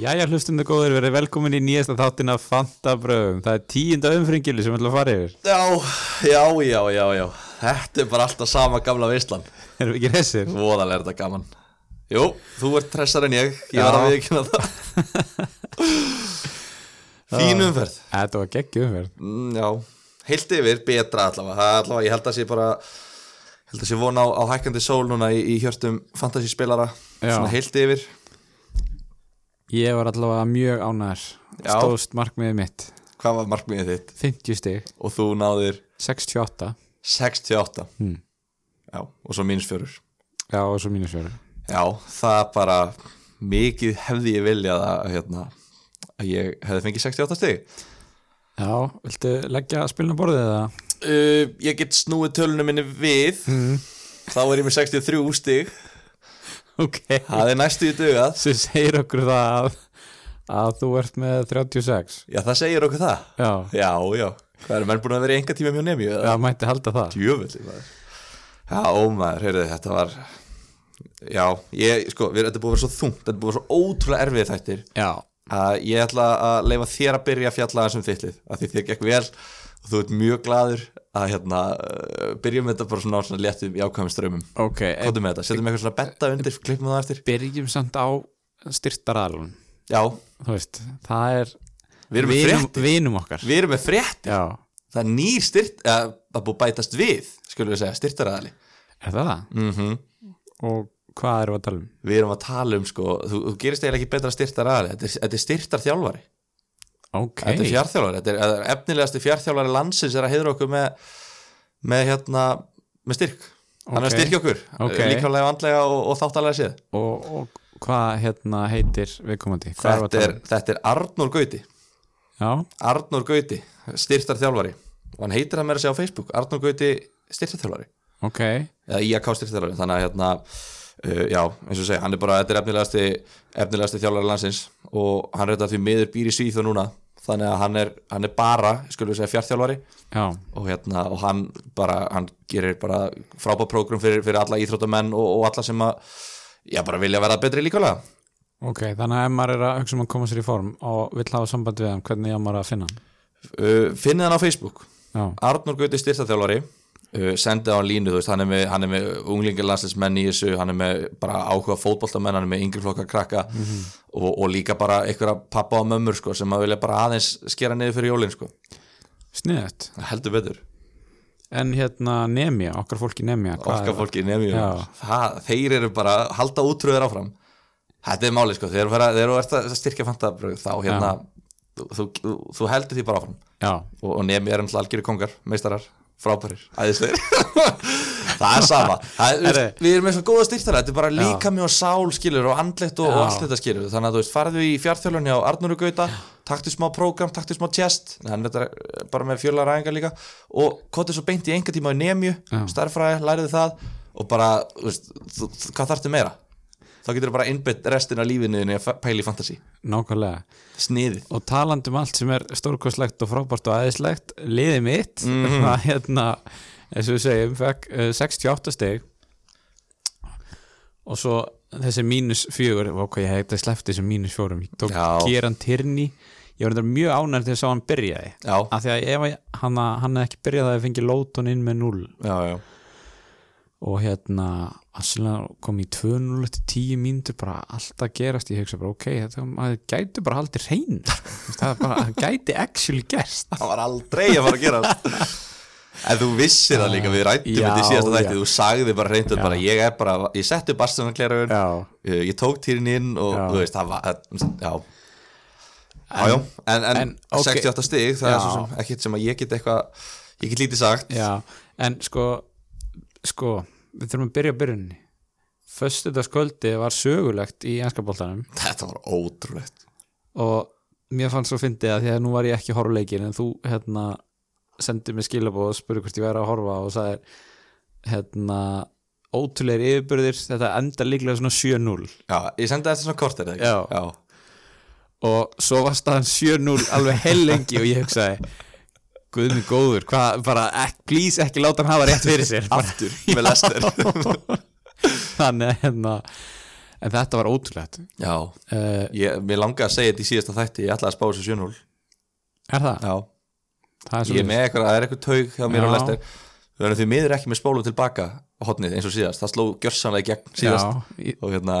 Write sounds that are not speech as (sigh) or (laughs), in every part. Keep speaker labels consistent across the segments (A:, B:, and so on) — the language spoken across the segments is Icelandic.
A: Jæja hlustundu góður, verið velkomin í nýjasta þáttin af Fanta Bröðum Það er tíunda umfringili sem við ætlum að fara yfir (laughs)
B: Já, já, já, já, já Þetta er bara alltaf sama gamla veislan
A: Erum við ekki hressir?
B: Voðalega er þetta gaman Jú, þú ert tressar en ég Ég var
A: Já.
B: að við ekki það (laughs) Fín umferð
A: Þetta var geggjum umferð
B: mm, Já, heilt yfir, betra allavega Það er allavega, ég held að sé bara Held að sé vona á, á hækkandi sól núna í, í hjörtum fantasyspilara
A: Já.
B: Svona heilt yfir
A: Ég var allavega mjög ánæður
B: Já.
A: Stóðst markmiðið mitt
B: Hvað var markmiðið þitt?
A: 50 stig,
B: Og þú náðir
A: 68
B: 68 hmm. Já, og svo mínus fjörur
A: Já, og svo mínus fjöru
B: Já, það er bara mikið hefði ég viljað að, hérna, að ég hefði fengið 68 stig
A: Já, viltu leggja spilna borðið eða?
B: uh, Ég get snúið tölunum minni við þá er ég með 63 stig
A: Ok
B: það er næstu í dugað
A: Sem segir okkur það að, að þú ert með 36
B: Já, það segir okkur það
A: Já,
B: Já, já, hvað er menn búin að vera í enga tíma mjög nemi
A: það mætti halda það
B: Djöfulli maður Já, ómaður, heyrðu, þetta var Já, ég, sko, við, þetta er búið að vera svo þungt þetta er búið að vera svo ótrúlega erfið þættir
A: Já,
B: að ég ætla að leifa þér að byrja að fjalla þessum þittlið, af því þér gekk vel og þú ert mjög gladur að hérna, uh, byrjum þetta bara svona, á svona léttum jákvæmum strömmum,
A: ok eh,
B: kóttum með þetta setjum eitthvað svona betta undir, klippum það eftir
A: Byrjum samt á styrtaraðlun
B: já,
A: Þú veist, það er
B: við erum með
A: vinum,
B: frétt
A: vinum okkar
B: við erum með frétt,
A: Já,
B: það er nýr styrt eða það er búið að bætast við, skulum við segja styrtaraðali,
A: er það það?
B: mm
A: Og hvað erum við að tala um?
B: við erum að tala um sko, þú, þú gerist eiginlega ekki betra styrtaraðali þetta er, þetta er styrtarþjálfari,
A: Ok,
B: þetta er fjárþjálfari þetta er, þetta er efnilegasti fjárþjálfari landsins er að heiðra okkur með, með hérna, með styrk Hann er
A: Ok.
B: að styrkja okkur,
A: Ok.
B: okay. líkvæmlega andlega og, og þáttalega séð
A: og, og hvað hérna heitir viðkomandi? Hvað erum
B: þetta
A: við að
B: er, þetta er Arnór Gauti
A: tala um? Já,
B: Arnór Gauti, styrtar þjálfari og hann heitir það meira að segja á Facebook Arnór Gauti, styrtar þjálfari
A: ok
B: eða IAK styrtar þjálfari, þannig að hérna uh, já, eins og segja, hann er bara, þetta er efnilegasti efnilegasti þjálfari landsins og hann reyndar því miður býr í Svíþjóð núna þannig að hann er, hann er bara, skulum við segja fjartþjálfari
A: Já,
B: og hérna, og hann bara, hann gerir bara frábæð prógrum fyrir, fyrir alla íþróttamenn og, og alla sem að já, bara vilja verða betri líkulega
A: ok, þannig að ef maður er að hugsa um að koma sér í form og vill hafa samband við hann, hvernig á maður að finna hann?
B: uh, finnið hann á Facebook
A: Já,
B: Arnur Gauti styrtaþjálfari uh, sendið á hann línu, þú veist, hann er með, hann er með unglingarlandslismenn í þessu, hann er með bara áhuga fótboltamenn, hann er með yngri flokka krakka og, og líka bara einhverja pappa og mömmur, sko, sem að vilja bara aðeins skera niður fyrir jólin, sko,
A: sniðut
B: heldur betur
A: En hérna Nemja, okkar fólki Nemja hvað
B: okkar
A: er-
B: fólki nefnir
A: Já.
B: það, þeir eru bara, halda útröður áfram þetta er máli, sko, þegar þú ert að- þegar þú ert að styrkja fantabröð, þá hérna þú, þú, þú, þú heldur því bara áfram
A: Já,
B: og, og nemi er náttúrulega algjörir kongar, meistarar frábærir, æðisleir (laughs) það er sama það, er,
A: Herri.
B: við erum með svona góða styrtara, þetta er bara líka mjög sál skilur og andlegt og, og
A: Já.
B: allt þetta skilur þannig að þú veist, farðu í fjartþjálun hjá Arnur og Gauta taktu smá prógram, taktu smá test hann er bara með fjölar ræðingar líka og kotið svo beint í enga tíma í nemju
A: Já.
B: starfræði, læriðu það og bara, þú veist, þú, þú, hvað þarftu meira þá getur bara innbytt restin af lífinu þínu í að pæli í fantasy,
A: nákvæmlega
B: sniði
A: og talandi um allt sem er stórkostlegt og frábært og aðeinslegt, liðið mitt (laughs) það hérna, eins og við segjum fekk eh, 68 stig og svo þessi mínus fjögur, ok, ég hef þetta sleppt þessum mínus fjórum, ég tók
B: Já.
A: geran tyrni ég var þetta mjög ánægt þegar sá hann byrjaði
B: já,
A: af því að ef að- hann, hann hefði ekki byrjað það hefði fengið lóton inn með 0
B: já, já
A: og hérna Arsenal kom í 2-0 til 10 mínútur bara allt að gerast, ég hugsa bara ok þetta maður gæti bara haldið hrein (laughs) það er bara, það gæti actually gerst
B: það var aldrei að fara að gera það. (laughs) En þú vissir það líka, við rættum
A: Já,
B: þetta í síðasta þætti,
A: já.
B: þú sagði bara reyndum
A: Já.
B: bara, ég er bara, ég setti upp Barcelona kleraun,
A: já,
B: ég tók týrin inn og
A: Já.
B: þú veist, það var, það- já Já, já, en, en,
A: en, ok.
B: 68 stig, það
A: Já.
B: er svo sem ekkert sem að ég get eitthvað, ég get lítið sagt
A: já, en sko sko, við þurfum að byrja á byrjunni Föstudagskvöldi var sögulegt í enskapoltanum
B: Þetta var ótrúlegt
A: og mér fannst svo fyndið að því að nú var ég ekki að horfa á leikinn en þú hérna sendið mér skilabóð og spurði hvort ég væri að horfa og sagði hérna ótrúleir yfirbyrðir, þetta enda líklega svona 7-0
B: Já, ég sendi þetta svona kortir, eða
A: Já.
B: ekki? Já,
A: og svo var staðan 7-0 alveg hellengi og ég hugsaði guðmi góður, hvað, bara ek, please ekki láta (laughs) hann hafa rétt fyrir sér Bara-
B: aftur, með lester
A: þannig að hérna en þetta var ótrúlegt
B: já,
A: uh,
B: ég, mér langaði að segja þetta í síðasta þætti ég ætlaði að spá þessu sjónhól
A: er það?
B: já,
A: það er
B: ég er
A: svoleiðis.
B: með eitthvað, það er eitthvað taug hjá mér
A: Já.
B: á lester við erum því miður ekki með spólu tilbaka hotnið eins og síðast, það sló gjörsanlega í gegn síðast
A: já, í-
B: og hérna,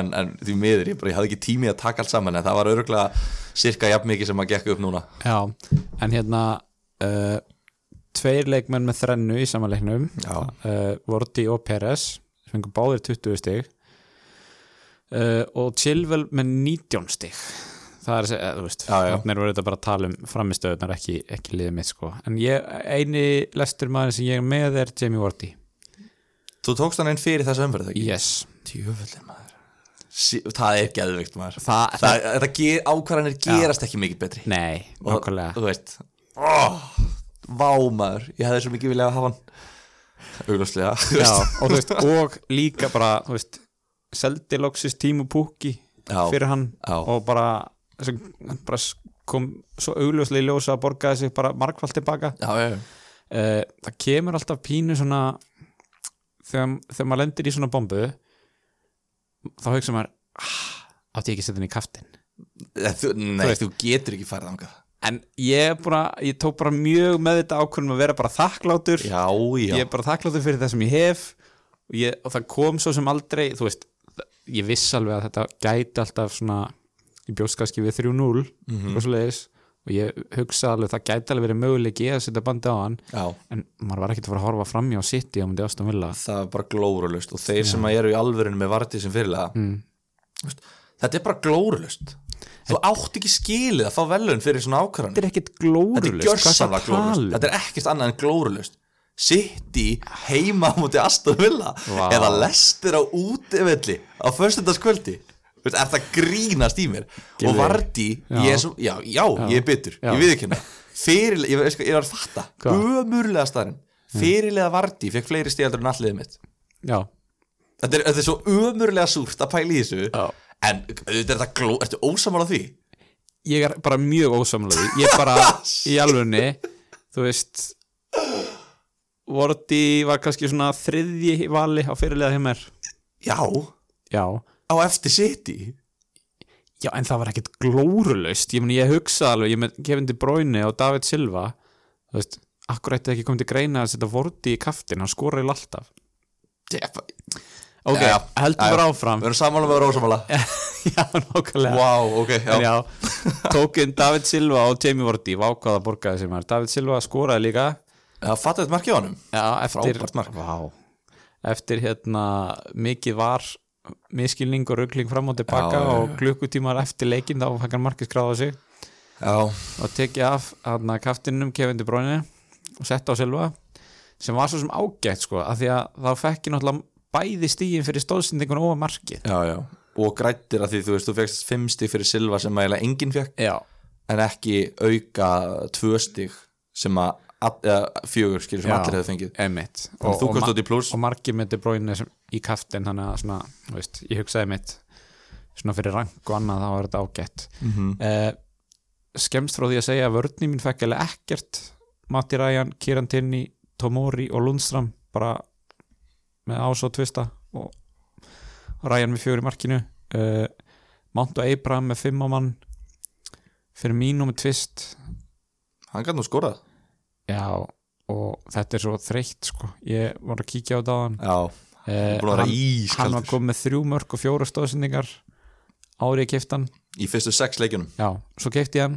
B: en, en því miður ég, bara, ég hafði ekki tími að taka allt saman en það var öruglega cirka jafn mikið sem að gekk upp núna
A: já, en hérna uh, tveir leikmenn með þrennu í samanleiknum
B: já,
A: uh, Vorti og Peres sem fengur báðir 20 stig uh, og Chilwell með 19 stig það er að segja, eh, þú veist
B: Já, já.
A: mér voru þetta bara að tala um framistöðunar ekki, ekki liðið mitt sko en ég, eini lestur maður sem ég er með er Jamie Vorti
B: þú tókst hann inn fyrir þessu umferð ekki?
A: yes,
B: djöfullin maður Sí, það er geðvikt maður það,
A: það,
B: það, það ger, ákvarðanir gerast ekki mikið betri
A: nei,
B: Og-
A: nákvæmlega
B: þú veist oh, vá maður, ég hefði svo mikið viljað að hafa hann augljóslega þú
A: já,
B: veist.
A: og, þú veist, og líka bara, þú veist seldi loksist tímu púki
B: Já.
A: fyrir hann
B: Já.
A: og bara, sem, bara s- kom svo augljóslega í ljósa að borgaði sig bara margfald tilbaka
B: já, já,
A: uh, það kemur alltaf pínu svona þegar, þegar maður lendir í svona bombu þá hugsa maður ah, átti ég ekki að setja henni í kaftin
B: Eh, þú, nei,
A: Þú
B: þú,
A: veist.
B: getur ekki farið þangað
A: en ég, er bara, ég tók bara mjög með þetta ákvörðum að vera bara þakklátur
B: já, já,
A: ég er bara þakklátur fyrir það sem ég hef og, ég, og það kom svo sem aldrei þú veist, það- ég viss alveg að þetta gæti alltaf svona ég bjóst kannski við 3-0 og, svoleiðis, og ég hugsa alveg það gæti alveg verið möguleiki að setja bandi á hann
B: já.
A: en maður var ekkert að fara að horfa framjá sitt í á myndi ástum vilja
B: það er bara glórulust og þeir sem að eru í alvörinu með vartið sem fyrirlega mm. þetta er bara glórulust þú átt ekki skilið að fá velun fyrir svona ákvarðan
A: þetta er ekkert
B: þetta er
A: glórulust um?
B: gjörsamlega glórulust þetta er ekkert annað en glórulust sitt í heima á móti Aston Villa
A: Vá.
B: eða lestir á útivelli á föstudagskvöldi Veist, er það grínast í mér og
A: Gylfi.
B: Vardí, ég er svo, já, já, ég er bitur
A: Já.
B: ég við ekki hérna fyrirlega, ég, ég, ég var að fatta,
A: Hvað? Mm.
B: ömurlega staðin fyrirlega Vardí fekk fleiri stíðaldur en alliðið mitt
A: já,
B: þetta er, þetta er svo ömurlega súrt að pæla í þessu
A: Já.
B: en auðvitað er þetta gló, ertu ósamála því?
A: ég er bara mjög ósamlega ég er bara í alvunni þú veist Vorti var kannski svona þriðji í vali á fyrirlega hjá mér
B: Já, á
A: já,
B: eftir sitt í
A: já en það var ekkert glórulust ég, meni, ég hugsa alveg, ég er með Kevin De Bruyne og David Silva þú veist, akkur ætti ekki komið til greina að setja Vorti í kaftin, hann skoraði alltaf ok,
B: Já, já.
A: heldum
B: Já,
A: bara
B: já.
A: áfram
B: Við erum sammála við erum ósamála
A: (laughs) já, nákvæmlega
B: Vá, ok, já,
A: En já, tókin David Silva og Jamie Vorti vákvaða borgaði sem er David Silva skoraði líka
B: Það fattu þetta markið á honum
A: já, eftir,
B: Frábært mark.
A: Vá. eftir hérna mikið var miskilning og ruggling fram og tilbaka
B: Já, já, já.
A: og klukkutímar eftir leikin þá fann hann markið skráða sig
B: Já,
A: og tekið af hérna kaftinum Kevin De Bruyne og sett á Silva sem var svo sem ágætt sko af því að þá fekk ég náttúrulega bæði stíin fyrir stóðsendingun og markið
B: já, já Og grættir að því, þú veist, þú fegst fimm stig fyrir Silva sem eiginlega enginn fekk
A: já,
B: En ekki auka tvö stig sem að, að eða, fjögur skilur sem
A: Já.
B: allir hefðu fengið
A: emitt
B: Og, þú komst út í pluss
A: og margir með De Bruyne sem, í kaftin þannig að svona, þú veist, ég hugsaði mitt svona fyrir rank og annað þá var þetta ágætt mm
B: Mhm.
A: skemst frá því að segja að vörni mín fekk alveg ekkert Matti Ræjan, Kiran Tinni, Tomori og Lundstram bara með ás og tvista og Ræjan með fjögur í markinu uh, Mount og Abraham með fimm á mann fyrir mínum með tvist
B: Hann gæti nú skorað
A: já og þetta er svo þreytt sko ég var að kíkja á þetta áðan
B: Já,
A: Eh,
B: búin að vera
A: hann, hann var
B: ískaldur
A: komið með þrjú mörg og fjóra stóðsendingar árið keftan
B: Í fyrstu sex leikjunum
A: já, svo kefti hann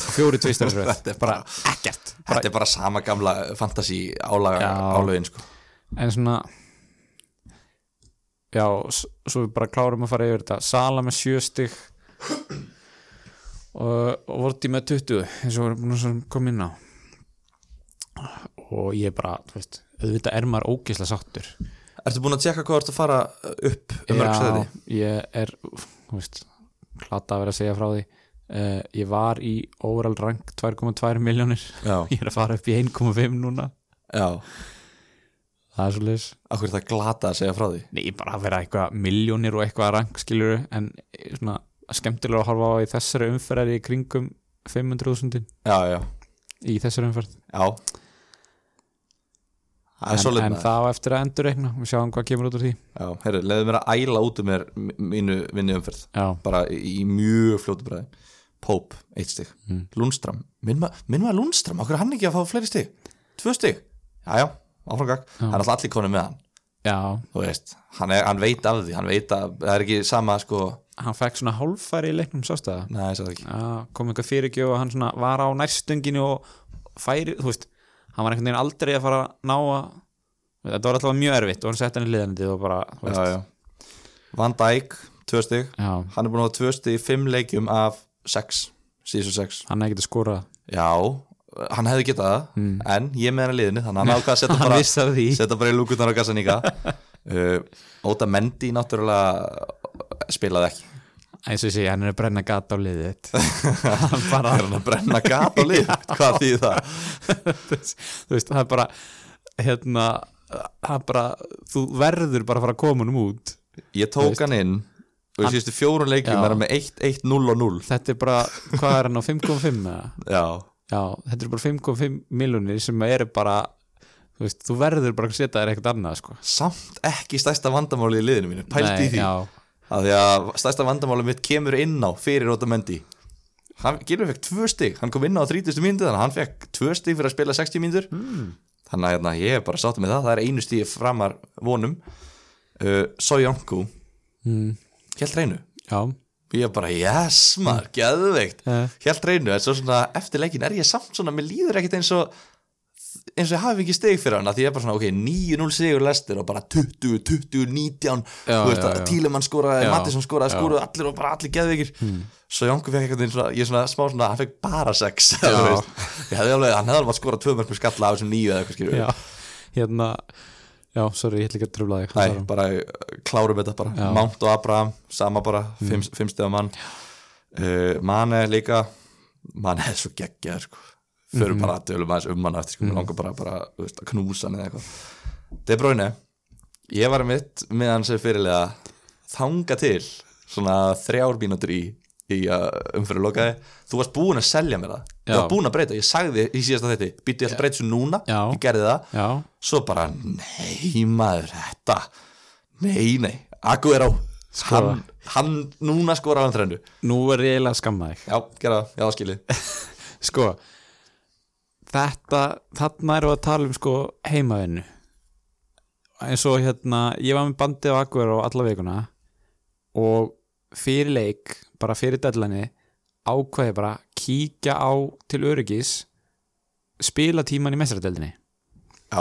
A: og fjóri tvistarins
B: (laughs) Þetta er bara,
A: ekkert
B: þetta er bara sama gamla fantasi álaga
A: Já.
B: álögin sko
A: en svona já, s- svo við bara klárum að fara yfir þetta Sala með sjö stig og, og vorti með 20 eins og við erum búin að svona koma inn á og ég bara þú veist, auðvitað er maður ógeðslega sáttur
B: Ertu búin að tjekka hvað ertu að fara upp um mörg
A: Já,
B: sæti?
A: ég er úff, þú veist, klata að vera að segja frá því uh, ég var í overall rank 2,2 miljónir
B: Já,
A: (laughs) ég er að fara upp í 1,5 núna
B: já
A: það er svolítið
B: Akkur er það glata að segja frá því
A: Nei, bara að vera eitthvað miljónir og eitthvað rank skilur en eh, svona skemmtilega að horfa á í þessari umferðar í kringum 500.000
B: Já, já,
A: í þessari umferð
B: já Það er
A: en,
B: solid
A: en
B: maður.
A: það á eftir að endurreikna við sjáum hvað kemur út úr því
B: Já, herru, leiðu mér að æla út um mér mínu vinni umferð
A: já,
B: bara í í mjög fljótu bræði Pope, eitt stig,
A: Mm.
B: Lundström minn ma- minn maður Lundström, okkur er hann ekki að fá fleiri stig tvö stig, jájá áframgag, hann er alltaf allir konum með hann
A: já,
B: þú veist, hann, er, hann veit af því hann veit að, það er ekki sama sko
A: hann fekk svona hálfæri í leiknum sástæða
B: nei, það er ekki,
A: kom einhver fyrirgjöf og hann svona var á nærstönginu og færi, þú veist hann var einhvern veginn aldrei að fara að ná að þetta var alltaf mjög erfitt og hann sett hann í liðandi og bara, þú veist
B: jájá Van Dijk, tvö stig
A: já.
B: hann er búin að hafa tvö stig í fimm leikjum af sex, síðan sex
A: hann er ekki að skora
B: já, hann hefði getað það en ég er með hann í liðinu, þannig að hann ákvað að setja
A: Hmm. (laughs) hann
B: bara
A: vissi af því
B: setja bara í lúkunar á
A: (laughs)
B: gassaníka uh, Óta Mendi náttúrulega uh, spilaði ekki
A: eins og ég segi, hann er að brenna gata á liðið
B: (laughs)
A: þitt. hann bara,
B: er hann að brenna gat á
A: (laughs)
B: lið hvað því það
A: þú veist, það er bara hérna, það er bara þú verður bara að fara að koma honum út
B: ég tók hann inn og í síðustu fjórun leikjum
A: Já.
B: er hann með 1-1-0 og 0
A: þetta er bara, hvað er hann á 5.5 eða?
B: já,
A: já, þetta er bara 5.5 miljonir sem eru bara þú veist, þú verður bara að setja þér eitthvað annað sko.
B: samt ekki stærsta vandamáli í liðinu mínu, pælt
A: Nei,
B: í því
A: já,
B: af því að stærsta vandamáli mitt kemur inn á fyrir Óta Mendi hann Gylfi fekk tvö stig, hann kom inn á 30. mínútu þannig að hann fekk tvö stig fyrir að spila 60 mínútur þannig að hérna, ég er bara sáttum með það það er einu stíð framar vonum uh, Sojanku
A: mm,
B: Hjælt reynu
A: já,
B: Ég er bara, yes maður, geðveikt
A: Mm. Já.
B: Hjælt reynu, en svo svona eftir leikin er ég samt svona, mér líður ekkert eins og eins og ég hafi ekki stig fyrir hann af því ég er bara svona, ok, 9-0 sigur lestir og bara 20, 20,
A: Já,
B: 19 þú veist
A: já,
B: að
A: já.
B: Tílemann skoraði,
A: Já,
B: Mattisson
A: já.
B: skoraði,
A: Hmm.
B: skoraði allir og bara allir geðveikir svo Jónku fekk eitthvað svona, ég svona smá svona, hann fekk bara (laughs) 6 ég
A: Já.
B: hefði alveg, hann hefði alveg bara skorað 2 mörg með skalla af þessum 9 eða eitthvað skilur
A: já hérna já, sorry, ég ætla ekki að tröfla þig
B: Nei, bara uh, klárum þetta bara
A: Já. Mm.
B: Mount og Abraham, sama bara fimm, fimm stegar mann uh, Mane líka Mane er svo geggjaður sko. fyrir
A: Mhm.
B: bara að tölum aðeins um hann eftir sko, mm. langar bara, bara þú veist, að knúsa hann eða eitthvað De Bruyne, ég var mitt með hann sem fyrirlega þanga til svona þrjár mínútur í, í uh, umfyrir lokaði þú varst búin að selja mér það þú
A: Já.
B: varst búin að breyta, ég sagði í síðasta þetta býtti ég ætla að breyta svo núna,
A: Já.
B: ég gerði það
A: já,
B: svo bara, nei maður þetta, nei nei Aguero,
A: Skora.
B: hann, hann núna skorar hann þrennu,
A: nú er ég eiginlega að skamma þig
B: já, gera það, já, það skilji
A: sko þetta, þarna erum við að tala um sko heimavinnu eins og hérna, ég var með bandið á Akver og alla vikuna og fyrir leik, bara fyrir dællani ákvæði bara kíkja á til öryggis spila tíman í mestradældinni
B: (laughs) já,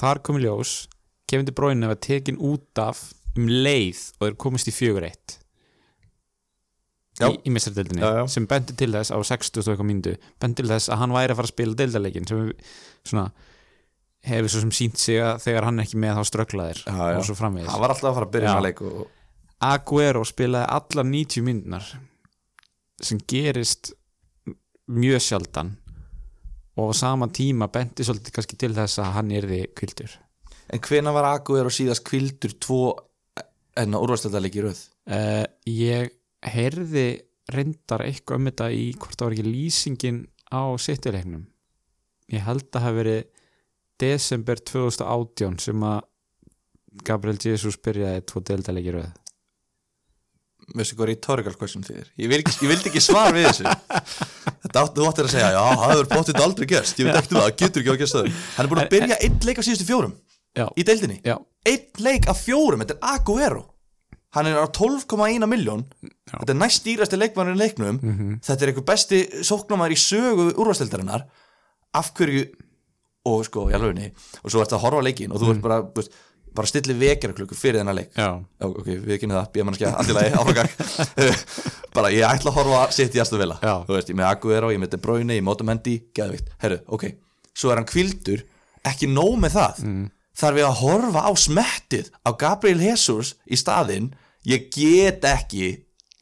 A: þar kom í ljós Kevin De Bruyne var tekin út af um leið og þeir komist í fjögur eitt
B: Já.
A: í, í mestardildinni
B: Já, já.
A: sem bendi til þess á 60 og eitthvað myndu bendi til þess að hann væri að fara að spila deildarleikin sem við- svona hefur svo sem sínt sig að þegar hann er ekki með þá strögglaðir
B: Já, já.
A: og svo framvegis
B: hann var alltaf að fara að byrja
A: Já.
B: hann leik og,
A: Aguero spilaði allar 90 myndunar sem gerist mjög sjaldan og á sama tíma benti svolítið kannski til þess að hann erði kvildur
B: en hvena var Aguero síðast kvildur tvo enna úrvastöldarleik í röð
A: Uh, ég heyrði reyndar eitthvað um þetta í hvort það var ekki lýsingin á sittileiknum ég held að hafa verið desember 2018 sem að Gabriel Jesus byrjaði tvo deildarleiki í röð
B: veistu hvað rhetorical question þýðir ég, vil, ekki- ég vildi ekki svar við þessu (laughs) þetta átti þú áttir að segja, já, það hefur bóttið aldrei gerst, ég veit ekkert um það, það getur ekki á gerst það hann er búin að byrja einn leik á síðustu fjórum
A: Já,
B: í deildinni
A: já,
B: einn leik af fjórum, þetta er Aguero hann er á 12,1 miljón þetta er næst dýrasti leikmannur í leiknum þetta er eitthvað besti sóknumæður í sögu úrvasteldarinnar af hverju og sko, ég alveg og svo ertu að horfa á leikinn og þú ert bara, þú veist, bara stilli vekjarklukku fyrir þennan leik
A: já,
B: Já, ok, við kynum það, býða mannskja, allir lagi, áframgang (laughs) bara ég ætla að horfa að sitt í aðstu vila,
A: Já.
B: þú veist, ég með Aguero ég með De Bruyne, ég með Otamendi, geðvikt herru, ok, svo er hann kvildur ekki nóg með það, mm. þarf ég að horfa á smettið á Gabriel Jesus í staðinn, ég get ekki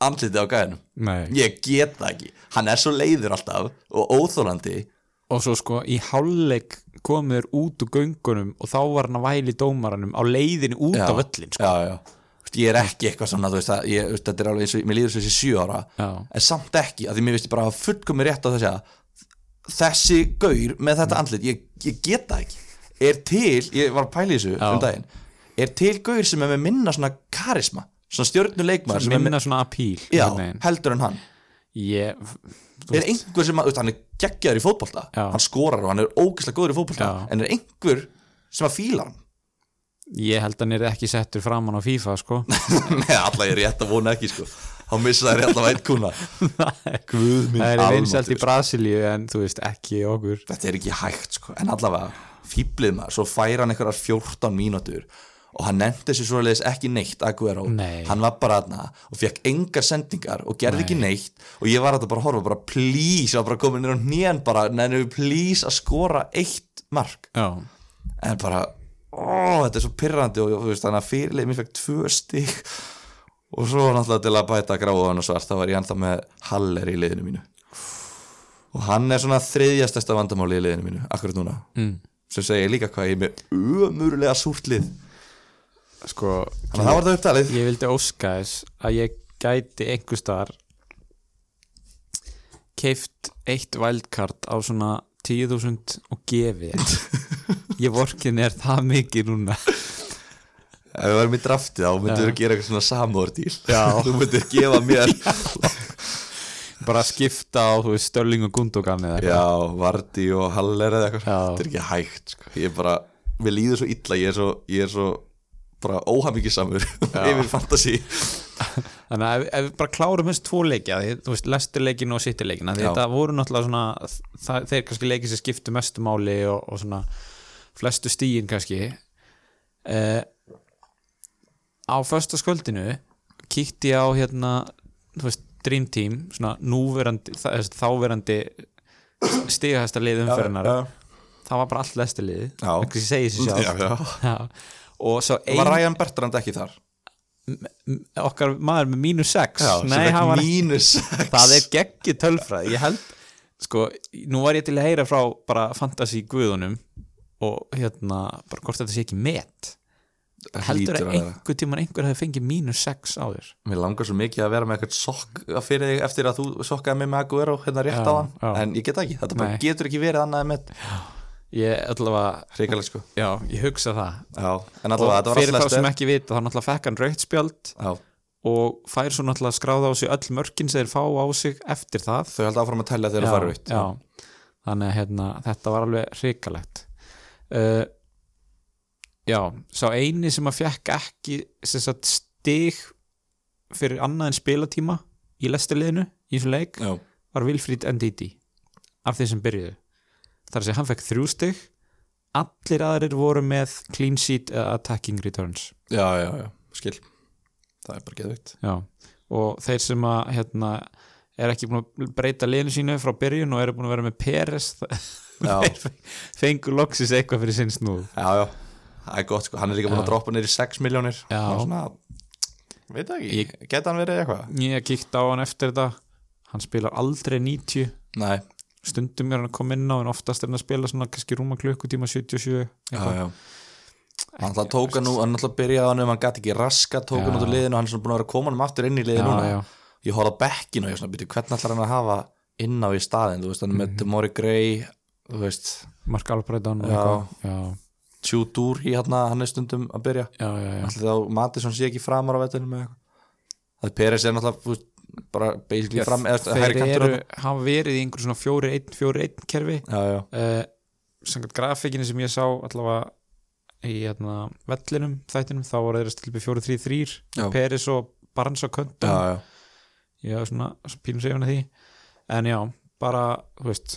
B: andlitið á gæðinum
A: nei
B: ég get það ekki, hann er svo leiður alltaf og óþólandi
A: og svo sko í hálfleik komur út úr göngunum og þá var hann að væli dómaranum á leiðinu út á völlin sko.
B: já, já. Þú veist, ég er ekki eitthvað svona þú veist, að, ég, þú veist, þetta er alveg eins og, mér líður svo þessi sjö ára
A: Já.
B: en samt ekki, að því mér veist ég bara að fullkomi rétt á þess að þessi gaur með þetta andlit, ég, ég get það ekki er til, ég var að pæla í þessu
A: Já.
B: um daginn, er til gaur sem er með minna svona karisma, svona stjörnuleikmaður sem er með,
A: minna svona apíl
B: já,
A: einhvern veginn.
B: heldur en hann
A: ég, þú
B: er einhver sem, að, þú veist, hann er geggjaður í fótbolta
A: Já.
B: hann skorar og hann er ógeðslega góður í fótbolta
A: Já.
B: en er einhver sem að fíla (laughs) hann
A: ég held að hann er ekki settur framann á FIFA sko.
B: Nei, alla ég er rétt að vona ekki sko Há missa þær alltaf eitt kuna
A: (laughs)
B: Guð minn
A: það er vinsælt í
B: almáttugur.
A: Brasilíu en þú veist ekki í okkur
B: Þetta er ekki hægt sko En allavega, fýblið maður Svo fær hann einhverjar 14 mínútur Og hann nefndi sér svoleiðis ekki neitt Aguero,
A: Nei.
B: hann var bara aðna Og fekk engar sendingar og gerði ekki neitt Og ég var þetta bara að horfa bara Please, ég var bara komin nýr á hnén bara Nennu, please að skora eitt mark
A: já,
B: En bara, ó, þetta er svo pyrrandi Og þú veist, þannig að fyrirlið mér fekk tvö stig Og svo náttúrulega til að bæta gráðan og svart, þá var ég ennþá með Haller í liðinu mínu og hann er svona þriðjastesta vandamáli í liðinu mínu, akkurat núna mm. sem segir líka hvað ég er með ömurulega súrt lið
A: sko
B: þannig að það var það upptalið
A: ég vildi óska þess að ég gæti einhver staðar keift eitt wildcard á svona 10.000 og
B: (laughs)
A: gefið þér. ég vorkin er það mikið núna
B: ef við varum í drafti þá myndur
A: Já.
B: við gera eitthvað svona samordíl
A: Já.
B: þú myndur gefa
A: (laughs)
B: mér
A: bara skipta á þú veist Störling og Gundogan eða eitthvað.
B: já, Vardí og Haller eða eitthvað
A: Já.
B: þetta er ekki hægt sko. ég er bara, mér líður svo illa ég er svo, ég er svo bara óhamingisamur yfir fantasi
A: þannig að ef, ef við bara klárum þess tvo leikja því, þú veist lesturleikin og sittileikin
B: Já.
A: þetta voru náttúrulega svona það, þeir kannski leikið sem skiptu mestu máli og, og svona flestu stíin kannski eh, á föstaskvöldinu kíkti ég á hérna þú veist Dream Team svona núverandi, þa- þú veist, þáverandi stigahæsta lið umferðinar
B: já.
A: það var bara allt lesturliðið
B: Já.
A: kannski segið sér
B: já,
A: sjálf
B: já.
A: Já. og svo ein,
B: var Ryan Bertrand ekki þar
A: m- okkar maður með mínus 6
B: sem
A: nei,
B: fékk
A: hann var
B: mínus sex.
A: það er geggi tölfræð ég held, sko, nú var ég til að heyra frá bara fantasy guðunum og hérna, bara hvort þetta sé ekki met heldur
B: Hlýtur
A: að
B: að vera.
A: einhver tíman einhver hefði fengið mínus 6 á þér
B: Mér langar svo mikið að vera með eitthvað sokk fyrir þig eftir að þú sokkaði mig með Aguero hérna rétt
A: Já,
B: á hann,
A: já.
B: en ég get það ekki þetta bara
A: Nei.
B: getur ekki verið annað með
A: ég allavega,
B: hrikalegt sko
A: já, ég hugsa það
B: Já, en
A: og
B: allavega þetta var
A: fyrir
B: alltaf
A: þá sem ekki vita, þá náttúrulega fekk hann rautspjald
B: Já,
A: og fær svo náttúrulega skráða á sig öll mörkin sem þeir fá á sig eftir það
B: þau held áfram að tella þegar það farið vitt
A: já. þannig að hérna, þetta var alveg hrikalegt uh, já, sá eini sem að fekk ekki sem sagt, stig fyrir annað en spilatíma í lestarliðinu í þessum leik
B: Já,
A: var Wilfried Ndidi af þeir sem byrjuðu þar að segja hann fekk þrjú stig allir aðrir voru með clean sheet eða attacking returns
B: já, já, já, skil Það er bara geðvikt
A: já. og þeir sem að hérna, er ekki búin að breyta liðinu sínu frá byrjun og eru búin að vera með Peres
B: Já,
A: Þeir fengur loksis eitthvað fyrir sinn snúð
B: já, já, það er gott sko Hann er líka búin að droppa neyri 6 miljónir
A: Já.
B: svona, Veit það ekki, ég... geta hann verið eitthvað
A: ég kíkt á hann eftir þetta hann spilar aldrei 90
B: Nei,
A: stundum er hann að koma inn á en oftast er hann að spila svona kannski rúma klukkutíma 77
B: já,
A: eitthvað.
B: já Hann alltaf tók hann nú, hann alltaf byrjaði hann um hann gæti ekki raska, tók hann
A: Já.
B: út úr liðinu hann er svona búin að vera að koma hann aftur inn í liðinu núna
A: já,
B: ég horfði á bekkin og ég svona byrju hvernig ætlar hann að hafa inn á í staðin þú veist hann er
A: Mhm.
B: með Demori Gray þú veist
A: Mark Albreyton
B: Já.
A: já,
B: Tjúdúr í hann hérna, hann er stundum að byrja
A: já, já, já.
B: allir þá Matisson sé ekki framar á vettunum eða eitthvað það er Peres er náttúrulega þú veist, bara basically fram eða
A: þeir
B: hægri kantur
A: eru,
B: þarna.
A: hafa verið í einhver svona 4-1-4-1 kerfi
B: já, já,
A: uh, samkvæmt grafikinu sem ég sá allavega í hérna, vellinum, þættinum, þá voru þeir að stilbi 4-3-3,
B: Já.
A: Peris og Barnes á köntum
B: já, já,
A: ég var svona, svona pínum segjum að því en já, bara, þú veist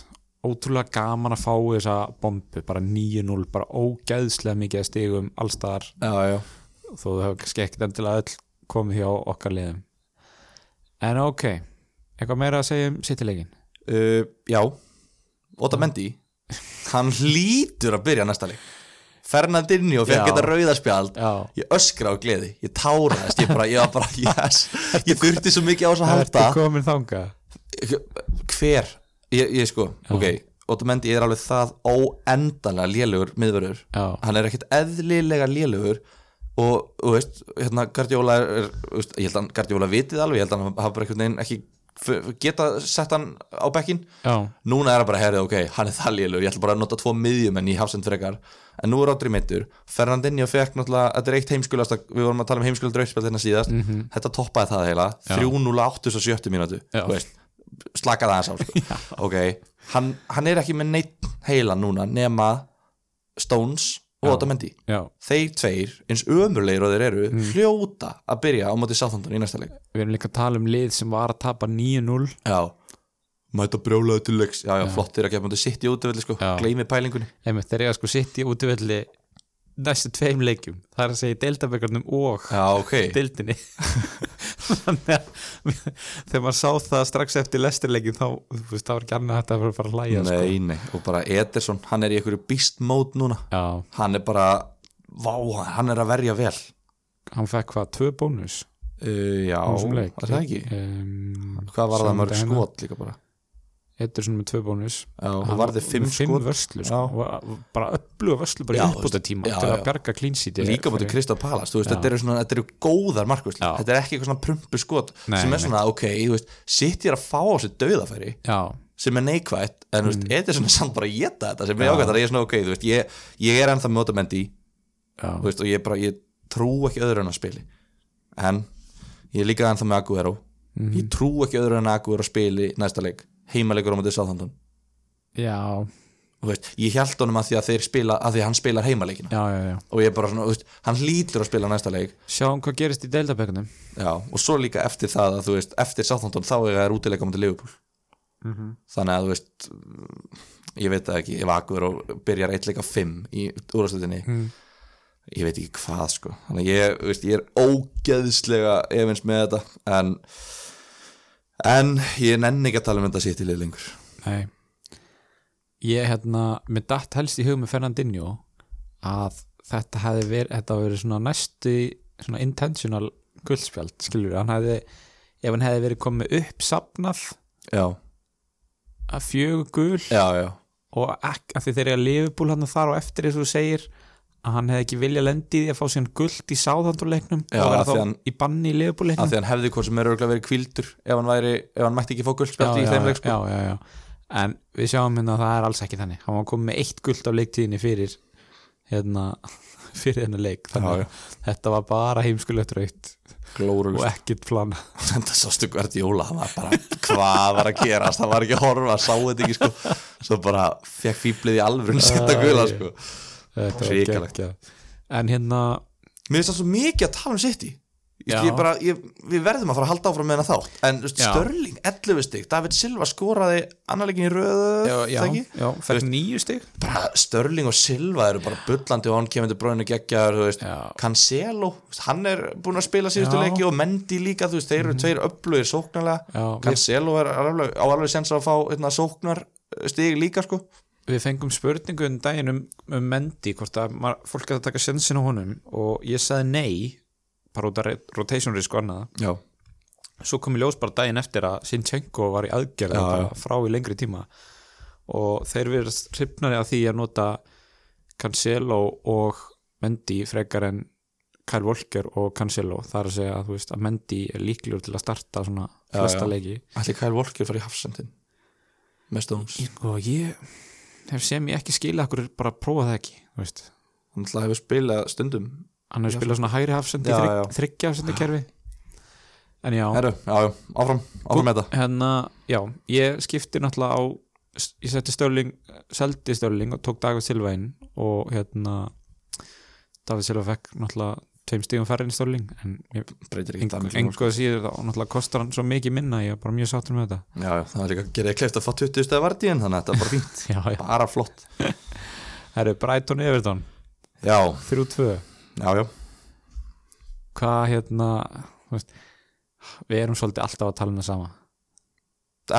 A: ótrúlega gaman að fá þessa bombu, bara 9-0, bara ógeðslega mikið að stigum allstaðar
B: já, já.
A: þó þau hafa kannski ekkert endilega öll komið hjá okkar liðum en ok, eitthvað meira að segja um sittilegin
B: Uh, já Óta Mendi hann hlýtur að byrja næsta leik
A: Já.
B: Fernandinho fekk þetta rauðarspjald
A: Já.
B: ég öskra á gleði, ég táraðist ég bara, ég var bara, yes ég þurfti svo mikið á þess að halda
A: Ertu komin þangað?
B: hver ég, ég sko, ok Otamendi er alveg það óendanlega lélugur miðverður,
A: Já.
B: hann er ekkert eðlilega lélugur og, þú veist, hérna Gardiola er, þú veist, ég held að hann Gardiola vitið alveg, ég held að hann hafa bara einhvern veginn ekki f- geta sett hann á bekkin
A: já,
B: núna er það bara herrið, ok, hann er það lélur ég ætla bara að nota tvo miðjumenn í hafsend frekar en nú er Rodri meittur, Fernandinho fekk náttúrulega, þetta er eitt heimskulast við vorum að tala um heimskulast rauðspjall hérna síðast þetta toppaði það heila, 3-0-8-7 mínútu,
A: Mhm. Já.
B: þú veist slakaði aðeins á,
A: (laughs)
B: sko. ok hann, hann er ekki með neitt heila núna nema Stones og Otamendi,
A: já,
B: þeir tveir eins ömurleir og þeir eru,
A: Mm.
B: hljóta að byrja á móti sáþóndun í næsta leik
A: við erum líka að tala um lið sem var að tapa 9-0
B: Já Mæta brjólaði til leiks Já, já, flottir að gefa mútið sitt í útvöldi sko
A: Já.
B: Gleimi pælingunni
A: einmitt þegar ég sko sitt í útivelli næstu tveim leikjum það er að segja í deildabekarnum og
B: Já, ok
A: deildinni þannig að þegar maður sá það strax eftir lesturleikin þá, þú veist, þá var ekki annað hægt að fara að fara að læja sko.
B: Nei, nei Og bara Ederson, hann er í einhverju beast mode núna
A: já,
B: Hann er bara Vá, hann er að verja vel
A: hann fekk hvað, tvö bónus
B: uh, Já,
A: var
B: var það ekki
A: um,
B: Hvað var það
A: Sama
B: mörg
A: daginn.
B: skot líka bara
A: Eittur svona með tvö bónus
B: Já, hann varði fimm skot
A: vörslu,
B: Já.
A: sko. Var- bara öllu vörslu bara
B: Já,
A: uppbúta tíma
B: já,
A: til að
B: já.
A: bjarga klínsíti
B: Líka mútið Krista Palas, þú veist, þetta eru, svona, þetta eru góðar markvæsli
A: Já.
B: Þetta er ekki eitthvað svona prumpu skot
A: Nei,
B: sem
A: nei.
B: er svona, ok, þú veist, sitt ég að fá á sér dauðafæri
A: já,
B: sem er neikvætt en þú veist, Ederson er samt bara að geta þetta sem er ágætt að ég er svona ok, þú veist, ég, ég er ennþá með Otamendi
A: Já.
B: þú veist, og ég, bara, ég trú ekki öðru en að spili en ég er líka ennþá með Aguero ég trú ekki öðru en að Aguero spili næsta leik, heimalegur á mótið Southampton
A: já,
B: Þú veist, ég held honum að því að þeir spila að því að hann spilar heimaleikina
A: já, já, já
B: og ég er bara svona, þú veist, hann hlýtur að spila næsta leik
A: sjáum hvað gerist í deildabekunum
B: Já, og svo líka eftir það að þú veist eftir Southampton þá er það rútileika mútið Liverpool
A: Mhm.
B: þannig að þú veist ég veit það ekki, ef Akur byrjar eitt leika fimm í úrastöldinni
A: Hmm.
B: ég veit ekki hvað sko þannig að ég, þú veist, ég er ógeðslega efins með þetta en en ég nenni ekki að tala um þetta sitt í lið lengur
A: Nei Ég hérna, mér datt helst í hug með Fernandinho að þetta hefði verið, þetta hafi verið svona næstu svona intentional guldspjald, skilur hann hefði, ef hann hefði verið komið upp safnað
B: Já,
A: að fjögur gul
B: já, já,
A: og ekki, að því þeir eru að lifubúl hann þar og eftir eins og þú segir að hann hefði ekki viljað lendi í því að fá síðan guld í sáðhandurleiknum
B: Já,
A: og vera
B: af því
A: þá
B: hann-
A: í banni í
B: að
A: lifubúleiknum
B: því hann hefði hvort sem er örgulega verið kvildur ef hann væri, ef hann mætti ekki fá guldspjald í þeim leik sko
A: já, já, já. en við sjáum hérna að það er alls ekki þannig hann var komið með eitt guld á leiktíðinni fyrir hérna (laughs) fyrir hennar leik þannig
B: Já, já.
A: að þetta var bara heimskulegt raukt
B: Glórulegt.
A: og ekkert plana
B: þetta sástu hvert jóla það var bara hvað var að gerast það var ekki að horfa, sá þetta ekki sko svo bara fekk fýblið í alvörun setta gula sko
A: (laughs) Þetta var
B: Hrikalegt.
A: geggjað. en hérna
B: mér finnst það svo mikið að tala um sitt í
A: Já.
B: ég bara, ég, við verðum að fara að halda áfram með hana þá en þú veist,
A: Já.
B: Störling, 11 stig David Silva skoraði annarleikin í röðu
A: já,
B: það ekki?
A: já, fyrir nýju stig
B: bara Störling og Silva eru bara bullandi og hann kemur til bráinu geggjaður þú veist,
A: Já.
B: Cancelo, þú veist, hann er búin að spila síðustu
A: Já. Mhm.
B: leiki og Mendy líka þú veist, þeir eru tveir öflugir sóknarlega
A: Já,
B: Cancelo er alveg, á alveg sens að fá hérna, sóknar stig líka sko
A: við fengum spurningu um daginn um, um Mendy, hvort að ma- fólk að taka sensin á honum og ég sagði nei bara út af re- rotation risk og annaða
B: Já,
A: svo kom í ljós bara daginn eftir að Sinchenko var í aðgerð
B: Já,
A: bara frá í lengri tíma og þeir verið hrifnari af því að nota Cancelo og Mendy frekar en Kyle Walker og Cancelo þar að segja að, þú veist, að Mendy er líklegur til að starta svona flesta
B: já.
A: leiki
B: allir Kyle Walker fari í hafsendin með Stones
A: og Sko, ég hef sem ég ekki skilið okkur bara að prófa það ekki þú veist.
B: hann ætlaði hefur spilað stundum
A: hann hefur spilað svona hægri hafsendi
B: Já,
A: þrygg,
B: já.
A: þryggja hafsendi kerfi en já
B: Herru, já, já, áfram, áfram með þetta
A: hérna, já, ég skipti náttúrulega á, ég setti Störling seldi Störling og tók David Silva inn og hérna David Silva fekk náttúrulega tveim stígum færri en Störling en ég-
B: breytir ekki sko.
A: engu
B: dæmi
A: engu að síður þá náttúrulega kostar hann svo mikið minna, ég er bara mjög sáttur með þetta
B: Já, já, það er líka gerðið kleift að fá 20 stæði vartíðin þannig að þetta er bara (laughs) fínt,
A: já, já,
B: bara flott
A: það eru Brighton Everton
B: Já,
A: 3-2,
B: já, já
A: hvað hérna þú veist, við erum svolítið alltaf að tala um það sama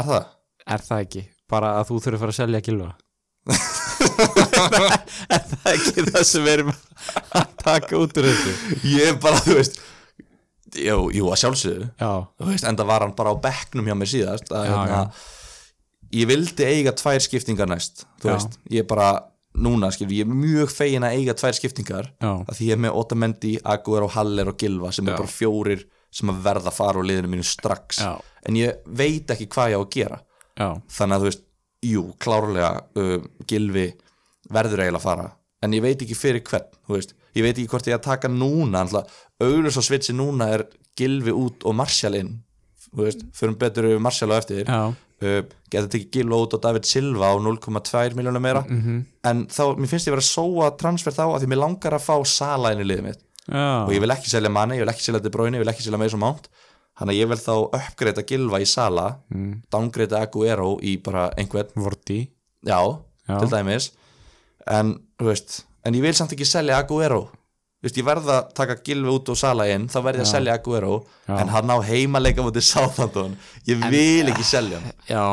B: Er það?
A: er það ekki, bara að þú þurfir að fara að selja gilva (laughs) er það ekki það sem við erum að taka út úr þessu
B: Ég er bara, þú veist Jú, jú að sjálfsögðu
A: já,
B: Þú veist, Enda var hann bara á bekknum hjá mér síðast að,
A: Já,
B: hérna, Ég vildi eiga tvær skiptingar næst Þú
A: Já.
B: veist, ég er bara Núna, skil, ég er mjög fegin að eiga tvær skiptingar
A: Já.
B: að Því ég er með Otamendi, Aguero, Haller og Gilva sem
A: Já.
B: er bara fjórir sem að verða að fara úr liðinu mínu strax
A: Já.
B: en ég veit ekki hvað ég á að gera
A: já,
B: þannig að þú veist, jú, klárlega uh, gilvi verður eiginlega að fara en ég veit ekki fyrir hvern þú veist, ég veit ekki hvort ég að taka núna auðvitað svo svitsi núna er gilvi út og Marshall inn þú veist, förum betur yfir Marshall á eftir
A: já,
B: uh, geta tekið Gil út og David Silva á 0,2 miljónum meira en þá, mér finnst ég verið að sóa transfer þá af því mér langar að fá Sala inn í liðið mitt og
A: já.
B: ég vil ekki selja manni, ég vil ekki selja De Bruyne, ég vil ekki selja Mason Mount þannig að ég vil þá uppgreita Gilva í Sala mm. downgreita Aguero í bara einhvern
A: Vorti
B: já,
A: Já.
B: til dæmis en, þú veist, en ég vil samt ekki selja Aguero Þú veist, ég verð að taka Gilvi út og Sala inn þá verð ég að selja Aguero
A: Já.
B: en hann á heimaleika mútið Southampton ég vil ekki selja hann
A: Já,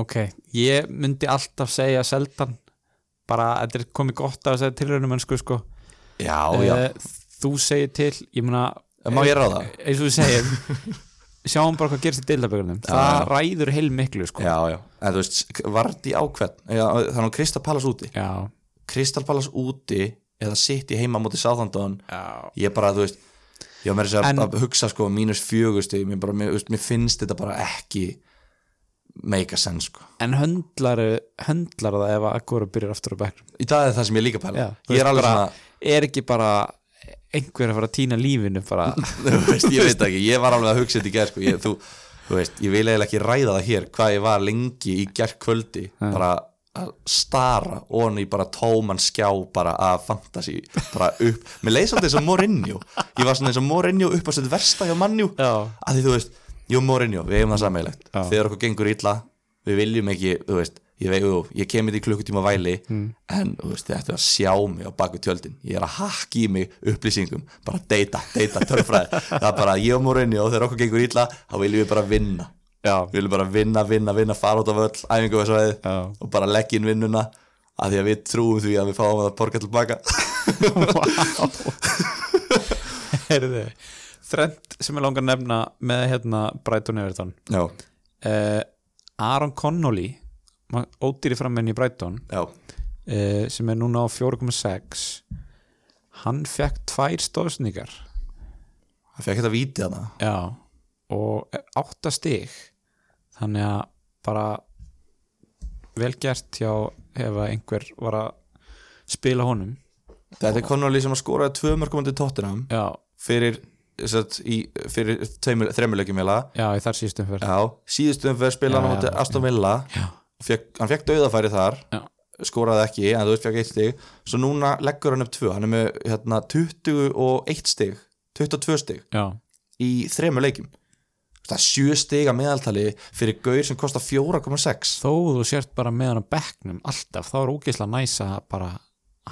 A: ok Ég myndi alltaf segja seldan bara, þetta er komið gott að segja tilraunum mennsku sko
B: já, já,
A: Eh, Þú segir til, Eh, ég meina
B: má ég ráða?
A: eins og við (laughs) segjum sjáum bara hvað gerst í deildabögunum það ræður heil miklu sko
B: já, já, en þú veist, Vardy ákveðn já, þannig að Kristal Palace úti
A: já,
B: Kristal Palace úti eða sitt í heima mútið Southampton
A: já.
B: ég bara, þú veist ég var meira að segja
A: En-
B: að hugsa sko mínus fjögusti mér, bara, mér, þú veist, mér finnst þetta bara ekki make a sense sko
A: en höndlar, höndlar það ef að Agora byrjar aftur á bekk
B: í dag er það sem ég er líka að pæla
A: Já, þú
B: ég
A: veist
B: er alveg
A: bara-
B: svona,
A: er ekki bara einhver að fara að týna lífinu (laughs) bara,
B: (laughs) þú veist, ég veit ekki ég var alveg að hugsa þetta í gerð sko ég, þú, þú veist, ég vil eiginlega ekki ræða það hér hvað ég var lengi í gerð kvöldi bara að stara onni bara tóman skjá bara að fantasi bara upp, mér leið svolítið eins og Mourinho ég var svona eins og Mourinho upp á sett versta hjá Mannjú
A: já,
B: að því þú veist, jú Mourinho, við eigum það sammeilegt
A: Já.
B: þegar okkur gengur illa, við viljum ekki þú veist, ég, veit, jú, ég kemur því klukkutíma væli en þú veist, þetta er að sjá mig á baku tjöldin, ég er að hakka í mig upplýsingum, bara deyta, deyta törfræði, það er bara að ég og Mourinho þegar okkur gengur illa, þá viljum við bara vinna
A: já.
B: við viljum bara vinna, vinna, vinna, fara út af öll æfingu og
A: Já.
B: og bara leggja inn vinnuna að því að við trúum því að við fáum að porga tilbaka
A: (laughs) Heyrðu, þrend sem ég langar að nefna með hérna Brighton Everton
B: já,
A: uh, Aaron Connolly ma- ódýri framenn í Brighton
B: já,
A: uh, sem er núna á 4,6 hann fekk tvær stofsningar
B: það fekk þetta vítið hana
A: já, og átta stig þannig að bara vel gert hjá ef að einhver var að spila honum
B: þetta er Connolly sem að skoraði tvö mörgumandi tóttinam
A: já,
B: fyrir, satt, í, fyrir tveimur, þreimur leikjum eiginlega.
A: já í þar síðustum fyrir já,
B: Já, síðustu umferð spila hann á
A: Já,
B: móti
A: já,
B: Aston Villa og fekk, hann fekk dauðafæri þar
A: Já.
B: skoraði ekki, en þú veist fekk eitt stig svo núna leggur hann upp tvö hann er með hérna, 21 stig 22 stig
A: já,
B: í þreimur leikjum það er 7 stig að meðaltali fyrir gaur sem kostar 4,6
A: þó þú sért bara með hann á bekknum alltaf, þá er ógeðslega næsa bara,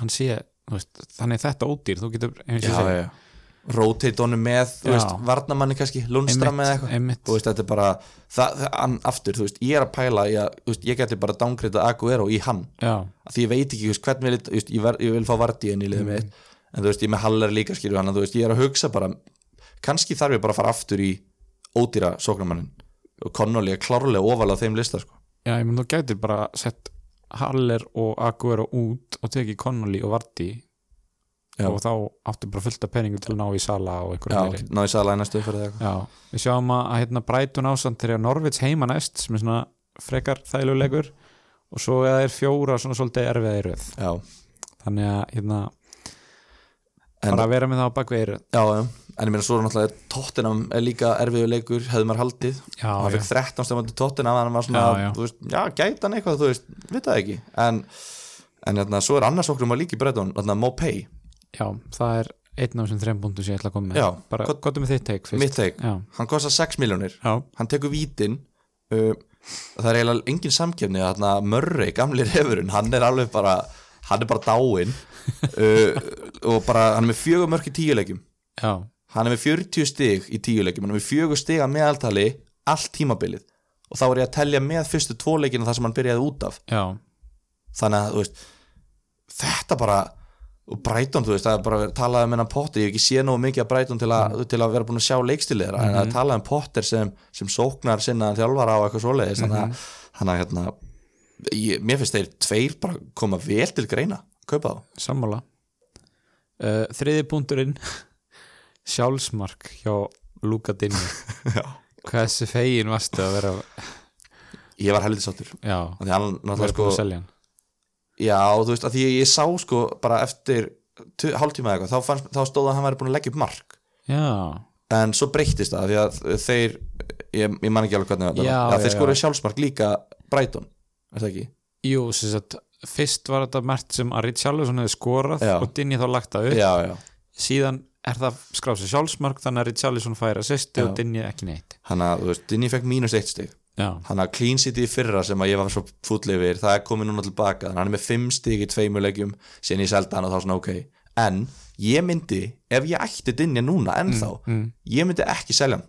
A: hann sé þú veist, þannig er þetta ódýr, þú getur eins og ég segi,
B: já. rotate honum með, þú
A: Já.
B: veist, varnamanni kannski, Lundstram
A: Einmitt,
B: eða eitthvað
A: einmitt.
B: þú veist, þetta er bara, það, það, hann aftur þú veist, ég er að pæla, í að, þú veist, ég geti bara downgreita Aguero í hann
A: já,
B: Af því ég veit ekki, þú veist, hvern vil ég, þú veist, ég, ver, ég vil fá Vardí inn í liðið mitt en þú veist, ég er með Haller líka skilur hann þú veist, ég er að hugsa bara, kannski þarf ég bara að fara aftur í ódýra sóknamannin og Connolly er klárlega ofalega á þeim lista, sko
A: já, ég menn þú gætir bara sett Haller og Aguero út og tekið Connolly og Vardí
B: Já.
A: og þá áttu bara fullt af penningu til að ná í sala og einhverju
B: Já, náðu sæla í næstu fyrir það
A: Já, við sjáum að, að hérna Brighton ásand þegar Norvits heima næst sem er svona frekar þælulegur og svo er þeir fjóra svona svolítið erfiða í röð
B: Já,
A: þannig að hérna
B: En-
A: bara að vera með það á bakvið í röð
B: já, já, en ég meina svo er náttúrulega Tottenham er líka erfiðu leikur, hefði maður haldið
A: Já,
B: hann
A: já.
B: fekk 13 stefandi Tottenham hann var svona,
A: Já, já.
B: þú veist, já, gæti hann eitthvað þú veist, vita það ekki en, en hérna, svo er annars okkur um að líka í breytun hérna, Mopay,
A: Já, það er einn af þessum þreim búndum sem ég ætla að koma með
B: Já,
A: bara
B: gott-
A: gott með þitt teik fyrst
B: mitt teik
A: Já,
B: hann kostar 6 miljónir
A: já,
B: hann tekur vítin uh, það er eiginlega engin samkefni að þarna Murray, gamli refurinn, hann er alveg bara hann er bara dáinn uh, og bara, hann er með fjögur mörk í tíuleikjum,
A: já,
B: hann er með 40 stig í tíuleikjum, hann er með fjögur stig að meðaltali allt tímabilið og þá er ég að telja með fyrstu tvoleikina þar sem hann byrjaði út af,
A: já,
B: þannig að þú veist, þetta bara og Brighton, þú veist, það er bara verið að tala um hennan Potter, ég hef ekki séð nógu mikið að Brighton til að,
A: Mm.
B: til að vera búin að sjá leikstilið þeirra
A: Mhm.
B: en að tala um Potter sem, sem sóknar sinna þjálfara á eitthvað svoleiðis þannig
A: Mhm.
B: að, þannig að hérna, ég, mér finnst þeir tveir bara koma vel til greina kaupa þá,
A: sammála uh, Þriði búndurinn (laughs) sjálfsmark hjá Luka Dinni
B: (laughs) Já.
A: hversu fegin varstu að vera
B: ég var helviti sáttur
A: já,
B: Af því hann náttúrulega
A: vera búin að
B: sko
A: selja hann
B: já þú veist að því ég sá sko bara eftir tu- hálftíma eða eitthvað þá, fannst, þá stóð að hann væri búin að leggja upp mark
A: já,
B: en svo breyttist það af því að þeir ég, ég man ekki alveg hvernig þetta
A: Já,
B: var.
A: já,
B: þeir
A: já.
B: skoruðu sjálfsmark líka Brighton er það ekki
A: jú, sem sagt fyrst var þetta mert sem að Richarlison hefði skorað
B: Já.
A: og Dinni þá lagt það upp
B: já já
A: síðan er það skráð sér sjálfsmark þannig að Richarlison fær assist
B: Já.
A: og Dinni ekki neitt
B: hann að þú veist Dinni fekk mínus eitt stig
A: já,
B: hann að Clean City í fyrra sem að ég var svo fúll yfir það er komið núna tilbaka þannig að hann er með fimm stig í tveimur leikjum síðan ég seldi hann og þá svona ok en ég myndi ef ég ætti Dinni núna ennþá
A: mm.
B: ég myndi ekki selja hann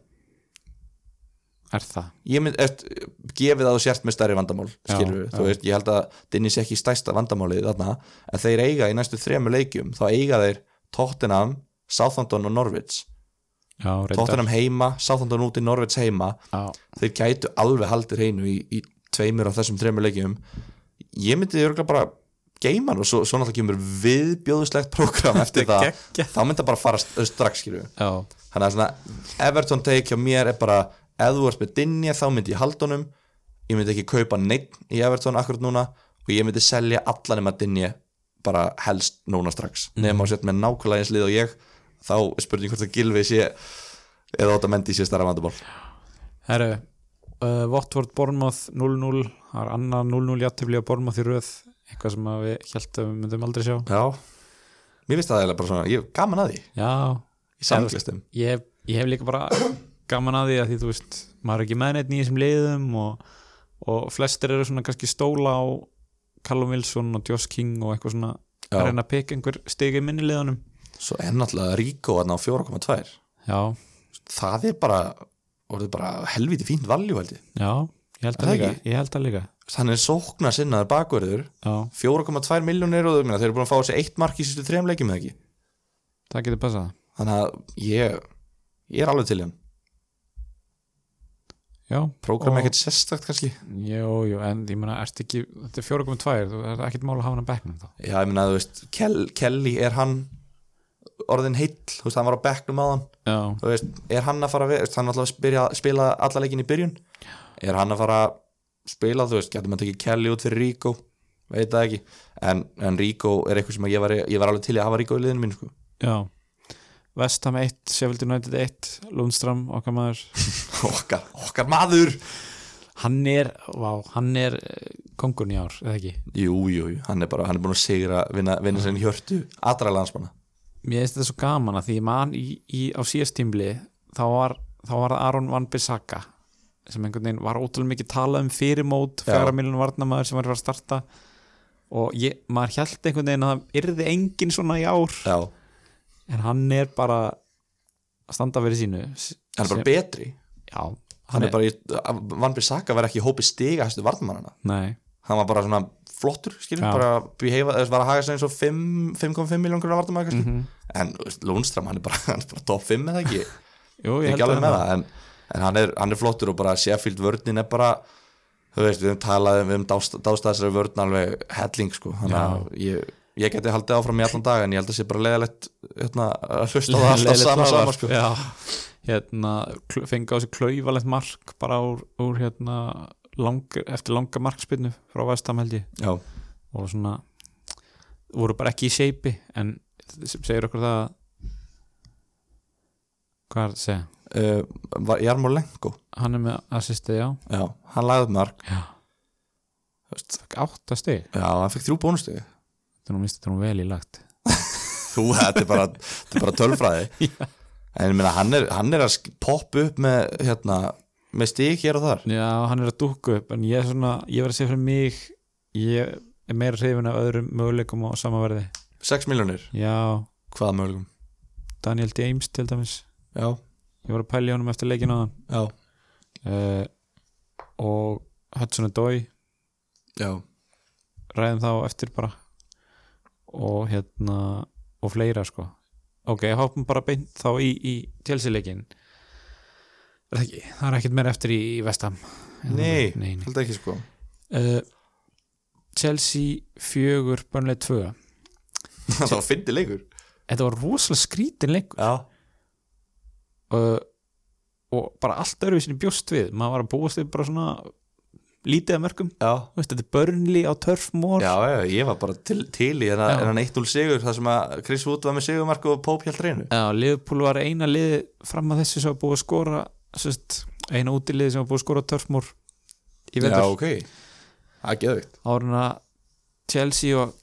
A: er það
B: ég mynd, eft, gefið að þú sért með stærri vandamál
A: Já,
B: skilur
A: já.
B: þú veist, ég held að Dinni sé ekki stærsta vandamálið þarna en þeir eiga í næstu þremur leikjum þá eiga þeir Tottenham, Southampton og Norwich
A: já, reyndar
B: Tottenham heima, Southampton úti, Norwich heima
A: já,
B: þeir gætu alveg haldið hreinu í, í tveimur af þessum þremur leikjum ég myndi örgulega bara geima hann og svo, svo náttúrulega kemur viðbjóðuslegt
A: (laughs)
B: prógram eftir það,
A: geggjað.
B: þá myndi það bara fara st- strax skilur við
A: já,
B: þannig að svona Everton take hjá mér er bara ef þú ert með Dinja þá myndi ég halda honum ég myndi ekki kaupa neitt í Everton akkurat núna og ég myndi selja allan um að Dinja bara helst núna strax mm. nema að setja með nákvæmlega eins lið og ég þá er spurning hvort það gilfi sé eða átt að mendi sé starra vandamál
A: herru uh, Watford Bournemouth 0-0 það er annar 0-0 játtifli á Bournemouth í röð eitthvað sem að við heldum við myndum aldrei sjá
B: já, mér finnst það eiginlega bara svona ég hef gaman að því,
A: já,
B: ég samlist þeim
A: ég, ég hef líka bara (coughs) gaman að því að því þú veist maður er ekki með neitt í þessum liðum og, og flestir eru svona kannski stóla á Callum Wilson og Josh King og eitthvað svona
B: Já.
A: að reyna að peka einhver stegi minni liðunum
B: svo er náttúrulega Ríko að ná 4,2
A: já,
B: það er bara, orðið bara helviti fínt valjú held ég,
A: já, ég held
B: Er það
A: að líka
B: ekki?
A: ég held að líka
B: hann er sóknar sinnaður bakverður
A: já,
B: 4,2 miljónir og þau minna, þeir eru búin að fá þessi eitt mark í sýstu þrejum leikjum eða ekki
A: það getur passað
B: þannig að ég, ég er alveg til í hann
A: já,
B: prógram
A: Og-
B: ekkert sérstakt kannski
A: jú, jú, en ég meina, ert ekki þetta er 4.2, þú er ekkert mál að hafa hann að bekknum þá
B: já, ég minna, þú veist, Kel, Kelly er hann orðin heill, þú veist, hann var á bekknum á hann
A: já,
B: þú veist, er hann að fara að veist, hann er alltaf að spila, spila alla leikin í byrjun er hann að fara að spila þú veist, getur maður tekið Kelly út fyrir Ríko veit það ekki, en, en Ríko er eitthvað sem að ég var, ég var alveg til í að hafa Ríko í liðinu mín, sko, (laughs)
A: já Vestham 1, Sheffield United 1 Lundström, okkar maður
B: okkar, okkar maður
A: hann er, vá, hann er eh, kóngun í ár, eða ekki
B: Jú, jú, jú, hann er bara, hann er búin að sigra vinna, vinna sinni hjörtu, allra landsmanna
A: mér finnst þetta svo gaman að því ég man í, í, á síðast tímli þá var, þá var það Aron Van Bissaka sem einhvern veginn var ótrúlega mikið talað um fyrirmót,
B: Já.
A: fjara miljonum varnamaður sem var að fara að starta og ég, maður held einhvern veginn að það yrði engin svona í ár
B: Já, hann
A: en hann er bara að standa fyrir sínu S-
B: er bara
A: sem,
B: betri
A: já, hann,
B: hann er bara, í- Van Bissaka var ekki í hópi stiga hæstu varnmannana,
A: nei,
B: hann var bara svona flottur, skilur,
A: Já.
B: bara behave, þess var að haga sig eins og 5 5,5 miljón grunna varnmann
A: Mhm.
B: mm -hmm. en þú veist, Lundström, hann er bara, (laughs) hann er bara top 5 eða ekki,
A: jú, ég
B: ég er ekki
A: held
B: alveg
A: að
B: með
A: hann-
B: það en, en hann, er, hann er flottur og bara Sheffield vörnin er bara þú veist, við höfum talað, um- við höfum dást, dástæðsari vörn alveg helling, sko þannig að ég, ég geti haldið áfram í allan dag en ég held að sé bara leðalegt hérna, að (laughs) hlusta á það alltaf
A: Leiðilegt
B: sama,
A: hlaðvarp,
B: sama sko.
A: já, hérna, kl- fengi á sig klaufalegt mark bara úr, úr hérna, lang, eftir langa markspinnu frá Vestam held ég
B: Já,
A: og svona voru bara ekki í seipi en sem segir okkur það að- hvað er það að segja
B: uh, var Jarmur Lenko
A: hann er með assistið já,
B: Já, hann lagði upp mark
A: já. Fekk átta stig
B: Já, hann fekk þrjú bónustegi
A: þetta er nú minnst þetta er nú vel í lagt
B: Þú, (laughs) þetta er bara, þetta er bara (laughs) tölfræði En ég meina, hann er, hann er að sk- poppa upp með, hérna, með stík hér og þar
A: já, hann er að dúkka upp en ég, er svona, ég verð að segja fyrir mig ég er meira hrifin af öðrum möguleikum á samaverði
B: 6 miljónir,
A: já,
B: hvaða mögulegum
A: Daniel James til dæmis
B: Já,
A: ég var að pæla í honum eftir leikin á hann
B: já,
A: uh, og Hudson Dói
B: já
A: ræðum þá eftir bara og hérna og fleira sko ok, hoppum bara beint þá í, í télsileikin er það ekki það er ekkert meira eftir í, í vestam
B: Nei,
A: nei, nei.
B: held ekki sko (laughs)
A: Uh, Chelsea fjögur bönnlega tvö
B: Það var fyndi leikur
A: þetta var rosalega skrítin leik
B: Já,
A: uh, og bara allt öðru sinni bjóst við maður var að búast við bara svona lítið að mörgum,
B: já,
A: Þú veist, þetta er börnli á törfmór
B: já, já, ég var bara til, til í
A: Já.
B: hennan 1-0 sigur það sem að Chris Wood var með sigurmark og Pope hjá hreinu
A: Já, Liverpool var eina liði fram að þessu sem var búið að skora sérst, eina útiliði sem var búið að skora á törfmór í
B: já,
A: vetur
B: ok, það er geðvikt
A: árun að Chelsea og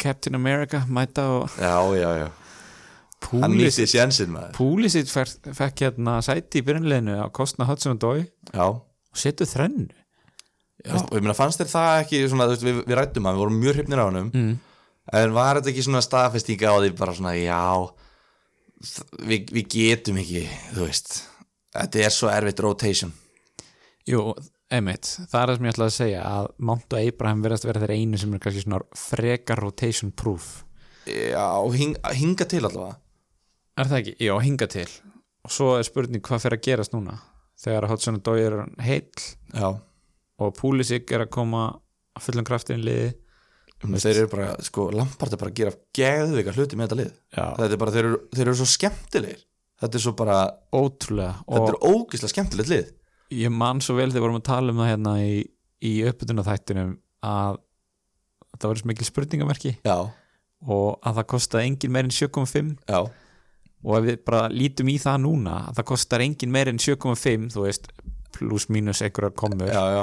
A: Captain America mæta og
B: já, já, já, hann
A: Púlis
B: nýtti sjansinn maður
A: Púlisitt fekk hérna sæti í byrjunleginu á kostna Hudson og Dói
B: já,
A: og setu þrennu
B: já, og ég meina fannst þér það ekki svona, þú veist, við, við rættum hann, við vorum mjög hrypnir á hann
A: mm.
B: en var þetta ekki svona staðfestinga á því bara svona já þ- við, við getum ekki þú veist, þetta er svo erfitt rotation
A: Jú, einmitt, það er það sem ég ætlaði að segja að Mount og Abraham verðast vera þeir einu sem er kannski svona frekar rotation proof
B: já, hing, hinga til allavega
A: Er það ekki? Já, hinga til og svo er spurning hvað fer að gerast núna þegar Hudson og Dói er heill
B: já,
A: og Púlisik er að koma að fullum kraftin liði
B: Vist. þeir eru bara, sko, Lampard er bara að gera geðvika hluti með þetta lið
A: Já.
B: þetta er bara, þeir eru, þeir eru svo skemmtilegir þetta er svo bara,
A: Ótrúlega
B: þetta
A: og
B: er ógislega skemmtilegt lið
A: ég man svo vel þegar vorum að tala um það hérna í, í uppbytuna þættinum að það var svo mikil spurningamerki
B: já,
A: og að það kostaði engin meir en 7,5
B: já,
A: og ef við bara lítum í það núna að það kostar engin meir en 7,5 þú veist, pluss mínus einhverjar komur
B: já, já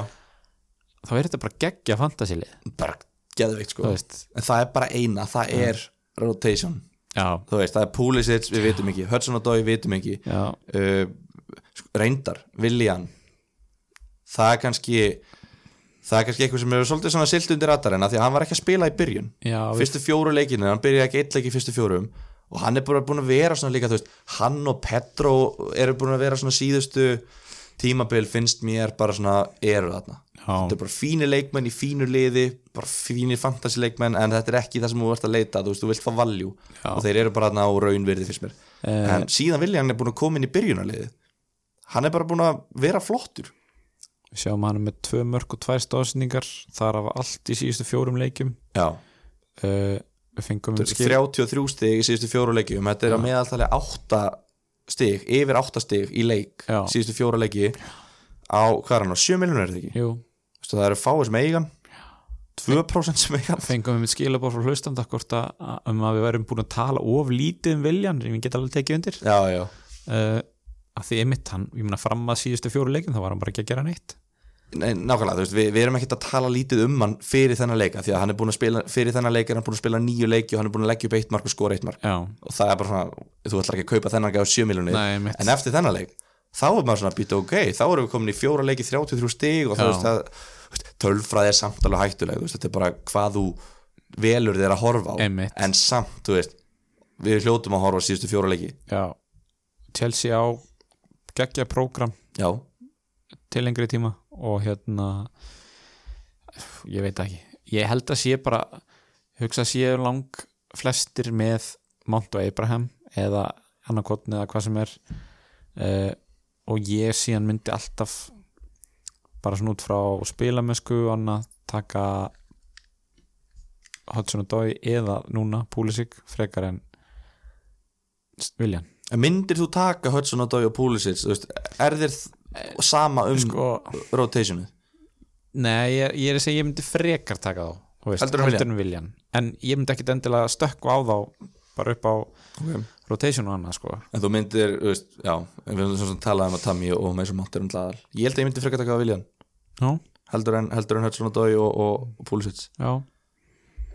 A: þá er þetta bara geggja fantasilið
B: bara geðvikt,
A: þú
B: sko
A: veist,
B: en það er bara eina, það er rotation
A: já,
B: þú veist, það er Pulisic, við vitum ekki Hudson og Dói, við vitum ekki
A: já
B: uh, sko, reyndar, viljan það er kannski það er kannski eitthvað sem er svolítið svona silt undir ratarinn af því að hann var ekki að spila í byrjun
A: já, við,
B: fyrstu fjóru leikinu, hann byrjaði ekki eitt leik í fyrstu fjórum og hann er bara búin að vera svona líka, þú veist, hann og Petro eru búin að vera svona síðustu tímabil finnst mér bara svona eru þarna, þetta
A: já,
B: er bara fínir leikmenn í fínu liði, bara fínir fantasy leikmenn en þetta er ekki það sem þú ert að leita þú veist, þú vilt fá valjú
A: Já.
B: og þeir eru bara þarna á raunverði fyrst mér
A: Eh.
B: en síðan vilja hann er búin að koma inn í byrjunarliði hann er bara búin að vera flottur
A: við sjáum hann með tvö mörg og tvær stóðsningar þar af allt í síðustu fjórum leikjum
B: Já,
A: uh, við fengum um skil
B: 33 stig í síðustu fjóru leikjum þetta er að meðaltali 8 stig yfir 8 stig í leik
A: Já.
B: síðustu fjóru leiki á, hvað er hann á, 7 miljonar er þetta ekki
A: Jú,
B: Vistu, það eru fáið sem eigan 2% sem eigan
A: fengum við skilabóð frá hlustanda hvort að, að- um að við værum búin að tala of lítið um viljan sem ég get alveg tekið undir
B: Já, já,
A: uh, að því einmitt hann, ég meina fram að síðustu fjóru leikin þá var hann bara ekki að gera neitt
B: Nei, nákvæmlega, þú veist, við, við erum ekkert að tala lítið um hann fyrir þennan leika, því að hann er búin að spila fyrir þennan leika, er hann búin að spila nýju leiki og hann er búin að leggja upp eitt mark og skora eitt mark
A: Já,
B: og það er bara svona, þú ætlar ekki að kaupa þennan gæðu 7 miljonir,
A: Nei, einmitt.
B: en eftir þennan leik þá er maður svona að býta ok, þá erum við komin í fjóra leiki 33 stig og
A: Já.
B: þú veist það þú veist, tölfræði er samt alveg hættuleg þú veist, þetta er bara hvað þú velur þér að horfa á
A: Einmitt.
B: en samt, þú veist við hljótum að horfa á síðustu fjóra leiki
A: já Chelsea á geggja prógram
B: já,
A: til lengri tíma og hérna ég veit það ekki ég held að sé bara hugsa að sé lang flestir með Mount og Abraham eða Annakotn eða hvað sem er uh, og ég síðan myndi alltaf bara svona út frá spilamösku og annað taka Hudson og Dói eða núna Púlisik frekar en Viljan
B: en myndir þú taka Hudson og Dói og Pulisic, þú veist, er þér þ- sama um sko,
A: sko,
B: rotationið
A: Nei, ég, ég er að segja ég myndi frekar taka þá þú veist,
B: Heldur en viljann?
A: en viljan En ég myndi ekkit endilega stökku á þá bara upp á
B: okay.
A: rotation og annað sko.
B: en þú myndir, þú veist, já við höfum svona talað um að Tami og Mason Mount er um hlaðal, ég held að ég myndi frekar taka að viljan
A: Já,
B: heldur en, heldur en Hudson og Dói og, og, og Pulisic
A: já,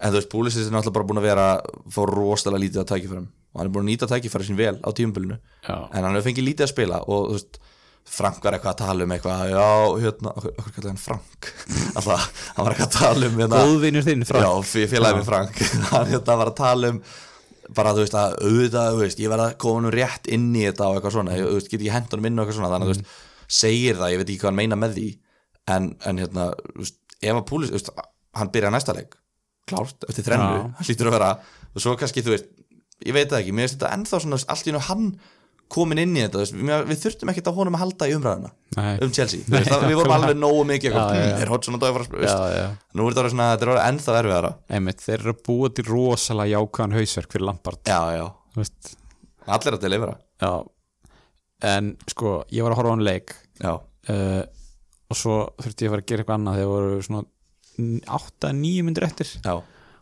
B: En þú veist, Pulisic er náttúrulega bara búin að vera fá rosalega lítið að tækifærum og hann er búin að nýta tækifæri sín vel á tímubilinu
A: já.
B: en hann hefur fengið lítið að spila og þú veist, Frank var eitthvað að tala um eitthvað já, hérna, okkur, okkur kallar hann Frank (laughs) alltaf, hann var eitthvað að tala um hérna,
A: Góðvinur þinn frá
B: já, fé- félagið minn Frank (laughs) hann hérna var að tala um bara þú veist að auðvitað, þú veist, ég verð að koma nú rétt inn í þetta og eitthvað svona, ég, þú veist, get ég hendur inn og eitthvað svona,
A: Mm.
B: þannig að þú veist, segir það ég veit ekki hvað hann meina með því en, en hérna, þú veist, ef að Púlis þú veist, hann byrja næsta leik, klárt eftir þrennu,
A: Já.
B: (laughs) hann lítur að vera og svo kannski, þú veist, ég veit það ekki mér finnst þetta ennþá svona, þú veist, allt í nú hann komin inn í þetta, þú veist, mér- við þurftum ekkert á honum að halda í umræðuna
A: Nei.
B: um Chelsea, þú
A: (laughs)
B: veist, það, við vorum alveg nógu mikið,
A: Já, já,
B: eitthvað,
A: já.
B: "Mm, er Hodgson að dæfa, þú
A: já,
B: veist,
A: já.
B: Nú er þetta orðið svona, þetta er orðið ennþá erfiðara
A: Einmitt, Þeir eru að búa til rosalega jákvæðan hausverk fyrir Lampard
B: Já, já
A: Þú veist,
B: Allir að delivera
A: já. en sko, ég var að horfa á hann leik
B: já,
A: uh, og svo þurfti ég að fara að gera eitthvað annað þegar voru svona 8-9 myndir eftir
B: já,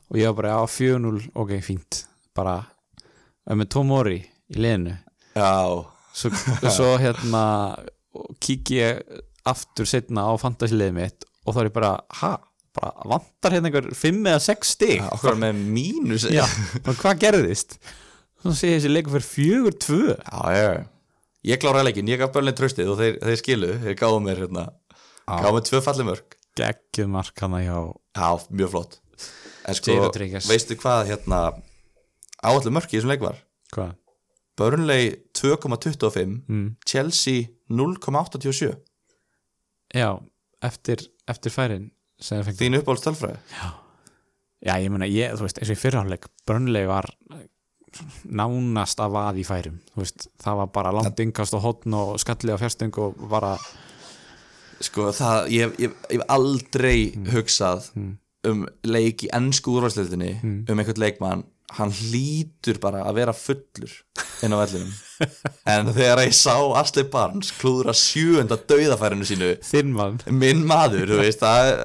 A: og ég var bara á 4-0, ok, fínt bara, eh, með Tomori í liðinu
B: já
A: (laughs) svo, svo hérna kíkja ég aftur setna á fantasilegið mitt og þá er ég bara, ha, bara vantar hérna einhver 5 eða 6 stig
B: Já, okkur með mínus
A: já, bara hvað gerðist svo sé ég þessi leikur fyrir fjögur tvö
B: já, já. Ég kláraði leikin, ég gaf börnlega tröstið og þeir, þeir skiluðu, þeir gáðu mér hérna, gáðu mér tvö falli mörg
A: geggjum mark hana hjá
B: Já, mjög flott En sko,
A: Jay Rodriguez.
B: veistu hvað hérna áallu mörk í þessum leik var?
A: hvað?
B: Börnlega 2,25 Chelsea 0,87
A: já, eftir, eftir færin sem það fengi
B: Þín uppáhalds tölfræði
A: já, ég meina, ég, þú veist, eins og í fyrrháleik brönnleg var eh, nánast að vaði í færum þú veist, það var bara langt yngast og hotn og skallið á fjárstöng og bara
B: Sko, það, ég, ég, ég hef aldrei
A: Mm.
B: hugsað um leik í ennsku úrvarsleitinni
A: Mm.
B: um einhvern leikmann hann hlýtur bara að vera fullur inn á
A: (laughs)
B: vellinum en þegar ég sá Asli Barnes klúðra sjöunda dauðafærinu sínu
A: þinn mann
B: minn maður, þú veist að,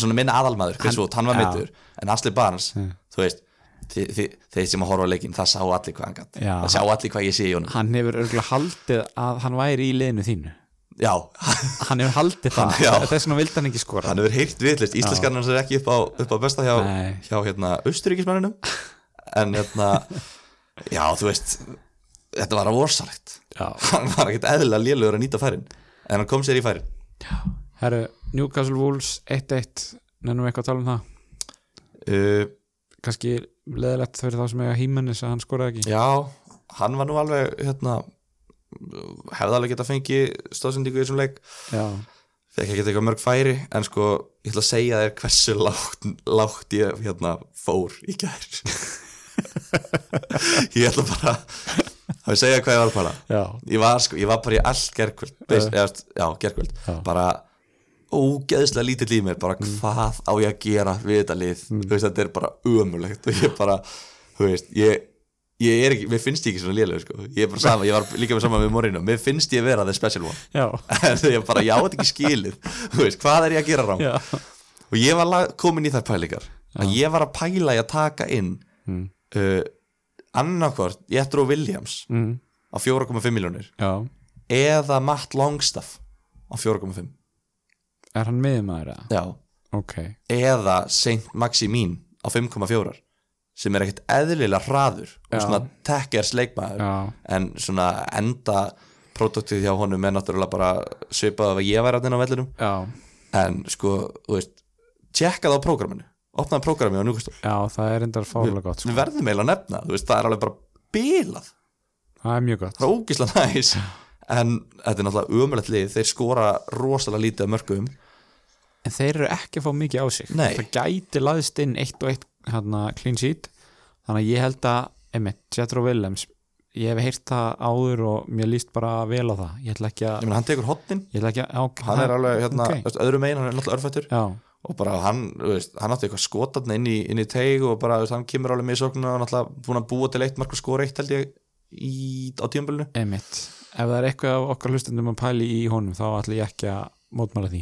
B: svona minn aðalmaður Chris
A: Hann-
B: Wood, hann var
A: já. Mm.
B: meittur en Asli Barnes, þú veist þi, þi, þeir sem að horfa á leikinn, það sá allir hvað hann gætt
A: Já.
B: það sá allir hvað ég sé í honum
A: hann hefur örgulega haldið að hann væri í liðinu þínu
B: já, (laughs)
A: hann hefur haldið það,
B: já.
A: þess vegna vildi hann ekki skora
B: hann hefur heyrt vitlist íslenskan hans er ekki upp á, upp á besta hjá,
A: Nei.
B: hjá hérna, austuríkismannunum en hérna já, þú veist þetta var að vorsalegt
A: já.
B: hann var ekkert eðlilega lélugur að nýta færin en hann kom sér í færin
A: herru, Newcastle Wolves 1-1 nennum við eitthvað að tala um það
B: uh,
A: kannski leðilegt fyrir þá sem eiga hímennis að hann skoraði ekki
B: já, hann var nú alveg hérna hefði alveg getað fengið stóðsendingu í þessum leik
A: já,
B: fekk ekki eitthvað mörg færi en sko, ég ætla að segja þér hversu lágt, lágt ég hérna fór í gær (laughs) ég ætla bara að segja hvað ég var bara
A: já.
B: ég var, sko, ég var bara í allt gerkvöld uh. eða, já, gerkvöld
A: Já.
B: bara ógeðslega lítill í mér bara hvað á ég að gera við þetta lið þú veist, þetta er bara ömulegt og ég bara, þú veist, ég ég er ekki, mér finnst ég ekki svona lélega sko. ég er bara sama, ég var líka með sama með morinu mér finnst ég vera the special one en (laughs) ég bara, ég á þetta ekki skilið þú veist, hvað er ég að gera rám
A: já.
B: og ég var lag- komin í þær pælingar að ég var að pæla í að taka inn mm. uh, annarkvort Jethro Williams
A: Mm.
B: á 4,5 miljónir
A: já.
B: eða Matt Longstaff á 4,5
A: er hann miðmaður eða?
B: Já.
A: ok,
B: eða Saint Maximin á 5,4 sem er ekkert eðlilega hraður og
A: Já.
B: svona E tekkers leikmaður
A: já,
B: en svona enda produktið hjá honum er náttúrulega bara svipað af að ég væri að á vellinum
A: já,
B: en sko, þú veist tjekka það á prógraminu, opnaði prógraminu á njúkastók
A: já það er endar fárlega gott sko.
B: við verðum eiginlega að nefna, þú veist, það er alveg bara bilað,
A: það er mjög gott
B: það er ógislega næs en þetta er náttúrulega umrætt lið þeir skora rosalega lítið af mörgum
A: en þeir eru ekki að fá mikið á sig
B: Nei.
A: það gæti laðist inn eitt og eitt hérna, clean sheet þannig að ég held að, einmitt, Jethro Willems ég hef heyrt það áður og mér líst bara vel á það ég ætla ekki
B: ég
A: að,
B: meina, hann tekur hotnin
A: ég ætla ekki að ok,
B: hann er alveg hérna,
A: ok.
B: okay. öðrum einn, hann er náttúrulega örfættur
A: já,
B: og bara hann, þú veist, hann átti eitthvað skotatna inn í, inn í teig og bara þú veist, hann kemur alveg með í sóknuna og náttúrulega búin að búa til eitt mark og skora eitt held ég í, á tíumbölinu
A: einmitt ef það er eitthvað af okkar hlustendum að pæli í honum þá ætla ég ekki að mótmála því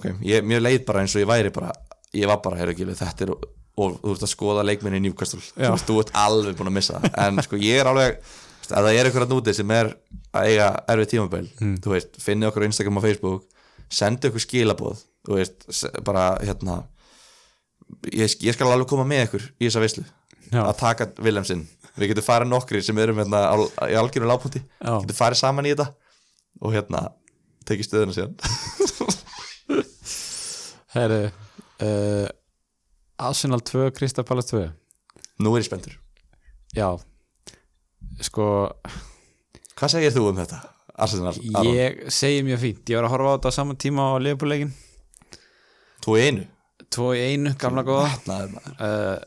B: ok, ég, mér leið bara eins og ég væri bara ég var bara, heyrðu gilið, þetta er og, og þú ert að skoða leikminni í Newcastle þú
A: Já.
B: veist, þú ert alveg búin að missa það en sko ég er alveg, þú veist, ef það er eitthvað nútið sem er að eiga erfið tímabæl
A: Hmm.
B: þú veist, finni okkur á Instagram og Facebook sendi okkur skilaboð þú veist, se- bara hérna ég, sk- ég skal alveg koma með ykkur í þessa veislu
A: Já.
B: að taka Willemsinn við getum farið nokkri sem erum hérna á, í algjörum lágpunti,
A: Já.
B: getum farið saman í þetta og hérna tekið stöðuna síðan (laughs)
A: Herru uh, Arsenal 2, Krista Palace 2
B: nú er ég spenntur
A: já sko,
B: Hvað segir þú um þetta? Arsenal, Aron,
A: ég segi mjög fínt ég var að horfa á þetta á saman tíma á liðbúrleikin
B: þú í einu
A: tvo í einu, gamla góða
B: Naður maður
A: uh,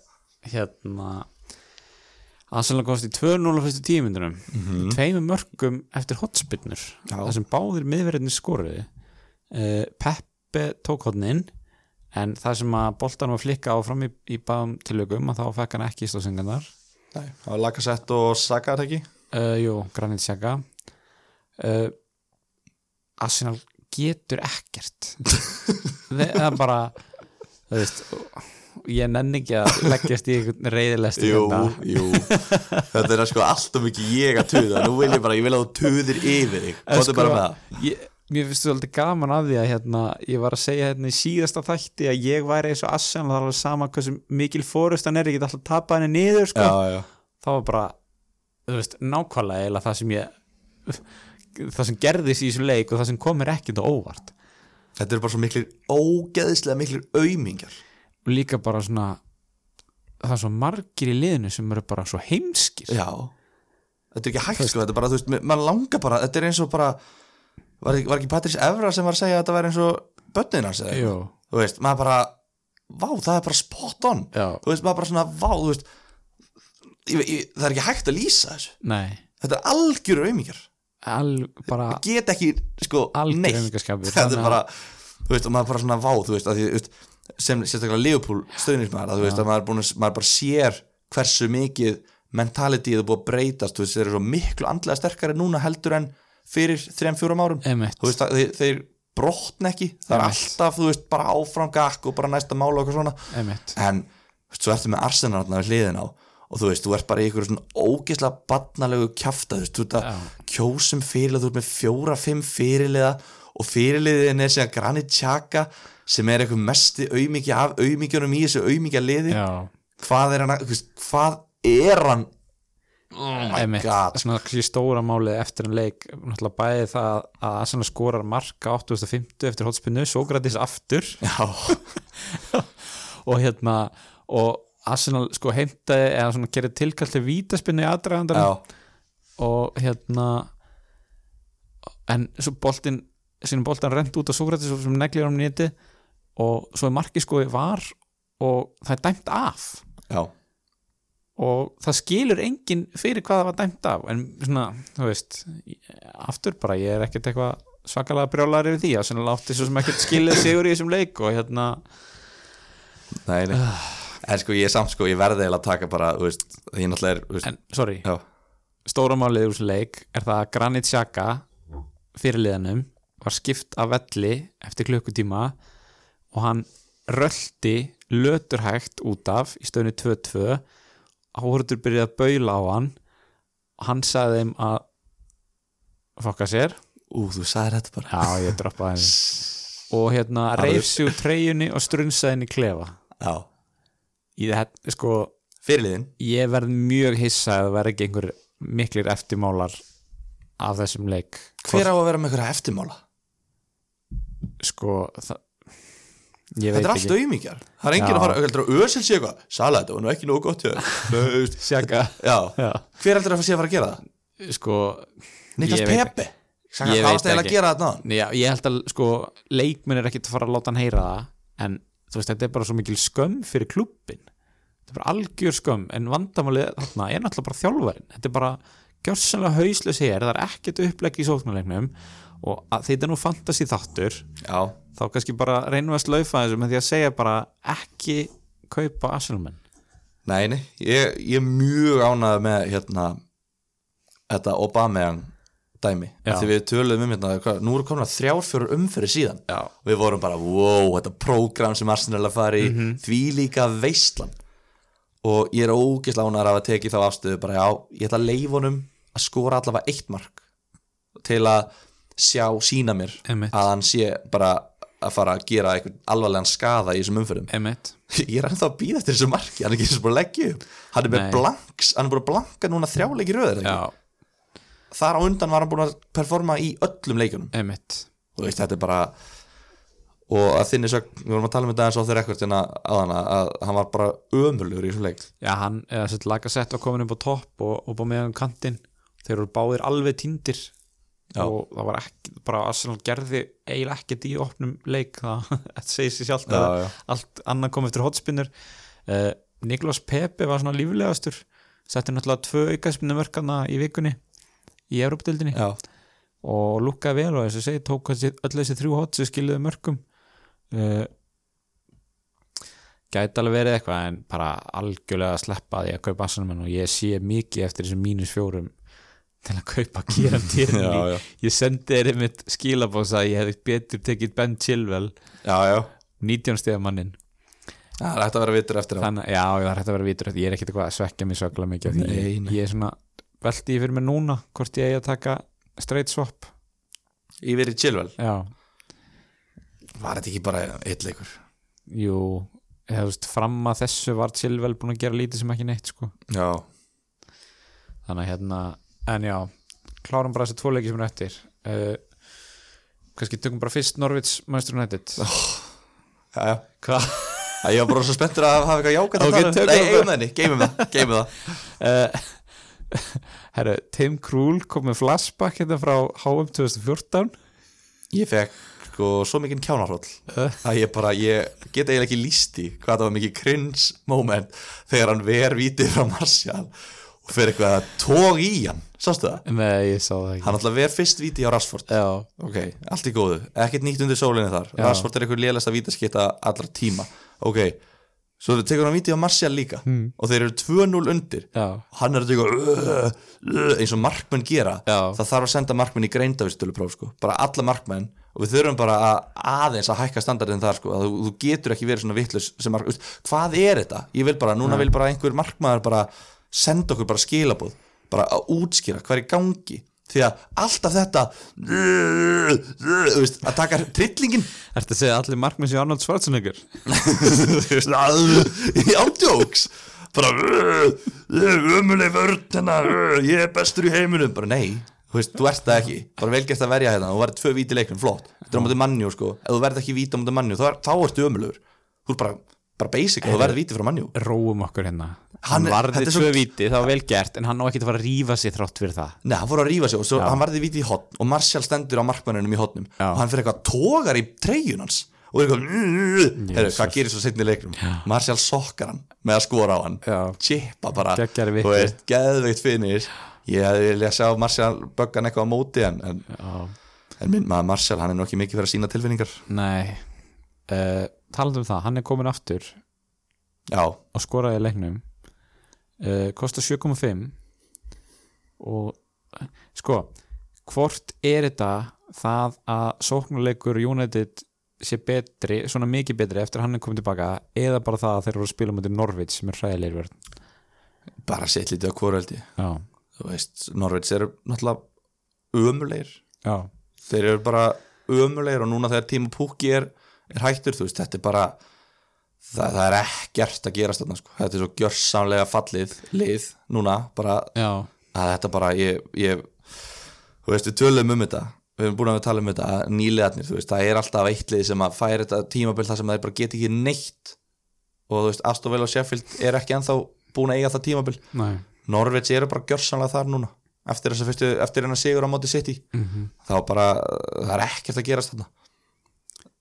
A: hérna Arsenal komst í 2-0 á fyrstu tímyndunum mm -hmm. tveimur mörgum eftir hotspinnur þar sem báðir miðverðinni skoruði uh, Peppe tók hotnin en þar sem að boltan var flikka áfram í, í báðum tilökum að þá fekk hann ekki í stóðsengarnar
B: Nei, það var Lacazette og Saka er það ekki?
A: uh, Jú, Eh, Granit Xhaka uh, Arsenal getur
B: (laughs)
A: ekkert Þe- það er bara þú veist ég nenni ekki að leggjast í einhvern hérna. reyðilest
B: Jú, jú Þetta er sko alltaf mikið ég að tuða Nú vil ég bara, ég vil að þú tuðir yfir þig Hvað er bara með það?
A: ég, mér finnst þú aldrei gaman að því að hérna, ég var að segja hérna í síðasta þætti að ég væri eins og Arsenal það er alveg sama hversu mikil fórust hann er ég get alltaf tapað henni niður sko.
B: Já, já
A: það var bara þú veist, nákvæmlega eiginlega það sem ég það sem gerðist í þessu leik og það sem kom mér ekkert á óvart
B: Þetta eru bara svo miklir, ógeðislega miklir aumingjar
A: og líka bara svona það er svo margir í liðinu sem eru bara svo heimskir
B: Já Þetta er ekki hægt sko, þetta er bara, þú veist, mann langar bara Þetta er eins og bara Var, ekki- var ekki Patrís Evra sem var að segja að þetta væri eins og Bönnin hans eða?
A: Jú.
B: Þú veist, maður bara Vá, það er bara spot on
A: Já.
B: Þú veist, maður bara svona, vá, þú veist ég, ég, Það er ekki hægt að lýsa þessu
A: nei,
B: Þetta er algjör aumingjar
A: al, bara
B: get ekki sko
A: algjör
B: neitt
A: umgaskapur
B: (laughs) þetta er bara, þú veist, og maður bara svona vá þú veist, að því, þú veist, sem sérstaklega Leopold stöðnismæður, þú veist, að maður, er búin, að- maður bara sér hversu mikið mentalityið er búið að breytast, þú veist, þeir eru svo miklu andlega sterkari núna heldur en fyrir 3-4 árum,
A: Einmitt.
B: þú veist, að þeir, þeir brotn ekki, það er
A: Einmitt.
B: alltaf, þú veist, bara áfram gakk og bara næsta mála og eitthvað svona
A: einmitt,
B: en þú veist, svo ertu með Arsenal þarna við hliðin á og þú veist, þú ert bara í ykkur svona ógeðslega barnalegu kjafta, þú veist, þú ert að kjósum fyrirlega, þú ert með fjóra, fimm fyrirlega og fyrirliðin er sem að Granit Xhaka sem er eitthvað mesti auðmiki af auðmikjunum í þessu auðmikja liði
A: já,
B: hvað er hann, að- þú veist, hvað er hann oh my
A: einmitt
B: god
A: svona kannski stóra málið eftir en leik náttúrulega bæði það að Arsenal skorar marka 8.50 eftir hotspinnu, Sókratis aftur (laughs)
B: já,
A: og hérna og Arsenal sko heimtaði eða svona gerði tilkall til vítaspinnu í aðdragandar
B: já,
A: og hérna en svo boltinn sínum boltinn rent út á Sókratis og sem neglir hann nýti og svo er markið sko var og það er dæmt af
B: já
A: og það skilur enginn fyrir hvað það var dæmt af en svona, þú veist aftur bara, ég er ekkert eitthvað svakalega brjólar yfir því, að svona látti svo sem ekkert skilja sigur í þessum leik og hérna
B: nei, nei. en sko ég er samt sko, ég verði eiginlega að taka bara, þú veist, því náttúrulega er þú veist,
A: en, sorry,
B: já,
A: stóra málið úr þessum leik er það að Granit Xhaka fyrirliðanum var skipt af velli eftir klukkutíma og hann rölti löturhægt út af í stöðinu 2-2 áhörður byrjaði að baula á hann og hann sagði þeim að fokka sér
B: ú, þú sagði þetta bara
A: Já, ég droppaði henni Og hérna
B: þú-
A: reyf sig úr treyjunni og strunsaði henni í klefa
B: já,
A: Í þetta, sko,
B: fyrirliðin
A: ég verð mjög hissa að það verð ekki einhver miklir eftirmálar af þessum leik
B: hver á að vera með einhverja eftirmála
A: Sko, það Ég veit
B: þetta er allt
A: ekki
B: auðmíkjar það er enginn
A: Já.
B: að fara heldur að ösil sé eitthvað sala þetta var nú ekki nógu (laughs) gott hjá þér." Þú veist,
A: Sjaka,
B: já
A: já,
B: hver heldur að sé að fara að gera það
A: sko
B: Niklas
A: Ég veit
B: Pepe Saka,
A: Ég
B: það
A: veit
B: varst eiginlega að
A: ekki.
B: gera þetta náðan.
A: Nei, já, ég held að, sko, leikminn er ekkit að fara að láta hann heyra það En, þú veist, þetta er bara svo mikil skömm fyrir klubbin Þetta er bara algjör skömm En vandamálið þarna er náttúrulega bara þjálfarinn Þetta er bara gjörsanlega hauslis hér Það er ekkert upplegg í sóknarleiknum Og að, þetta er nú fantasy þáttur
B: já,
A: Þá kannski bara reynum við að slaufa þessu Með því að segja bara ekki kaupa Arsenalmenn
B: nei, nei ég, ég er mjög ánað með hérna þetta Obameyan dæmi
A: Já.
B: því við töluðum um hérna hvað, nú eru komin að þrjárfjörur umfyrir síðan já. við vorum bara, wow, þetta prógram sem Arsenal er að fara í,
A: Mhm.
B: því líka veistlan og ég er ógeðslega ógislánar af að teki þá afstöðu bara já, ég ætla að leif honum að skora allavega eitt mark til að sjá sína mér
A: Einmitt.
B: að hann sé bara að fara að gera einhvern alvarlegan skada í þessum umfyrum
A: Emmett
B: (laughs) ég er ennþá að býða eftir þessu marki hann er ekki eins og bara að leggja upp hann er með
A: Nei.
B: blanks, hann er búin að blanka núna þrjáleiki röður
A: Já,
B: þar á undan var hann búin að performa í öllum leikunum
A: Emmett
B: þú veist, þetta er bara og að þinni sög, við vorum að tala um þetta eins og þeir ekkert en að, að, að hann var bara ömurlegur í þessum leik
A: Já, hann, eða sett lagasett var komin upp á topp og, og bá meðan kantinn þeir eru báðir alveg tindir
B: Já.
A: og það var ekki, bara Arsenal gerði eiginlega ekkert í opnum leik (laughs) það þetta segir sér sjálft
B: Já,
A: að
B: já.
A: allt annað kom eftir hotspinnur uh, Niklas Pepe var svona líflegastur setti náttúrulega tvö aukaspinnu mörkana í vikunni í Európdildinni
B: já,
A: og lúkkaði vel og þess að segja tók þessi, öll þessi þrjú hot sem skiljuðu mörgum uh, gæti alveg verið eitthvað en bara algjörlega að sleppa því að kaupa assanum og ég sé mikið eftir þessum mínus fjórum til að kaupa
B: (laughs)
A: Kieran Tierney
B: já,
A: ég sendi þér einmitt skilabósa að ég hefði betur tekið Ben Chilwell
B: já, já.
A: 19 stiga mannin
B: Það er hægt að vera vitur eftir á
A: þannig, já, það er hægt að vera vitur ég er ekkert eitthvað að svekja mig svaklega mikið af því.
B: Nei, nei.
A: ég, ég er svona, velti ég fyrir mér núna hvort ég eigi að taka straight swap
B: Yfir í Chilwell
A: já,
B: Var þetta ekki bara eitt leikur?
A: jú eða þú veist, fram að þessu var Chilwell búin að gera lítið sem ekki neitt sko
B: Já
A: þannig að hérna, en já klárum bara þessi tvo leiki sem eru eftir uh, kannski tökum bara fyrst Norvits Manchester United
B: Já,
A: hvað?
B: Ég var bara svo spenntur að hafa eitthvað jákvæmt
A: Ok, tökum
B: að Nei,
A: það.
B: eigum það henni, geymum það, geymum það
A: Uh, herru, Tim Krul kom með flashback hérna frá HM 2014
B: Ég fekk sko svo mikinn kjánarhóll að ég bara, ég get eiginlega ekki líst í hvað það var mikið cringe moment þegar hann ver vítið frá Martial og fer eitthvað að tóg í hann sástu það?
A: Nei, ég sá það ekki
B: Hann alltaf ver fyrst vítið á Rashford
A: Já,
B: ok, allt í góðu, ekkert nýtt undir sólinni þar
A: Já.
B: Rashford er eitthvað lélægsta vítaskita allra tíma ok, svo tekur hann vítið á Martial líka og þeir eru 2-0 undir
A: já,
B: og hann er að teka "Ugh, ugh," eins og markmenn gera
A: Já.
B: það þarf að senda markmenn í greindavistölu sko. bara alla markmenn og við þurfum bara að aðeins að hækka standardin þar sko. að þú, þú getur ekki verið svona vitlaus sem mark, veist, hvað er þetta? Ég vil bara, núna vil bara einhver markmaður bara senda okkur bara skilabóð bara að útskýra hvað er í gangi því að alltaf þetta "Ugh, ugh," þú veist, að taka trillingin
A: ertu að segja að allir markmið séu Arnold Schwarzenegger
B: ándjóks bara umuleg vörn hennar, uh, ég er bestur í heiminum bara nei, þú veist, þú ert það ekki bara velgert að verja hérna, þú verður tvö víti í leiknum flott, þetta er á móti mannjú sko ef þú verður ekki víti á móti mannjú, þá, er- þá ertu umulegur þú er bara, bara basic, þú verður víti frá mannjú
A: Róum okkur hérna
B: Hann
A: Hann,
B: er-
A: varði
B: þetta er svo-
A: tvö viti, það var vel gert En hann á ekkert að fara að rífa sér þrátt fyrir það
B: Nei, hann fór að rífa sig og svo hann varði viti í hotn og Martial stendur á markmannunum í hotnum
A: Já.
B: og hann fyrir eitthvað tógar í treyjun hans og er eitthvað, "Mm, herru, hvað gerir svo setni leiknum Martial sokkar hann með að skora á hann
A: Já.
B: chipa bara,
A: Geggjari vitni.
B: þú veist, geðveikt finnir ég hefði viljað sjá Martial böggan eitthvað á móti en, en,
A: Já.
B: en minn maður Martial, hann er nú ekki mikið fyrir að sína tilfinningar
A: Nei uh, Talandi um það, hann er komin aftur
B: Já,
A: Og skoraði í leiknum uh, Kosta 7,5 Og sko Hvort er þetta það að sóknuleikur United sé betri, svona mikið betri eftir að hann er komið tilbaka eða bara það að þeir eru að spila mútið Norvits sem er hræðilegir vörn
B: bara sett lítið á hvoröldi
A: Já,
B: þú veist, Norveits eru náttúrulega ömulegir
A: já,
B: þeir eru bara ömulegir og núna þegar Timo Pukki er, er hættur þú veist, þetta er bara það, það er ekkert að gerast þarna sko. þetta er svo gjörsamlega fallið lið núna, bara
A: já,
B: að þetta bara ég, ég, þú veist, við tölum um þetta við erum búin að tala um þetta að nýliðarnir, þú veist, það er alltaf eitt lið sem að færa þetta tímabil þar sem þeir bara geta ekki neitt og þú veist, Aston Villa og Sheffield er ekki ennþá búin að eiga það tímabil
A: nei
B: Norveits eru bara gjörsamlega þar núna eftir þess að fyrstu, eftir hennar sigur á móti City
A: Mhm.
B: þá bara, uh, það er ekkert að gerast þarna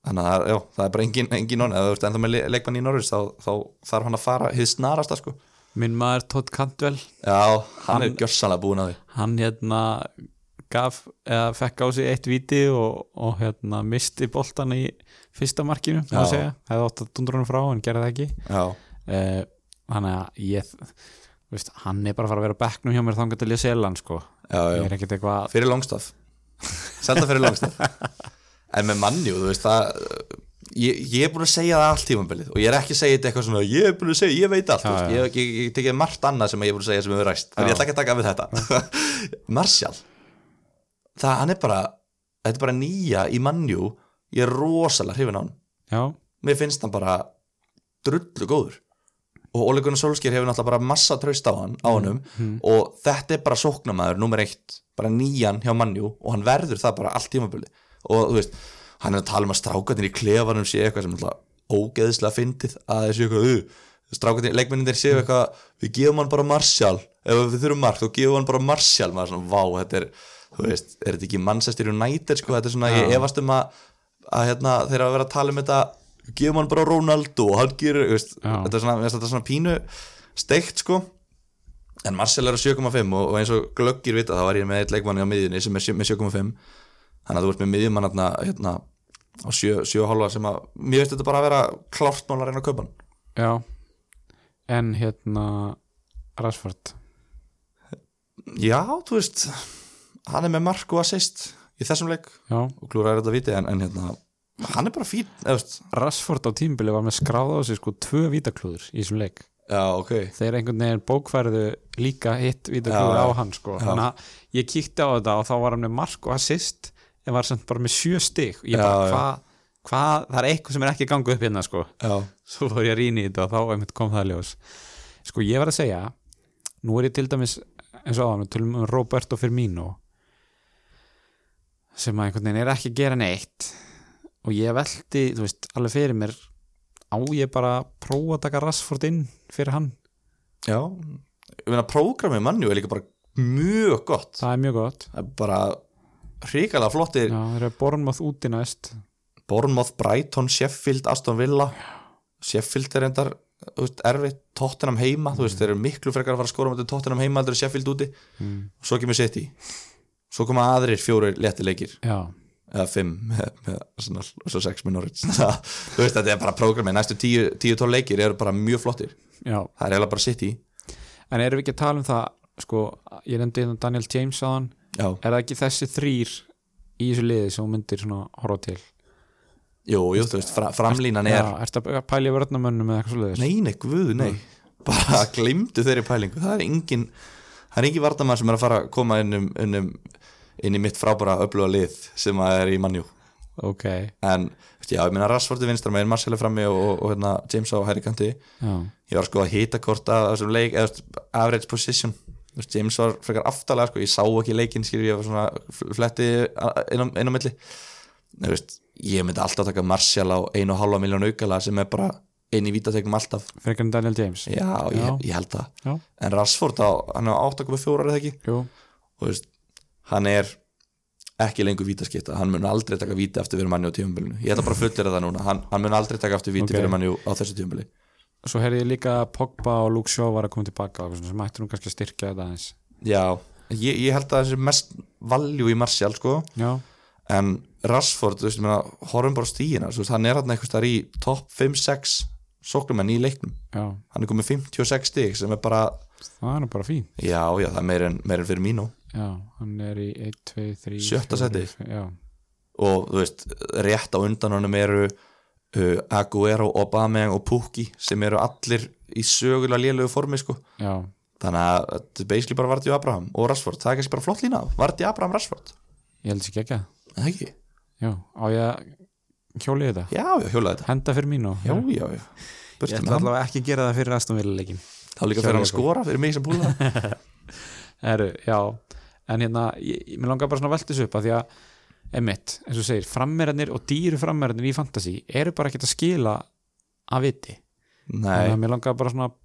B: þannig að það, já, það er bara engin, engin onn, eða þú ert ennþá með le- leikmann í Norveits þá, þá þarf hann að fara hið snarasta sko,
A: Minn maður Todd Cantwell
B: já, hann, er gjörsamlega búin að því
A: hann hérna gaf, eða fekk á sig eitt viti og, og hérna misti boltan í fyrsta markinu, má
B: Já.
A: segja hefði átt að dundra hann frá, en gerði það ekki
B: já,
A: Eh, þannig að ég þú veist, hann er bara að fara að vera á bekknum hjá mér þangar til ég sel hann sko
B: já,
A: ég
B: já,
A: er ekkert eitthvað,
B: fyrir langstaf selda fyrir langstaf en með mannjú, þú veist, það ég, ég er búin að segja það allt tímabilið og ég er ekki að segja þetta eitthvað svona, ég er búin að segja, ég veit allt
A: Já,
B: já, veist,
A: já.
B: ég, ég, ég tekið margt annað sem ég er búin að segja sem hefur ræst, en
A: Já.
B: ég ætla ekki að taka við
A: (laughs)
B: þetta Martial það, hann er bara þetta er bara nýja í mannjú ég er rosalega hrifin á hann
A: já,
B: mér finnst hann bara drullu góður og Ole Gunnar Solskjær hefur náttúrulega bara massa traust á hann á
A: Mm,
B: hannum og þetta er bara sóknamaður nummer eitt, bara nýjan hjá mannjú og hann verður það bara allt tímabili og þú veist, hann er að tala um að strákarnir í klefanum sé eitthvað sem náttúrulega ógeðslega fyndið að þessu eitthvað uh, strákarnir, leikmenninir
A: Mm.
B: séu eitthvað við gefum hann bara Martial ef við þurfum mark, þá gefum hann bara Martial maður er svona, vá, þetta er, þú veist, er þetta ekki Manchester United, sko, þetta er svona, ég
A: Já.
B: efast um að, að hérna, þeir eru að vera að tala um þetta gefum hann bara Ronaldo og hann gerir, þú veist,
A: Já.
B: þetta er svona, mér finnst þetta svona pínu steikt, sko en Marcel er á 7,5 og, og eins og glöggir vita þá var ég með eitt leikmanni á miðjunni sem er sjö- með 7,5 þannig að þú ert með miðjumann hérna, hérna, á 7,5 sem að mér veist þetta bara að vera klárt mál að reyna að kaupa hann
A: já en hérna Rashford
B: já, þú veist hann er með mark og assist í þessum leik
A: Já.
B: og klúra er þetta viti en, en hérna, hann er bara fín eða, þú veist.
A: Rassford á tímbili var með skráð á sig sko tvö vítaklúður í þessum leik
B: já, ok
A: þeir einhvern veginn bókfærðu líka hitt vítaklúður
B: Já,
A: á
B: já.
A: hann sko þannig að ég kíkti á þetta og þá var hann með mark og assist en var samt bara með sjö stig ég bara
B: Já, já.
A: hvað hva, það er eitthvað sem er ekki gangu upp hérna sko
B: já,
A: svo fór ég að rýna í þetta og þá einmitt kom það í ljós sko ég var að segja nú er ég til dæmis eins og áðan við tölum um Roberto Firmino sem að einhvern veginn er ekki að gera neitt og ég velti, þú veist, alveg fyrir mér á ég bara að prófa að taka Rassford inn fyrir hann
B: já ég meina, prógramið mannjú er líka bara mjög gott
A: það er mjög gott
B: það er bara hrikalega flottir
A: Já, þeir eru Bornmoth úti næst
B: Bournemouth, Brighton, Sheffield, Aston Villa Sheffield er endar erfið, Tottenham heima þú veist, þeir eru miklu frekar að fara að skora með Tottenham heima heldur en Sheffield úti
A: Mm.
B: og svo kemur City svo koma aðrir fjórir létti leikir
A: Já,
B: eða fimm með, með Arsenal og svo sex með Norwich (laughs) þú veist, þetta er bara prógramið næstu tíu, tíu tól leikir eru bara mjög flottir
A: já
B: það er eiginlega bara City
A: En erum við ekki að tala um það sko, ég nefndi hérna Daniel James á hann
B: já,
A: er það ekki þessi þrýr í þessu liði sem þú myndir svona horfa til
B: jú, jú, þú veist, fra, framlínan
A: Já,
B: er
A: ertu að pæla í vörnamönnum eða eitthvað svoleiðis?
B: nei, nei, guð, nei bara glimtu þeirri pælingu það er engin, það er engin vartamann sem er að fara að koma inn, um, inn, um, inn í mitt frábæra öfluga lið sem að er í mannjú
A: Ok,
B: en veist, já, ég meina Rassford í vinstra megin Marcel er frammi og, og, og hérna, James á hæri kanti
A: já,
B: ég var sko að hita hvort að þessum leik eða þú veist, average position Þú veist, James var frekar aftalega sko, ég sá ekki leikinn skilur ég var svona fl- fletti a- inn á, inn á milli Nei, þú veist, ég myndi alltaf taka Marcel á 1,5 miljón aukala sem er bara inn í vítatekum alltaf
A: frekar en Daniel James
B: Já,
A: Já.
B: Ég, ég held það
A: Já.
B: En Rashford, á, hann er 8,4 eða ekki
A: Jú,
B: og þú veist, hann er ekki lengur vítaskipta, hann mun aldrei taka víti aftur fyrir manni á tíumbilinu, ég ætla bara að fullir það núna hann, hann mun aldrei taka aftur víti
A: Ok.
B: fyrir manni á þessu tíumbili
A: svo heyrði ég líka að Pogba og Luke Shaw var að koma tilbaka og eitthvað svona, sem ættir hún kannski að styrkja þetta aðeins
B: Já, ég, ég held að þessi mest valjú í Martial sko
A: Já,
B: en Rashford, þú veist, ég meina, horfum bara á stígina, þú veist, hann er hann eitthvað í topp 5-6 sóknumenn í leiknum
A: já,
B: hann er komið 56 stig sem er bara,
A: það er nú bara fín
B: já, já, það er meir en, meir en fyrir mínu
A: Já, hann er í 1, 2, 3
B: Sjötta sæti.
A: Já,
B: og þú veist, rétt á undan honum eru uh, Aguero, Aubameyang og Pukki sem eru allir í sögulega lélögu formi sko.
A: já,
B: þannig að þetta er basically bara Vardí Abraham og Rashford, það er kannski bara flott lína Vardí Abraham Rashford,
A: ég held þessi ekki ekki
B: Er það ekki?
A: Já, á ég að hjóli í þetta
B: Já, já, hjólaði þetta
A: Henda fyrir mínu
B: Já, já, já,
A: Ég
B: burtum
A: ætla
B: hann
A: allavega ekki að gera það fyrir Aston Villa leikin
B: þá líka fyrir hann
A: Hjólaði
B: að skora fyrir mig sem búla
A: (laughs) Heru, já, en hérna ég, ég mér langar bara svona að velta þessu upp að því að emitt, eins og þú segir, frammerðanir og dýru frammerðanir í fantasy eru bara ekkert að skila að viti þannig
B: Nei,
A: að mér langar bara svona að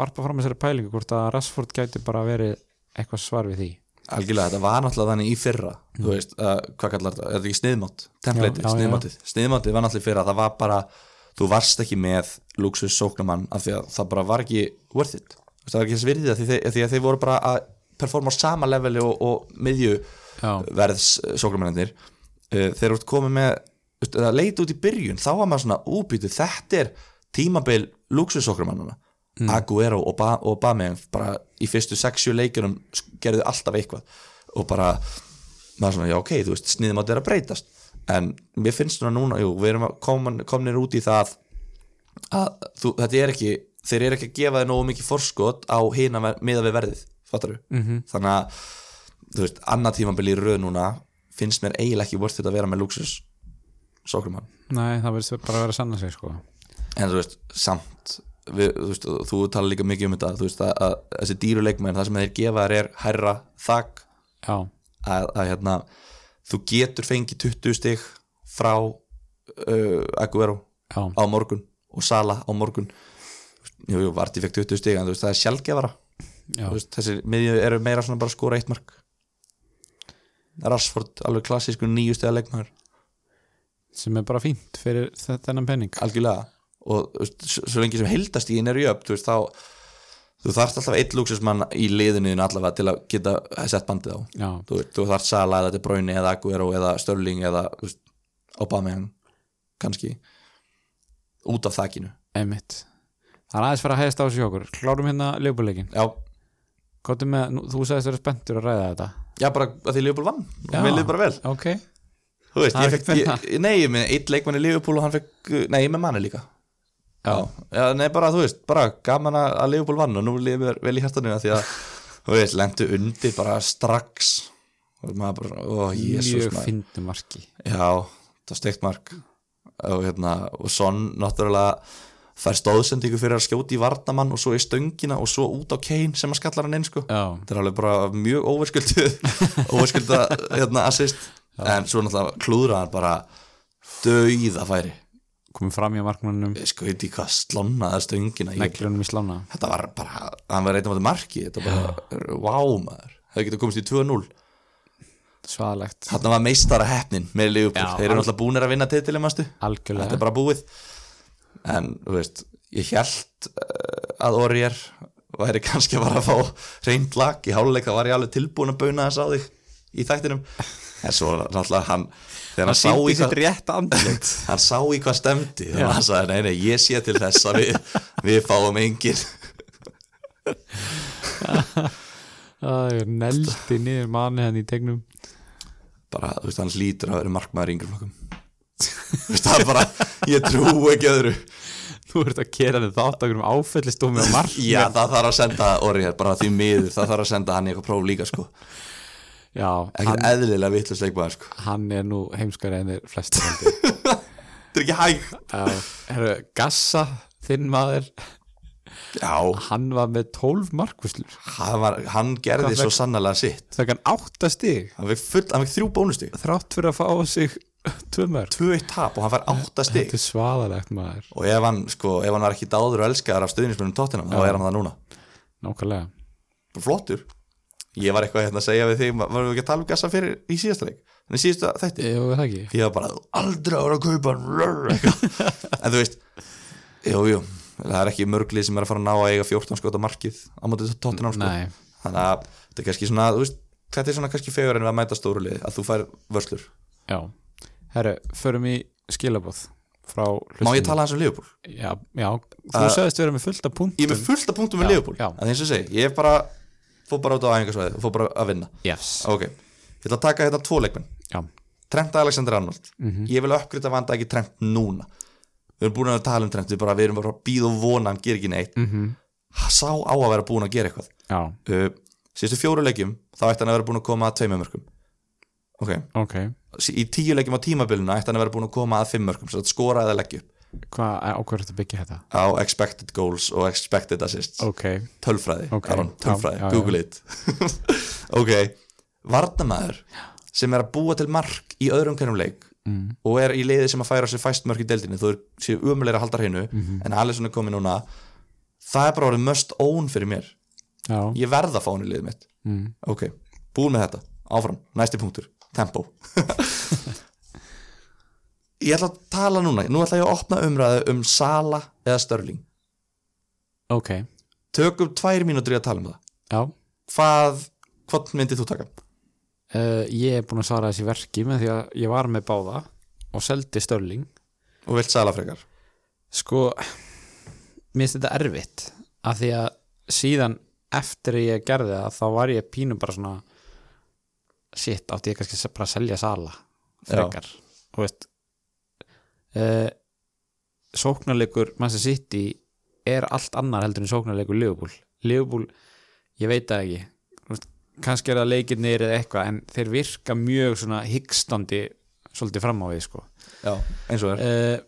A: varpa fram þessari pælingu hvort að Rashford gæti bara verið eitthvað svar við því
B: algjörlega, þetta var náttúrulega þannig í fyrra þú veist, uh, hvað kallar þetta, er þetta ekki sniðmátt
A: Já,
B: templatið,
A: já, já.
B: sniðmátið, sniðmátið var náttúrulega í fyrra það var bara, þú varst ekki með luxus sóknamann af því að það bara var ekki worth it, Þú veist, það var ekki þess virðið af því, þeir- af því að þeir voru bara að performa á sama leveli og, og miðju
A: já,
B: verðs eh, sóknamennir uh, þeir eru komið með þú veist, að leita út í byrjun, þá var maður svona úbýtu, þetta er tímabil luxusóknamennana mm. Aguero og, ba og Bamiang bara í fyrstu 6-7 leikunum gerðu alltaf eitthvað og bara maður svona, já ok, þú veist, sniðum að þetta er að breytast en mér finnst svona núna, jú, við erum að komin, komnir út í það að þú, þetta er ekki þeir eru ekki að gefa þér nógu mikið forskot á hina meða við verðið, fattar við -hmm. þannig að, þú veist, annað tímabil í röð núna finnst mér eiginlega ekki vort þetta að vera með luxus sókrumann,
A: nei, það verðist bara að vera að sanna sig sko.
B: en þú veist, samt við, þú veist, þú tala líka mikið um þetta þú veist, að, að þessi dýru leikmenn það sem þeir gefa þér er herra þak
A: já,
B: að, að hérna, þú getur fengið 20 stig frá uh, Aguero
A: já,
B: á morgun og Sala á morgun jú, jú, Varti fekk 20 stig en þú veist, það er sjálfgefara
A: já,
B: Þú veist, þessi miðju eru meira svona bara að skora eitt mark Rashford, alveg klassísku nýju stiga leikmaður
A: sem er bara fínt fyrir þe- þennan penning
B: algjörlega og þú veist, s- svo lengi sem heldastíðin er jöfn þú veist, þá þú þarft alltaf eitt lúksusmann í liðinu þínu allavega til að geta sett bandið á
A: já,
B: þú, veist, þú þarft Sala eða De Bruyne eða Aguero eða Störling eða þú veist, Aubameyang kannski út af þakinu
A: emitt það er aðeins fyrir að hæðast á sig hjá okkur klárum hérna leifbúleikin
B: já,
A: Kottu með, nú, þú sagðist vera spenntur að ræða þetta
B: Já, bara að því Liverpool vann,
A: Já.
B: mér liður bara vel
A: Ok,
B: Þú veist,
A: Það
B: ég
A: er
B: fekk,
A: ekki
B: ég, nei, ég með eitt leikmann í Liverpool og hann fekk, nei, ég með manni líka Já, já nei, bara, þú veist, bara gaman að að Liverpool vann og nú lifir mér vel í hjartanu að því að, þú veist, lendu undir bara strax og maður bara, ó, jésus
A: mjög
B: maður
A: fyndum marki
B: Já, það steikt mark og, hérna, og Son náttúrulega fær stóðsendingu fyrir að skjóti í varnamann og svo í stöngina og svo út á Kane sem að skallar hann inn sko
A: Já,
B: þetta er alveg bara mjög óverskuldu
A: (laughs)
B: óverskuld að hérna, assist en svo náttúrulega klúðra hann bara döiða færi
A: komum fram hjá markmannum
B: ég sko veit í hvað slánaði stöngina ég,
A: neglunum í slána
B: þetta var bara, hann var reyndum á þetta marki þetta var bara, wow maður það getur komist í 2-0
A: svaðalegt,
B: þarna var meistara heppnin með Liverpool,
A: Já,
B: þeir eru
A: hann-
B: náttúrulega búnir að vinna titilin mástu þetta
A: algjörlega
B: er bara búið en þú veist, ég held uh, að Orger væri (laughs) kannski bara að fá reynd lag í háluleik, það var ég alveg tilbúin að bauna þess á því í þættinum en svo náttúrulega hann þegar hann, sá í hvað
A: rétt andli
B: (laughs) hann sá í hvað stemdi þannig að hann sagði, nei, nei, ég sé til þess að við, (laughs) við fáum engin
A: Neldi niður manni henni í tegnum
B: bara, þú veist, hann lítur að vera markmaður í yngri flokkum þú veist, það er bara ég trú ekki öðru
A: Þú ert að gera þið þátt okkur um áfellistómi á markmann
B: já, það þarf að senda Orger, bara því miður það þarf að senda hann í eitthvað próf líka, sko
A: Já,
B: ekkert
A: hann,
B: eðlilega vitlega sleikmaður sko.
A: hann er nú heimskari en þeir flest
B: (laughs)
A: heldur.
B: þetta er ekki hægt
A: Já, herru, Gassa, þinn maður
B: já,
A: hann var með 12 markvislur
B: hann, var, hann gerði
A: Hvað
B: svo sannlega sitt
A: þegar hann átta stig
B: hann fekk, full, hann fekk þrjú bónustig
A: þrátt fyrir að fá á sig tvö mörg
B: 2-1 tap og hann fær átta stig
A: þetta er svaðalegt maður
B: og ef hann, sko, ef hann var ekki dáður og elskaðar af stuðnismennum tóttina, þá er hann það núna
A: nákvæmlega
B: Bara flottur ég var eitthvað hérna að segja við þig ma- varum við ekki að tala um gassa fyrir í síðasta leik þannig síðasta þætti,
A: ég var það ekki
B: ég var bara "Þú aldrei að vera að kaupa hann, rrr,
A: (laughs)
B: eitthvað. en þú veist, jú, jú það er ekki mörglið sem er að fara að ná að eiga 14 skot á markið á mótið tóttina sko.
A: Nei,
B: þannig að þetta er kannski svona þú veist, þetta er svona kannski fegur en við að mæta stóru lið að þú fær vörslur
A: já herru, förum í skilabóð frá
B: má
A: hlustinu
B: ég tala hans um Leopold?
A: já, já, þú
B: Uh,
A: sagðist vera með fullt af
B: ég er
A: punktum
B: með fullt af punktum um með
A: Já,
B: Leopold
A: já.
B: en eins og ég segi, ég er bara fór bara út á æfingarsvæðið og fór bara að vinna
A: yes,
B: ok, ég ætla að taka þetta tvo leikmenn
A: já,
B: Trent Alexander Arnold ég vil uppgriða vanda ekki Trent núna við erum búin að tala um Trent, við, bara, við erum bara að býða og vona hann ger ekki neitt
A: mm
B: sá á að vera búin að gera eitthvað
A: já,
B: uh, síðustu fjóru leikjum, þá ætti hann að vera búin að koma að tveimur mörgum ok,
A: ok
B: í tíu leikjum á tímabilinu ætti hann að vera búin að koma að fimm mörgum, svo þetta skora eða leggja upp
A: hvað, á hvað er þetta að byggja þetta?
B: á expected goals og expected assists
A: ok,
B: tölfræði,
A: Ok,
B: Aron,
A: já,
B: tölfræði,
A: já, já.
B: google it (laughs) ok, varnamaður sem er að búa til mark í öðrum hverjum leik
A: mm.
B: og er í liði sem að færa sér fæst mörk í deildinni þú er séu umlega að halda hreinu
A: Mhm.
B: en Alisson er komið núna það er bara orðið must own fyrir mér
A: já,
B: ég verð að fá hann í liðið mitt
A: mm.
B: ok, búin með þetta, áfram, næsti punktur tempo (laughs) ég ætla að tala núna nú ætla ég að opna umræðu um Sala eða Störling
A: ok
B: tökum tvær mínútur í að tala um það
A: já,
B: hvað, hvort myndir þú taka?
A: uh, ég er búin að svara þessi verki með því að ég var með báða og seldi störling
B: og vilt Sala frekar
A: Sko, mér finnst þetta erfitt af því að síðan eftir að ég gerði það þá var ég pínu bara svona shit, átti ég kannski bara að selja sala frekar, þú veist uh, sóknarleikur Manchester City er allt annar heldur en sóknarleikur Liverpool Liverpool, ég veit það ekki Þú veist, kannski er það leikirnir eða eitthvað en þeir virka mjög svona hyggstandi svolítið fram á við sko
B: já, eins og er
A: uh, Eh,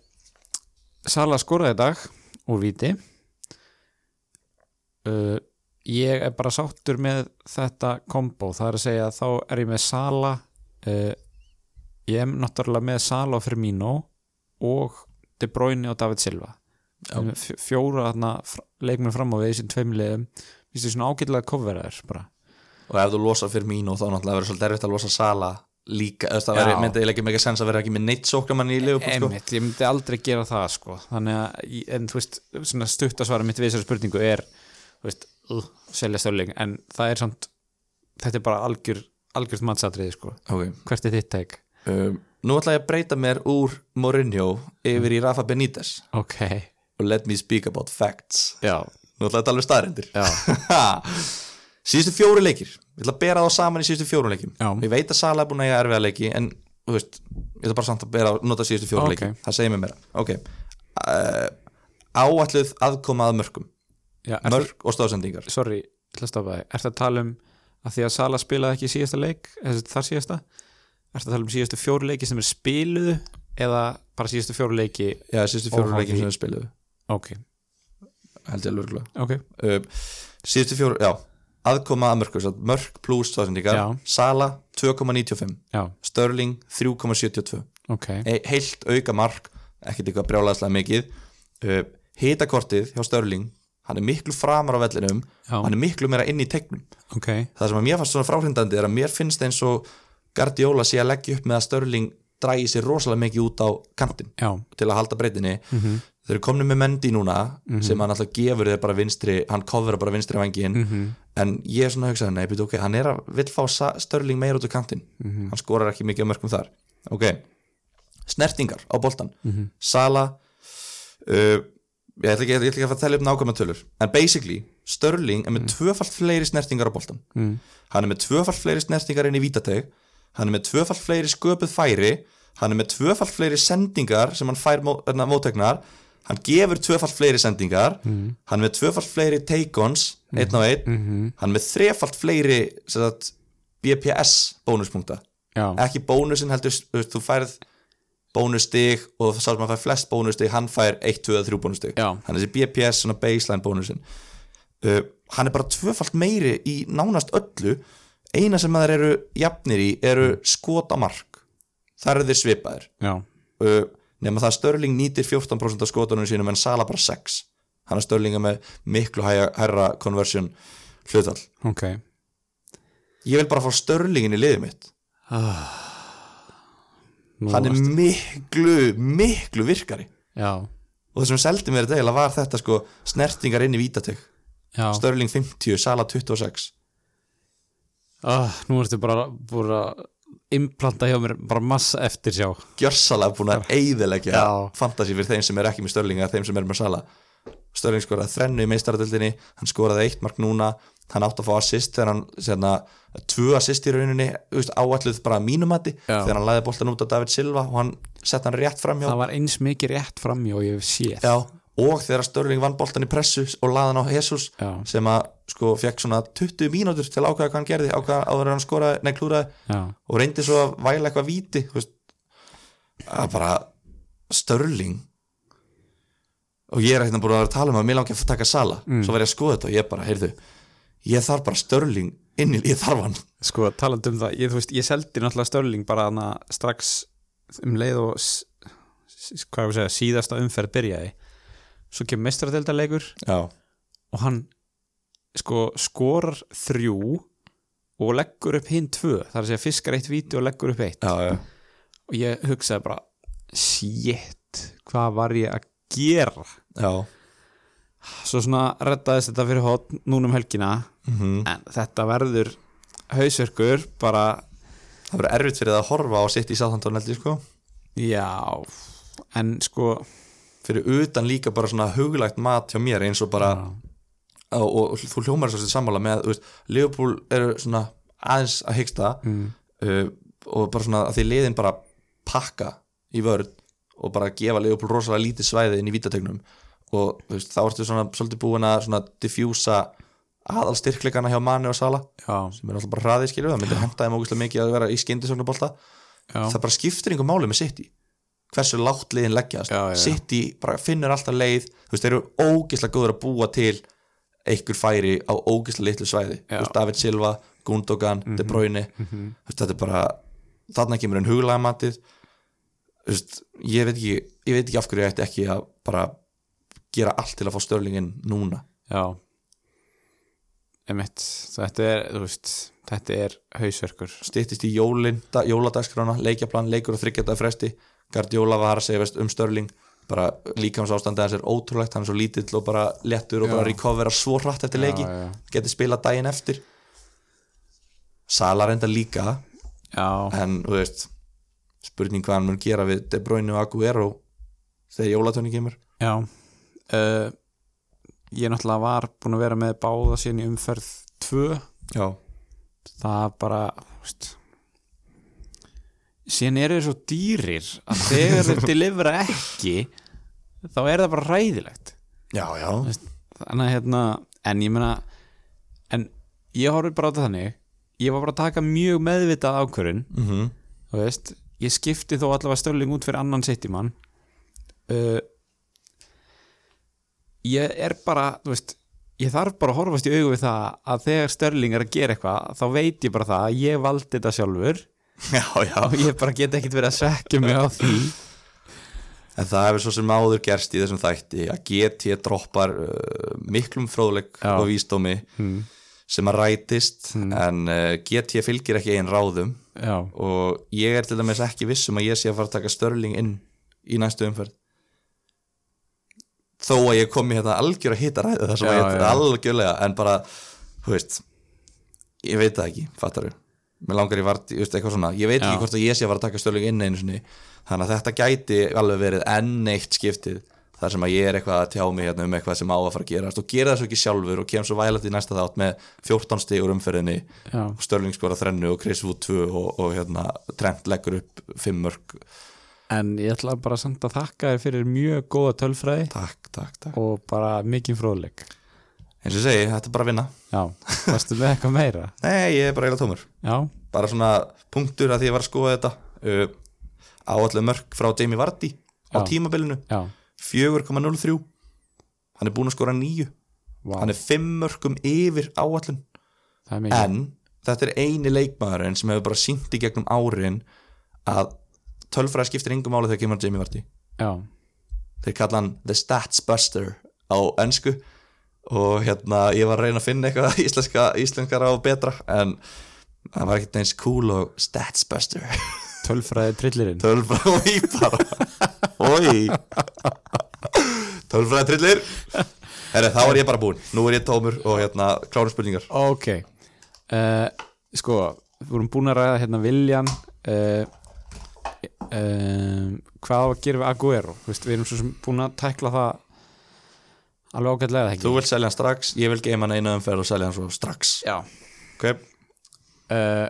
A: Sala skoraði í dag úr viti uh, ég er bara sáttur með þetta kombo, það er að segja að þá er ég með Sala uh, ég er náttúrulega með Sala og Firmino og De Bruyne og David Silva
B: Já.
A: Ég er með fj- fjóra þarna leikmenn fram á við í sín tveimliðum Vistu svona ágætlega kofverðar bara.
B: og ef þú losa fyrir mín og þá náttúrulega verður svolítið erfitt að losa Sala líka, þú veist, það
A: Já.
B: verður myndið ekki mega sens að vera ekki með neitt sókamann í Liverpool sko.
A: Einmitt, ég myndi aldrei gera það sko þannig að, ég- en þú veist svona stuttasvara mitt við þessari spurningu er þú veist, uh, selja störling en það er samt, þetta er bara algjör algjörð mattsatriði sko
B: okay.
A: hvert er þitt tæk?
B: um, nú ætla ég að breyta mér úr Mourinho yfir í Rafa Benítez
A: Ok,
B: og let me speak about facts
A: já,
B: nú ætla ég að tala um staðrindir
A: já
B: Ha! síðustu fjóri leikir ég ætla að bera þá saman í síðustu fjóru leikim
A: Já.
B: ég veit að Sala er búin að eiga erfiða leiki en þú veist, ég ætla bara samt að bera, nota síðustu fjóru
A: Ok.
B: okay. leiki það segir mér meira ok uh, áalluð aðkoma að mörkum
A: Já, ertu,
B: mörk og stóðsendingar
A: sorry, ég ætla að stoppa þig Ertu að tala um að því að Sala spilaði ekki í síðasta leik eða þar síðasta Ertu að tala um síðastu fjóru leiki sem er spiluðu eða bara síðastu fjóru leiki
B: já, síðustu fjóru
A: Óháð
B: leikim
A: því.
B: sem við spiluðu
A: Ok,
B: held ég alveg örugglega.
A: ok,
B: uh, síðustu fjóru, já aðkoma að mörkum, satt, mörk pluss stóðsendingar
A: Já.
B: Sala 2,95
A: já,
B: Störling 3,72
A: ok
B: Nei, heilt auka mark ekkert eitthvað brjálæðslega mikið uh, hitakortið hjá Störling hann er miklu framar á vellinum
A: Já.
B: hann er miklu meira inn í tegnum
A: Ok,
B: það sem að mér fannst svona fráhrindandi er að mér finnst eins og Guardiola sé að leggja upp með að Störling drægi sér rosalega mikið út á kantinn
A: já,
B: til að halda breytinni þeir eru komni með Mendy núna sem hann alltaf gefur þeir bara vinstri hann kofur bara vinstri vangin en ég er svona að hugsa nei, byrju, ok, hann er að vill fá Sa- Störling meira út á kantinn hann skorar ekki mikið á mörgum þar ok, snertingar á boltan Sala uh, ég ætla ekki, ég ætla ekki að fara að tella upp nákvæma tölur en basically, Störling er með tvöfalt fleiri snertingar á boltan
A: Mhm.
B: hann er með tvöfalt fleiri snertingar inn í vítateg hann er með tvöfalt fleiri sköpuð færi hann er með tvöfalt fleiri sendingar sem hann fær mó- þarna mótæknar hann gefur tvöfalt fleiri sendingar hann er með tvöfalt fleiri take-ons einn á einn, hann er með þrefalt fleiri sem sagt, BPS bónuspunkta
A: já,
B: ekki bónusin heldur þú veist, þú færð bónustig og sá sem að fær flest bónustig hann fær 1, 2 eða 3 bónustig
A: Já.
B: hann er þessi BPS, svona baseline bónusin uh, hann er bara tvöfalt meiri í nánast öllu eina sem að þeir eru jafnir í eru skot á mark þar eru þeir svipaðir
A: já
B: uh, nema það að Störling nýtir 14% af skotunum sínum en Sala bara 6 hann er Störlinga með miklu hæja, hærra conversion hlutall
A: Ok,
B: ég vil bara fá Störlingin í liðið mitt
A: nú
B: hann er
A: varst-
B: miklu, miklu virkari
A: Já,
B: og það sem seldi mér þetta eiginlega var þetta sko snertingar inn í vítateg
A: já
B: Störling 50, Sala 26
A: Ah, nú ertu bara búin að implanta hjá mér bara massa eftir sjá
B: gjörsalega búin að eyðilegja
A: Já.
B: fantasi fyrir þeim sem er ekki með Störling eða þeim sem er með Sala Störling skoraði þrennu í meistaradöldinni hann skoraði eitt mark núna hann átti að fá assist þegar hann sérna, tvö assist í rauninni þú veist, áalluð bara að mínumati
A: Já.
B: þegar hann laði boltan út á David Silva og hann sett hann rétt framhjá
A: það var eins mikið rétt framjá ég hef séð
B: Já, og þegar Störling vann boltan í pressu og laði hann á Jesus
A: Já.
B: sem að sko fekk svona 20 mínútur til að ákveða hvað hann gerði ákveða áður en hann skoraði, nei klúraði
A: Já.
B: og reyndi svo að væla eitthvað víti þú veist, að bara Störling og ég er hérna búin að vera að tala um að mér langi að taka sala, svo var ég að skoða þetta og ég bara, heyrðu, ég þarf bara Störling inni, ég þarf hann
A: sko talandi um það, ég, þú veist, ég seldi náttúrulega Störling bara hana strax um leið og s- s- hvað ég að segja, síðasta umferð byrjaði svo kemur meistaradeldarleikur
B: Já,
A: og hann sko skorar þrjú og leggur upp hinn tvö það er að segja fiskar eitt víti og leggur upp eitt
B: já, já,
A: og ég hugsaði bara shit, hvað var ég að gera
B: já.
A: svo svona reddaðist þetta fyrir hotn núna um helgina
B: Mhm.
A: en þetta verður hausverkur bara,
B: það verður erfitt fyrir það að horfa á sitt í sáþandónaldi sko
A: já en sko
B: fyrir utan líka bara svona huglægt mat hjá mér eins og bara og, og, og þú hljómar svo sem sammála með þú veist, Liverpool eru svona aðeins að hyggsta uh, og bara svona að því liðin bara pakka í vörð og bara gefa Liverpool rosalega lítið svæði inn í vítategnum og þú veist, þá ertu svona svolítið búin að svona diffjúsa aðalstyrkleikana hjá Mani og Sala
A: já,
B: sem er alltaf bara hraðið skilur, það myndir henda þeim ógustlega mikið að vera í skyndisögnabólta
A: já,
B: það bara skiptir einhver máli með City hversu látt liðin leggjast
A: Já, já, já.
B: City bara finnur alltaf leið þú veist, þeir eru ógislega góður að búa til einhver færi á ógislega litlu svæði
A: Já. Mhm.
B: Þú veist, David Silva, Gundogan, De Bruyne þú veist, þetta er bara þarna kemur enn huglega matið Þú veist, ég veit ekki ég veit ekki af hverju ég ætti ekki að bara gera allt til að fá störlingin núna
A: já emitt, þetta er þú veist, þetta er hausverkur
B: styttist í jólin, da, jóladagskrána leikjaplan, leikur og þryggjata fresti Gardiola var að segja veist, um Störling bara líkams ástandi hans er ótrúlegt hann er svo lítill og bara léttur og
A: Já.
B: bara recovera svo hratt eftir leiki
A: já.
B: getið spila daginn eftir Sala reynda líka
A: já,
B: en þú veist spurning hvað hann mun gera við De Bruyne og Aguero þegar jólatöning kemur
A: já Eh, uh, ég náttúrulega var búin að vera með báða síðan í umferð tvö
B: já,
A: það bara þú veist, síðan eru þeir svo dýrir að þegar þeir delivera ekki þá er það bara ræðilegt
B: já, já
A: þannig að hérna, en ég meina en ég horfði bara á þetta þannig ég var bara að taka mjög meðvitað ákvörun
B: mm -hmm.
A: þú veist, ég skipti þó allavega stölling út fyrir annan sittimann uh, ég er bara þú veist, ég þarf bara að horfast í augu við það að þegar stölling er að gera eitthvað þá veit ég bara það að ég valdi þetta sjálfur
B: (laughs) já, já
A: og ég bara get ekkit verið að svekja mig á því
B: En það hefur svo sem áður gerst í þessum þætti að GT droppar uh, miklum fróðleik
A: Já.
B: og vísdómi
A: Mm.
B: sem að rætist en uh, GT fylgir ekki einn ráðum
A: já,
B: og ég er til dæmis ekki viss um að ég sé að fara að taka störling inn í næstu umferð þó að ég kom í hérna algjör að hita ræðu þar sem
A: Já,
B: ég
A: já.
B: algjörlega en bara, þú veist ég veit það ekki, fattar við mér langar í vart, ég veist eitthvað svona ég veit
A: Já.
B: ekki hvort að ég sé að fara að taka störling inn einu sinni þannig að þetta gæti alveg verið enn eitt skiptið þar sem að ég er eitthvað að tjá mig hérna um eitthvað sem á að fara að gera og gera þessu ekki sjálfur og kem svo vælat í næsta þátt með 14 stigur umferðinni
A: já,
B: Störling skora þrennu og Chris Wood 2 og, og hérna, Trent leggur upp fimm mörg,
A: en ég ætla bara samt að þakka þér fyrir mjög góða tölfræði
B: takk, takk, takk
A: og bara mikið fróðleik
B: eins og ég segi, þetta er bara að vinna
A: já, varstu með eitthvað meira
B: nei, ég er bara eiginlega tómur,
A: já,
B: bara svona punktur að því ég var að skoða þetta uh, áallega mörg frá Jamie Vardy
A: Já.
B: á tímabilinu,
A: já,
B: 4,03 hann er búinn að skora nýju
A: vá,
B: hann er fimm mörgum yfir áallun
A: það er mikið
B: en þetta er eini leikmaðurinn sem hefur bara sínt í gegnum árin að tölfræði skiptir engum máli þegar kemur að Jamie Vardy
A: já,
B: þeir kalla hann The Stats Buster á ennsku og hérna ég var að reyna að finna eitthvað (laughs) íslenska, íslenskara og betra en það var ekkert eins cool og Stats Buster (laughs)
A: tölfræði trillirinn
B: tölfra og í bara oi tölfra trillir Herre, þá er ég bara búinn, nú er ég tómur og hérna klárum spurningar
A: Ok uh, Sko, við vorum búin að ræða hérna Viljan uh, um, Hvað á að gera við Aguero? Þú Veist, við erum svo sem búin að tækla það alveg ágætlega ekki
B: þú vilt selja hann strax, ég vil geima hann einu umferð og selja hann svo strax
A: Já
B: okay.
A: uh,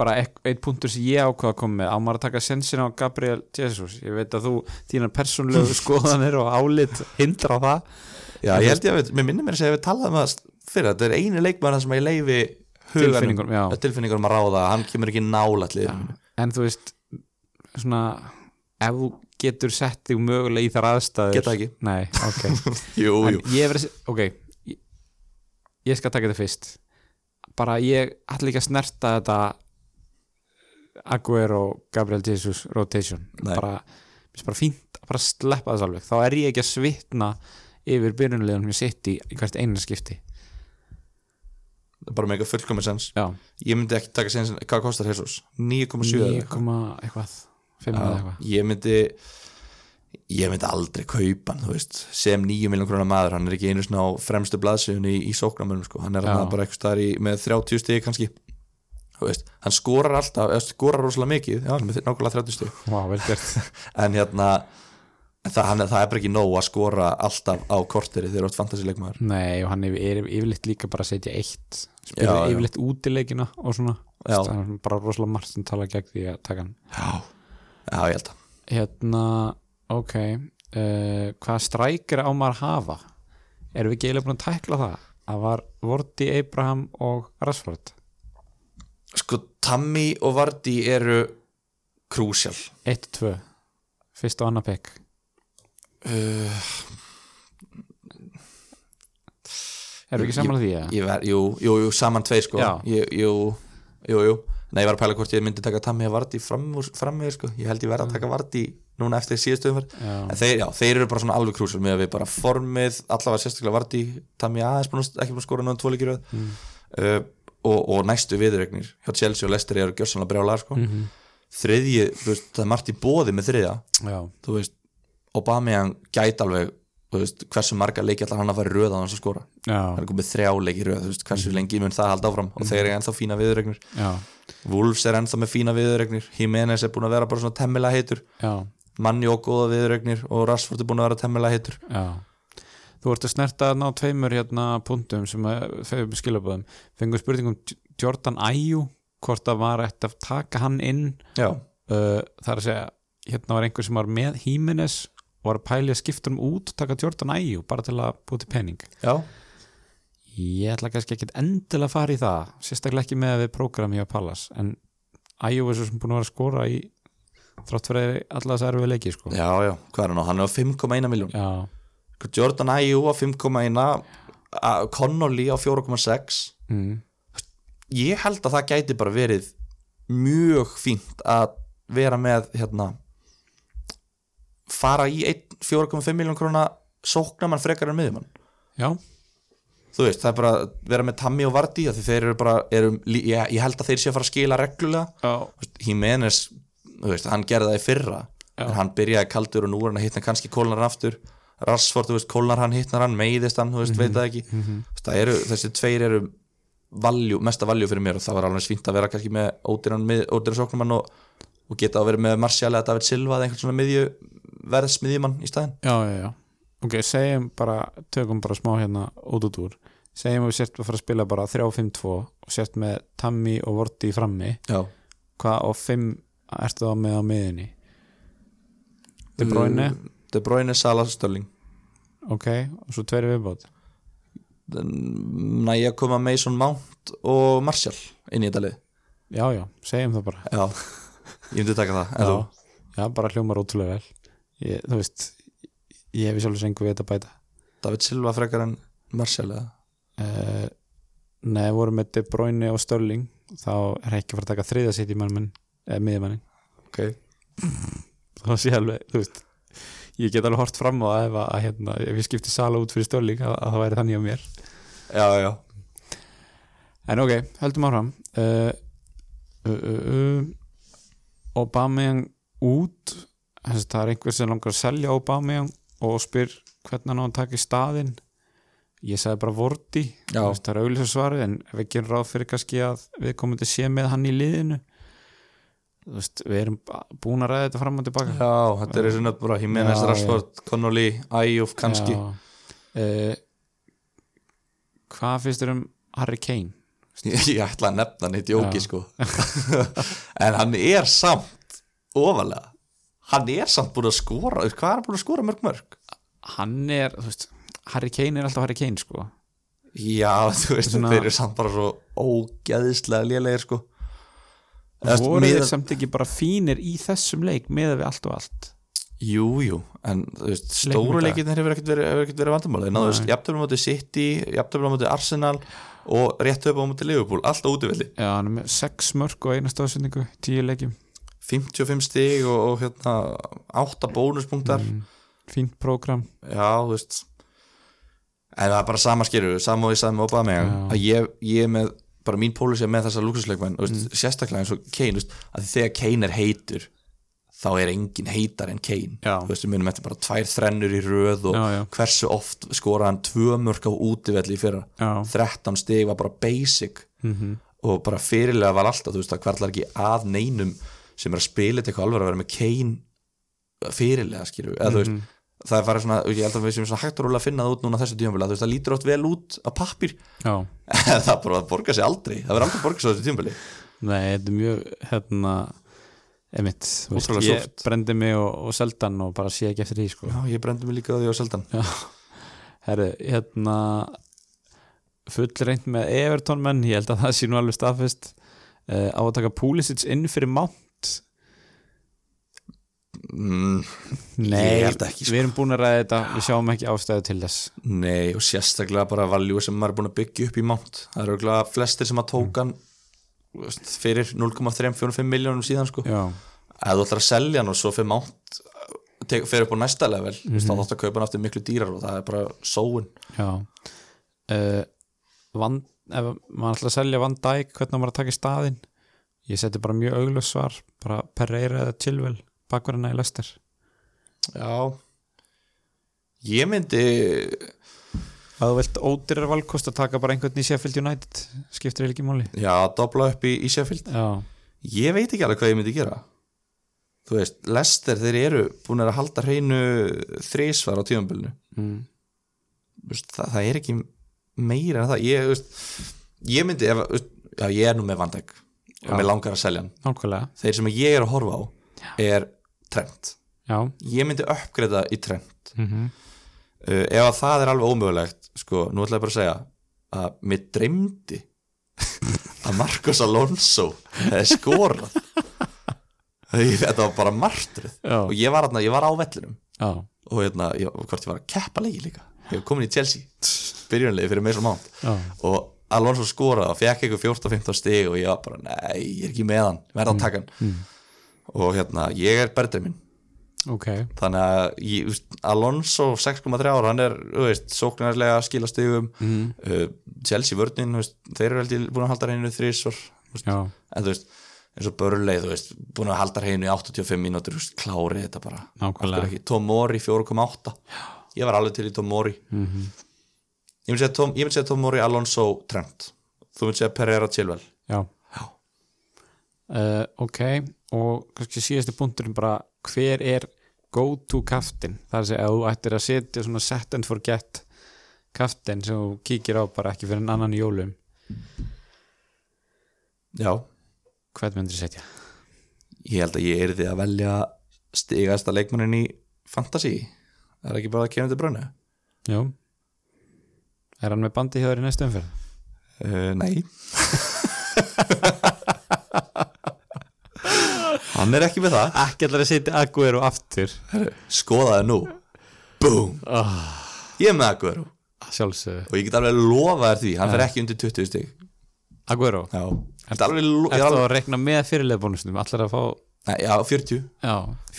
A: Bara ek- einn punktur sem ég ákvað að koma með á maður að taka sensin á Gabriel Jesus Ég veit að þú, þínar (laughs) persónlegu skoðanir og álit hindra það
B: Já, ég held ég að við, mér minnir mér að segja að við talaðum um að fyrir, þetta er einu leikmann sem ég leifi
A: Tilfinningum, já.
B: huganum, tilfinningunum að ráða hann kemur ekki nálætt lið
A: En þú veist, svona ef þú getur sett þig mögulega í þar aðstæður
B: Get það ekki.
A: Nei, (laughs) ok
B: Jú,
A: En ég hef verið ok, ég, ég skal taka þetta fyrst bara ég ætla ekki að snerta þetta Aguero, Gabriel Jesus rotation
B: Nei.
A: bara, mér finnst bara fínt að bara sleppa þess alveg þá er ég ekki að svitna yfir byrjunlegunum ég sitt í hvert einu skipti
B: Það er bara með eitthvað fullkomis sens
A: já,
B: Ég myndi ekki taka sens, hvað kostar Jesus? 9,7 eða
A: 9,
B: eitthvað.
A: eitthvað 5 eða
B: Já,
A: eitthvað
B: Ég myndi ég myndi aldrei kaupa hann, þú veist sem 9 miljón krónar maður, hann er ekki einu svona á fremstu blaðsöðunni í, í sóknarmönum sko. hann er
A: Já.
B: hann bara eitthvað staðar í með 30 stig kannski, þú veist hann skorar alltaf, eða skorar rosalega mikið já, hann er með nákvæmlega 30 stig
A: Vá, vel gert
B: en hérna það, hann, það er bara ekki nóg að skora alltaf á korteri þegar þú ert fantasileikmaður
A: (laughs) Nei, og hann er, er yfirleitt líka bara að setja eitt
B: Já,
A: spila
B: já.
A: yfirleitt útileikina og svona
B: Já.
A: Það er bara rosalega margt sem tala gegn því að taka hann
B: já. já, ég held að
A: hérna, ok uh, hvað strækir á maður að hafa erum við ekki eiginlega búin að tækla það það var Vorti, Abraham og Rashford
B: sko Tammy og Vardy eru krúsjál
A: 1-2, fyrst og annað pekk
B: uh,
A: erum við ekki samanlega því eða?
B: ég ver, jú, jú, jú, saman tvei sko
A: Já.
B: ég, jú, jú, jú Nei, ég var að pæla hvort ég myndi taka Tammy og Vardy fram, úr- fram með, sko. ég held ég verði að taka Vardy núna eftir síðustu umferð
A: Já,
B: En þeir, já, þeir eru bara svona alveg krúsjál með að við bara formið, allavega sérstaklega Vardí Tami aðeins búin, að- ekki búin að skora náðan tvoleikir mm. uh, og, og næstu viðregnir hjá Chelsea og Leicester eru gjörsanlega brjálar sko.
A: Mhm.
B: þriðji, þú veist, það er margt í bóði með þriðja,
A: já,
B: þú veist Aubameyang gæti alveg þú veist, hversu marga leiki allar hann að fara í röð að hann að skora, hann
A: já,
B: er komið þrjá leiki í röð þú veist, hversu lengi mun það halda áfram og þeir eru ennþá fína viðregnir,
A: já,
B: Wolves er ennþá með fína viðregnir Jimenez er búin að vera bara svona temmilega heitur
A: já,
B: manni og góða viðregnir og Rashford er búin að vera temmilega heitur
A: já. þú ert að snerta ná tveimur hérna punktum sem að fegur skilabóðum fengur spurningum Jordan Ayew hvort að var ætti að taka hann inn
B: já,
A: uh, það er að segja hérna var einhver sem var með Hímenes og var að pæli að skipta um út og taka Jordan Ayew bara til að búti pening
B: já,
A: ég ætla kannski ekkit endilega að fara í það sérstaklega ekki með að við prógram hjá Pallas en Ayew er svo sem búin að vera að skora í þrátt fyrir alla þess að erfið leiki sko.
B: já, já, hvað er hann á, hann er á 5,1 miljón
A: Já.
B: Sko, Jordan Ayew á 5,1 a- Connolly á 4,6
A: Mm.
B: ég held að það gæti bara verið mjög fínt að vera með hérna fara í einn 4,5 miljón króna sóknamann frekar en miðjumann
A: Já.
B: þú veist, það er bara að vera með Tammy og Vardí af því þeir eru bara, eru, lí- ég, ég held að þeir sé að fara að skila reglulega
A: Já.
B: Þú veist, Jimenez, þú veist, hann gerði það í fyrra
A: Já.
B: en hann byrjaði kaldur og nú er hann að hitna kannski kólnar aftur Rassford, þú veist, kólnar hann, hitnar hann, meiðist hann þú veist, veit það ekki
A: Mhm,
B: Þú veist, það eru, þessi tveir eru valjú, mesta valjú fyrir mér og það var alveg svínt að vera kannski með ódýran, mið- ódýran sóknumann og, og geta að vera með Martial eða David Silva eða einhvern svona miðju, verðsmiðjumann í staðinn
A: já, já, já ok, segjum bara, tökum bara smá hérna út út úr, segjum að við sért að fara að spila bara 3-5-2 og sért með Tammy og Vorti frammi
B: Já,
A: hvað og 5 ertu þá með á miðinni De
B: Mm.
A: Bruyne,
B: De Bruyne, Salah, Störling
A: ok og svo tveiri viðbót
B: næ ég að koma Mason Mount og Martial inn í þetta lið
A: já, já, segjum það bara
B: Já, ég myndi taka það en þú?
A: já, já, bara hljómar ótrúlega vel ég, þú veist ég hef í sjálfis engu við þetta að bæta
B: David Silva frekar en Martial eða?
A: uh, nei, voru með De Bruyne og Störling þá er ekki að fara að taka þriða sitt í mannmenn eða miðjumannin
B: Ok
A: þá sé alveg, þú veist ég get alveg hort fram á það ef, að, að, hérna, ef ég skipti sala út fyrir störling að, að það væri þannig á mér
B: Já, já,
A: en ok, höldum áfram uh, uh, uh, uh, Obameyang út þess að það er einhver sem langar að selja Obameyang og spyr hvernig hann á að taka í staðinn ég sagði bara vorti Þú
B: Já.
A: veist, það er auðvitað svarið en ef við gerum ráð fyrir kannski að við komum til sé með hann í liðinu Þú veist, við erum búin að ræða þetta fram og tilbaka
B: já þetta er svona bara Jimenez,
A: Já,
B: Rashford, Connolly, Ayouf kannski
A: Já. Eh, Hvað finnst þér um Harry Kane?
B: (laughs) Ég ætla að nefna hann, hitt jóki
A: Já.
B: sko (laughs) En hann er samt ofalega Hann er samt búin að skora Hvað er hann búin að skora mörg mörg?
A: Hann er, þú veist Harry Kane er alltaf Harry Kane sko
B: Já, þú veist,
A: Svona-
B: þeir eru samt bara svo ógeðislega lélegir sko Eða, þú veist,
A: voru þeir
B: miðað-
A: samt ekki bara fínir í þessum leik meða við allt og allt
B: Jú, jú, en þú veist,
A: Leikum í
B: stóru
A: dag.
B: leikinir hefur ekkert verið, hefur ekkert verið vandamáli Þeir náðu jafntöflum á móti City, jafntöflum á móti Arsenal og réttu upp á móti Liverpool alltaf útivilli,
A: Já, hann er með sex mörg og eina stafsendingu tíu leikjum,
B: 55 stig og, og hérna, 8 bónuspunktar
A: Mm. fínt prógram
B: Já, þú veist En það er bara sama skýrur, sama og ég sagði með Obameyang
A: Já.
B: að ég, ég er með, bara mín pólis er með þessa lúksusleikmenn, þú
A: Mm.
B: veist, sérstaklega eins og Kane, þú veist, að þegar Kane er heitur þá er engin heitar en Kane
A: Já.
B: þú veist, við minnum þetta er bara tvær þrennur í röð og
A: Já, já.
B: hversu oft skora hann tvö mörg á útivelli í fyrra
A: Já.
B: 13 stig var bara basic -hmm. og bara fyrirlega var alltaf, þú veist, það hverlar ekki að neinum sem er að spila þetta eitthvað alveg að vera með Kane fyrirlega skilur eða þú veist það er farið svona, ég held að við séum svona hægt og rólega að finna það út núna á þessu tímabili, að þú veist, það lítur oft vel út á pappir,
A: Já,
B: en (laughs) það bara borgar sig aldrei, það verður aldrei borgar sig á þessu tímabili
A: nei, þetta er mjög hérna emitt, þú veist,
B: Ótrúlega
A: ég
B: súrt.
A: brendi mig og, og seldan og bara sé ekki eftir því sko
B: Já, ég brendi mig líka á því á seldan
A: Herri, hérna fullreint með Everton menn ég held að það sé nú alveg staðfest uh, á að taka Pulisic inn fyrir Mount
B: mm,
A: Nei,
B: Ég held ekki, sko.
A: við erum búin að ræða þetta við sjáum ekki ástæðu til þess
B: Nei, og sérstaklega bara valjú sem maður er búin að byggja upp í mánt það eru örugglega flestir sem að tók hann þú veist, fyrir 0,345 miljónum síðan sko,
A: Já,
B: að þú ætlar að selja hann og svo fyrir mánt fer upp á næsta level, mm -hmm. þá þátt að kaupa hann aftur miklu dýrar og það er bara sóun
A: já uh, Van, ef maður ætla að selja Van Dijk hvernig á maður að taka í staðinn ég seti bara mjög augljós svar bara Pereira eða Chilwell bakverðina í Lester
B: Já Ég myndi
A: að þú vilt ódýrar valkost að taka bara einhvern í Sheffield United skiptir eiginlega ekki máli
B: Já, dobla upp í, í Sheffield
A: Já,
B: Ég veit ekki alveg hvað ég myndi gera Þú veist, Lester þeir eru búin að halda hreinu þrísvar á tímabilinu
A: mm.
B: veist, það, það er ekki meira en það ég, þú veist, ég myndi ef, þú veist, já, ég er nú með vandæk og mér langar að selja hann
A: nákvæmlega,
B: þeir sem ég er að horfa á er trend
A: já
B: ég myndi uppgreita í trend
A: mm -hmm.
B: uh, ef að það er alveg ómögulegt sko, nú ætla ég bara að segja að mér dreymdi (laughs) að Marcos Alonso hefði skorað Ég- þetta var bara martrið
A: Já.
B: og ég var, þarna, ég var á vellinum
A: já,
B: og hérna, ég, og hvort ég var að keppa leiki líka ég var komin í Chelsea, byrjunlegi fyrir Mason Mount
A: já,
B: og Alonso skoraði og fekk eitthvað 14-15 stig og ég var bara, nei, ég er ekki með hann ég verða að taka hann og hérna, ég er berðrið minn
A: ok
B: þannig að ég, þú veist, Alonso 6,3 ára, hann er, þú veist, sóknarlega skila stigum mm. uh, Chelsea vörnin, þú veist, þeir eru heldur búin að halda reynu þrísvar, þú veist,
A: já,
B: en þú veist eins og börleið, þú veist, búin að halda reynu í 85 mínútur, þú veist, klárið þetta bara Akkur
A: nákvæmlega
B: ekki, Tom Mori 4,8 ég var alveg til í Tom Mori ég myndi segja Tom, ég myndi segja Tom Mori Alonso Trent þú myndi segja Pereira Chilwell
A: já uh, ok, og kannski síðasti punkturinn bara, hver er go to kaftin, það er að segja að þú ættir að setja svona set and forget kaftin sem þú kíkir á bara ekki fyrir en annan í jólum,
B: já,
A: hvern myndir setja
B: ég held að ég er því að velja stigasta leikmannin í fantasy það er ekki bara að kemur til brönnu
A: já er hann með bandi hjá þér í næstu umferð
B: uh, nei (laughs) hann er ekki með það
A: ekki allar að setja Aguero aftur
B: skoðaði nú, boom
A: oh,
B: ég er með Aguero
A: sjálfsögðu
B: og ég get alveg lofa þér því, hann fer ekki undir 20 stig
A: Aguero,
B: já, ég get alveg lo- ég
A: eftir
B: er alveg
A: að rekna með fyrirlega bónusnum, allar að fá
B: Nei, já, 40
A: já,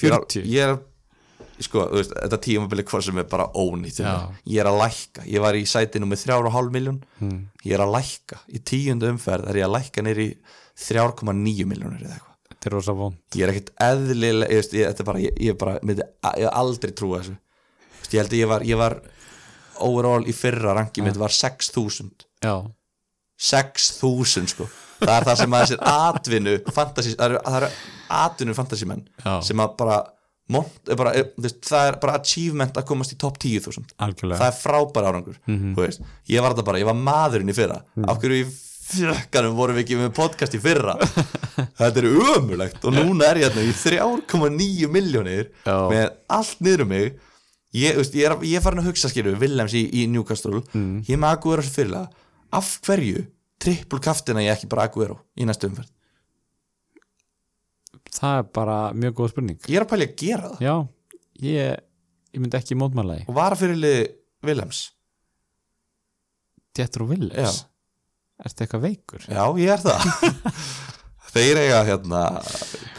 B: Ég er, ég er sko, þú veist, þetta tímabili hvað sem er bara ónýtt hjá
A: Já.
B: mér. Ég er að lækka, ég var í sætinu með 3,5 miljón
A: Hmm.
B: Ég er að lækka, í tíundu umferð er ég að lækka neyri 3,9 miljónir eða eitthvað
A: þetta er rosa vond
B: Ég er ekkert eðlilega, ég veist, ég, þetta er bara, ég, ég er bara, myndi, a- ég hef aldrei trúa þessu Þú veist, Ég held að ég var, ég var overall í fyrra rangi mitt var 6.000
A: já,
B: 6.000 sko það er það sem að þessir atvinnu fantasy, það, eru, það eru atvinnu fantasímenn
A: Já.
B: sem að bara, mont, er bara er, þú veist, það er bara achievement að komast í top 10.000 það
A: algjörlega
B: er frábær árangur þú veist, ég var þetta bara, ég var maðurinn í fyrra af hverju í fjökkanum vorum við ekki með podcast í fyrra (laughs) þetta er ömulegt og núna er ég þarna í 3,9 miljónir
A: Já.
B: með allt niður um mig ég, þú veist, ég, er, ég er farin að hugsa skilju Willems í, í Newcastle ég er með Aguero sem fyrra af hverju trippul kaftina ég ekki bara Aguero í næstu umferð
A: það er bara mjög góð spurning
B: ég er að pæli að gera það
A: já, ég, ég myndi ekki mótmála því
B: og vara fyrirlið Willems
A: Tétur og Willis
B: Já.
A: ertu eitthvað veikur?
B: já ég er það þeir eiga hérna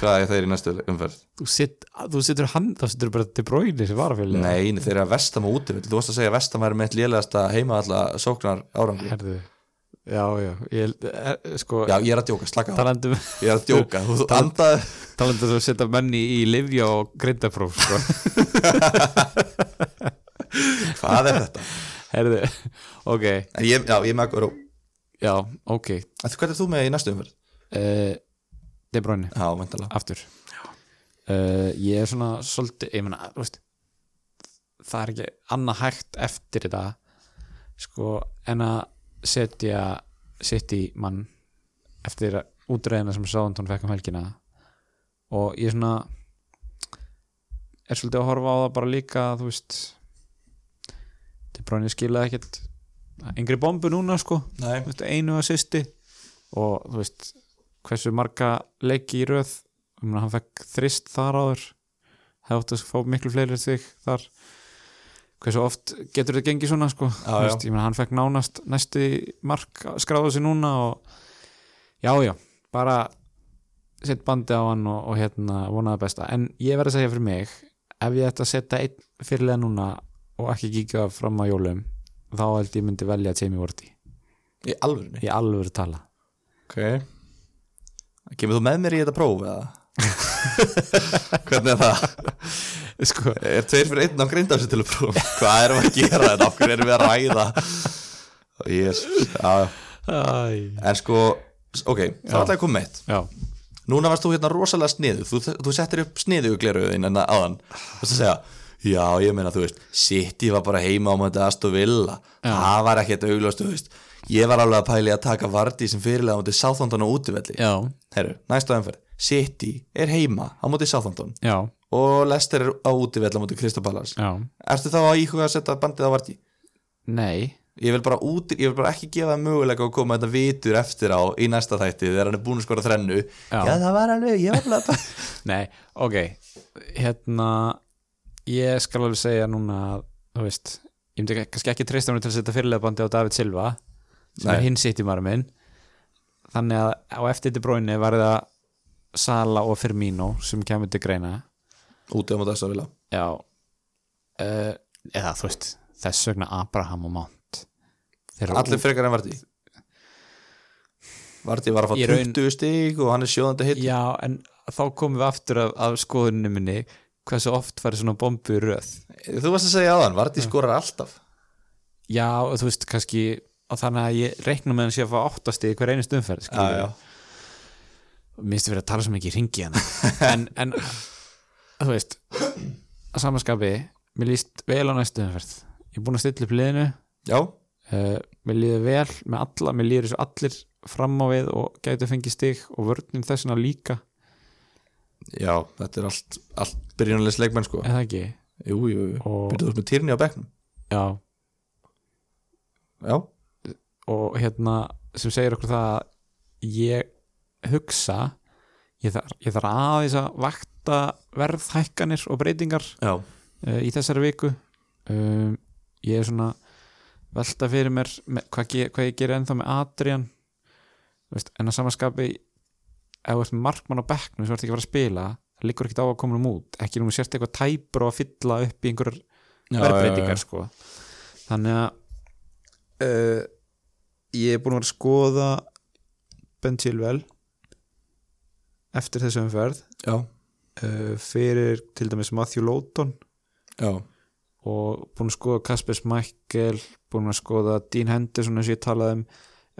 B: hvað er þeir í næstu umferð
A: Þú, sit, þú situr hann, þá situr bara til bróinu sem var að fylgja
B: Nei, nei, þeir eru að vestam á útivill Þú varst að segja að vestam væri með eitt lélegasta heima alltaf sóknar árangur
A: herðu já, já, ég held- er, sko
B: Já, ég er að djóka, slaka á
A: talandum (laughs)
B: Ég er að djóka, þú andaði
A: talandum að setja menni í livja og grindapróf sko.
B: (laughs) Hvað er þetta?
A: herðu, ok
B: En ég, já, ég með Aguero
A: já, ok
B: En Hvað er þú með í næstu umferð?
A: uh, De Bruyne
B: Já, vantalega
A: aftur uh, ég er svona svolítið ég meina, þú veist, það er ekki annað hægt eftir þetta sko en að setja sitt í mann eftir útreðina sem Sántón fekk um helgina og ég svona er svolítið að horfa á það bara líka þú veist til brónið skilaði ekkert yngri bombu núna sko
B: Nei,
A: Þú veist, einu assisti og þú veist hversu marga leiki í röð ég meina, hann fekk þrist þar áður það átti að fá miklu fleiri en þig þar hversu oft getur þetta gengið svona sko Þú
B: Já, já.
A: ég meina, hann fekk nánast næsti mark skráðu sig núna og já já, bara sett bandi á hann og, og hérna vonaði besta, en ég verð að segja fyrir mig ef ég ætti að setja einn fyrirlega núna og ekki kíkja fram á jólum þá held ég myndi velja Jamie Vorti
B: í alvörunni
A: í alvöru tala
B: Ok Kemur þú með mér í þetta próf eða? (laughs) Hvernig er það?
A: sko,
B: Er tveir fyrir einn á grindafsir til að prófa? (laughs) Hvað erum við að gera þetta? Af hverju erum við að ræða? Jesus, já,
A: Æ.
B: en sko, ok, þá ætla ég að koma með eitt
A: já,
B: Núna hérna varst þú hérna rosalega sniðu Þú, þú settir upp sniðu gleruðin en aðan Þú varst að segja já, ég meina, þú veist City var bara heima á móti Aston Villa það var ekkert augljóst, þú veist ég var alveg að pæli að taka Vardí sem fyrirlega á móti Sáþondon á útivelli
A: já,
B: Herru, næsta umferð, City er heima á móti Sáþondon
A: já,
B: og Lester er á útivelli á móti Kristopalas
A: já
B: Ertu þá að íhuga að setja bandið á Vardí?
A: nei,
B: Ég vil bara, út, ég vil bara ekki gefa það möguleika að koma þetta vitur eftir á í næsta þætti þegar hann er búin að skora þrennu Já, það var alveg, ég var alveg að
A: nei, ok hérna ég skal alveg segja núna að, þú veist, ég myndi kannski ekki treysta mér til að setja fyrirlega bandi á David Silva sem
B: Nei.
A: er hinn sitt í maður minn þannig að á eftir til bróinu var það Sala og Firmino sem kemur til greina
B: Úti á móti þess að vilja
A: já uh, eða þú veist, þess vegna Abraham og Mount Þeir eru
B: Allir frekar en Vardí Vardí var að
A: Í
B: fá
A: raun-
B: 20 stig og hann er sjóðandi hitt
A: Já, en þá komum við aftur af, af skoðunni minni hversu oft færi svona bombu í röð
B: Þú varst að segja aðan, Vardí skorar alltaf
A: Já, og þú veist, kannski og þannig að ég reikna með hann sé að fá áttast í hver einust umferð
B: Já, já,
A: minnst við verið að tala svo mikið í ringi hann en, en þú veist að samanskapi, mér líst vel á næstu umferð ég er búin að stilla upp liðinu
B: já,
A: uh, mér líður vel með alla, mér líður þessu allir fram á við og gæti að fengi stig og vörnum þessina líka,
B: já Þetta er allt, allt byrjunulegs leikmenn sko
A: eða ekki
B: Jú, jú, jú,
A: Og-
B: byrjuðu út með týrni á bekknum
A: Já,
B: Já,
A: og hérna sem segir okkur það að ég hugsa ég þarf, ég þarf aðeins að vakta verðhækkanir og breytingar
B: já,
A: uh, í þessari viku um, ég er svona velta fyrir mér með, hvað, ge, hvað ég gerir ennþá með Adrian Þú veist, en að samanskapi ef þú ert með markmann á bekknum sem þú ert ekki að fara að spila það liggur ekkert á að koma um út ekki nú sért eitthvað tæpur á að fylla upp í einhverjar
B: Já, já, já.
A: verðbreytingar sko þannig að uh, ég er búin að vera að skoða Ben Chilwell eftir þessu umferð
B: já,
A: uh, fyrir til dæmis Matthew Lowton
B: já,
A: og búin að skoða Kasper Smækkel búin að skoða Dean Henderson eins og ég talaði um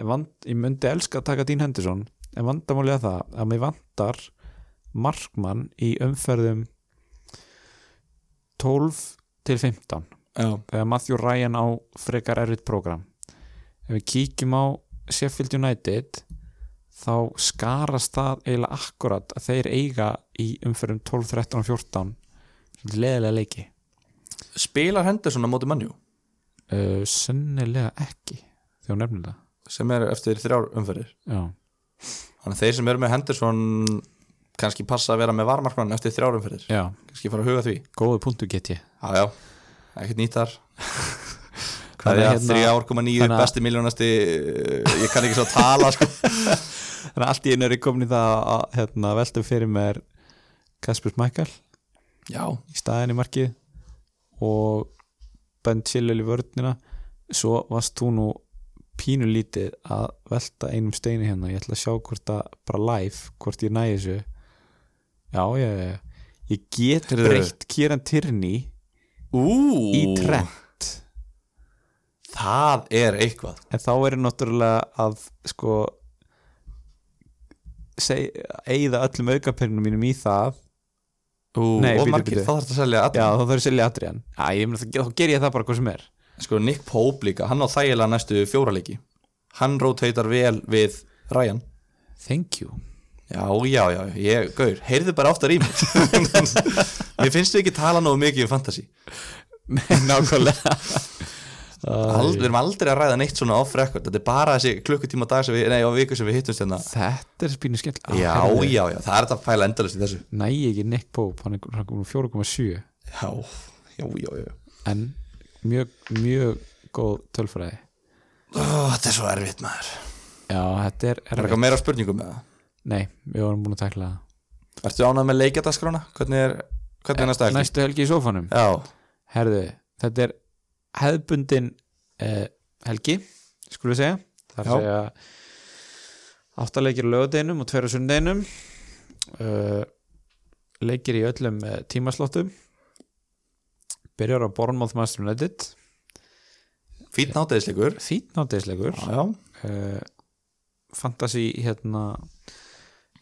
A: En vand, ég myndi elska að taka Dean Henderson en vandamálið er það að mér vandar markmann í umferðum 12 til 15
B: já,
A: þegar Matthew Ryan á frekar erfitt prógram ef við kíkjum á Sheffield United þá skarast það eiginlega akkurat að þeir eiga í umferðum 12, 13 og 14 svolítið leðilega leiki
B: Spilar Henderson á móti mannjú
A: uh, sennilega ekki þegar hún nefnir það
B: sem er eftir þrjár umferðir
A: já,
B: þannig að þeir sem eru með Henderson kannski passa að vera með varmarkmann eftir þrjár umferðir
A: já,
B: kannski fara að huga því
A: góðu punktu get ég
B: já, já, ekkert nýtt þar
A: Þannig
B: hvað er
A: að
B: að
A: hérna-
B: þrjá koma nýju
A: þannig að-
B: besti miljónasti eh, ég kann ekki svo að tala
A: (laughs)
B: sko.
A: þannig að allt í einu er ég komin í það að hérna, veltum fyrir mér Kasper Michael
B: já,
A: í staðin í markið og Ben Chilwell í vörnina svo varst þú nú pínu lítið að velta einum steini hérna ég ætla að sjá hvort að bara live hvort ég næði þessu já, já, já, já, ég get
B: Heyrðu.
A: breytt Kieran Tierney
B: ú
A: í trend
B: það er eitthvað
A: en þá er ég náttúrulega að sko seg, eigða öllum aukapyrnum mínum í það
B: ú,
A: Nei,
B: og
A: bíddu,
B: margir,
A: bíddu.
B: það þarf að selja
A: já,
B: allir.
A: þá þarf ég að selja Adrian Æ, ég meina, þá þá ger ég það bara hvað sem er
B: sko Nick Pope líka, hann á þægilega næstu fjóralegi hann rotatar vel við Ryan
A: thank you
B: Já, já, já, ég, gaur, heyrðu bara oftar í mig (laughs) Mér finnst við ekki tala nógu mikið um fantasy
A: (laughs) nákvæmlega
B: Ald, Við erum aldrei að ræða neitt svona off record Þetta er bara þessi klukkutíma dag sem við, nei, á viku sem við hittumst hérna
A: þetta er spínu skell Ah,
B: Já, já, já, það er þetta að pæla endalist í þessu
A: næ ekki Nick Pope, hann er hann er komin úr 4,7
B: Já, já, já, já
A: en mjög, mjög góð tölfræði
B: Ó, Þetta er svo erfitt maður Er
A: já, þetta er erfitt.
B: eitthvað meira spurningum með það?
A: nei, við vorum búin að tekla
B: Ertu ánað með leikjadaskrána? Hvernig er, hvernig er næsta
A: það
B: helgi?
A: næstu helgi í sófanum
B: Já,
A: herðu, þetta er hefðbundin eh, helgi skulum við segja það
B: Já.
A: er að segja áttaleikir á lögadeinum og tveir á sundeinum uh, leikir í öllum uh, tímaslottum byrjar á Bournemouth Master United
B: fínn náteðisleikur
A: fýtn ádeisleikur
B: Já, já,
A: uh, fantasy hérna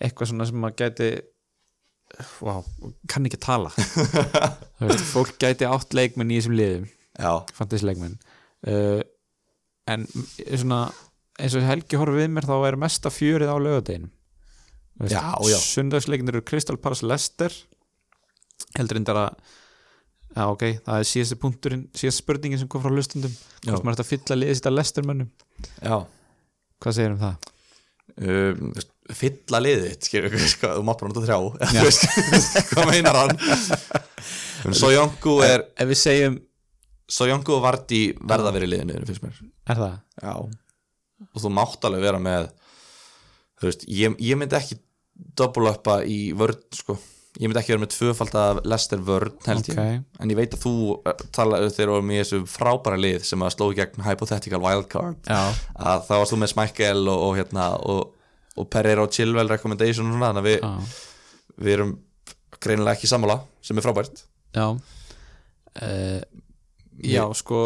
A: eitthvað svona sem maður gæti wow, kann ekki að tala Þú veist, fólk gæti átt leikmenn í þessum liðum
B: já,
A: fantasy-leikmenn uh, en svona, eins og Helgi horfir við mér þá er mesta fjörið á lögadeinum
B: Já, já.
A: Sundagsleikin eru Crystal Palace Lester heldur en að já, ok, það er síðasti punkturinn síðast spurningin sem kom frá hlustundum
B: Já.
A: hvort maður ætti að fylla liðið sitt að Lester mönnum
B: já.
A: hvað segir um það?
B: Um, þú veist, fylla liðið þitt, skilur við, (laughs) sko, þú mátt bara nota þrjá (laughs) Þú veist, hvað meinar (laughs) hann Sojanku er
A: ef við segjum,
B: Sojanku og Vardí verða að vera í liðinu finnst mér
A: er það?
B: Já Og þú mátt alveg vera með Þú veist, ég, ég myndi ekki double upa í vörn, sko Ég myndi ekki vera með tvöfald að lester vörn, held ég
A: Ok.
B: En ég veit að þú eh, talaðu þegar vorum í þessu frábæra lið sem að sló í gegn hypothetical wildcard
A: Já.
B: að þá varst þú með Smækkel og, og hérna og, og Pereira og Chilwell recommendation og svona, þannig að við,
A: Já.
B: við erum greinilega ekki sammála sem er frábært
A: Já uh, Já, sko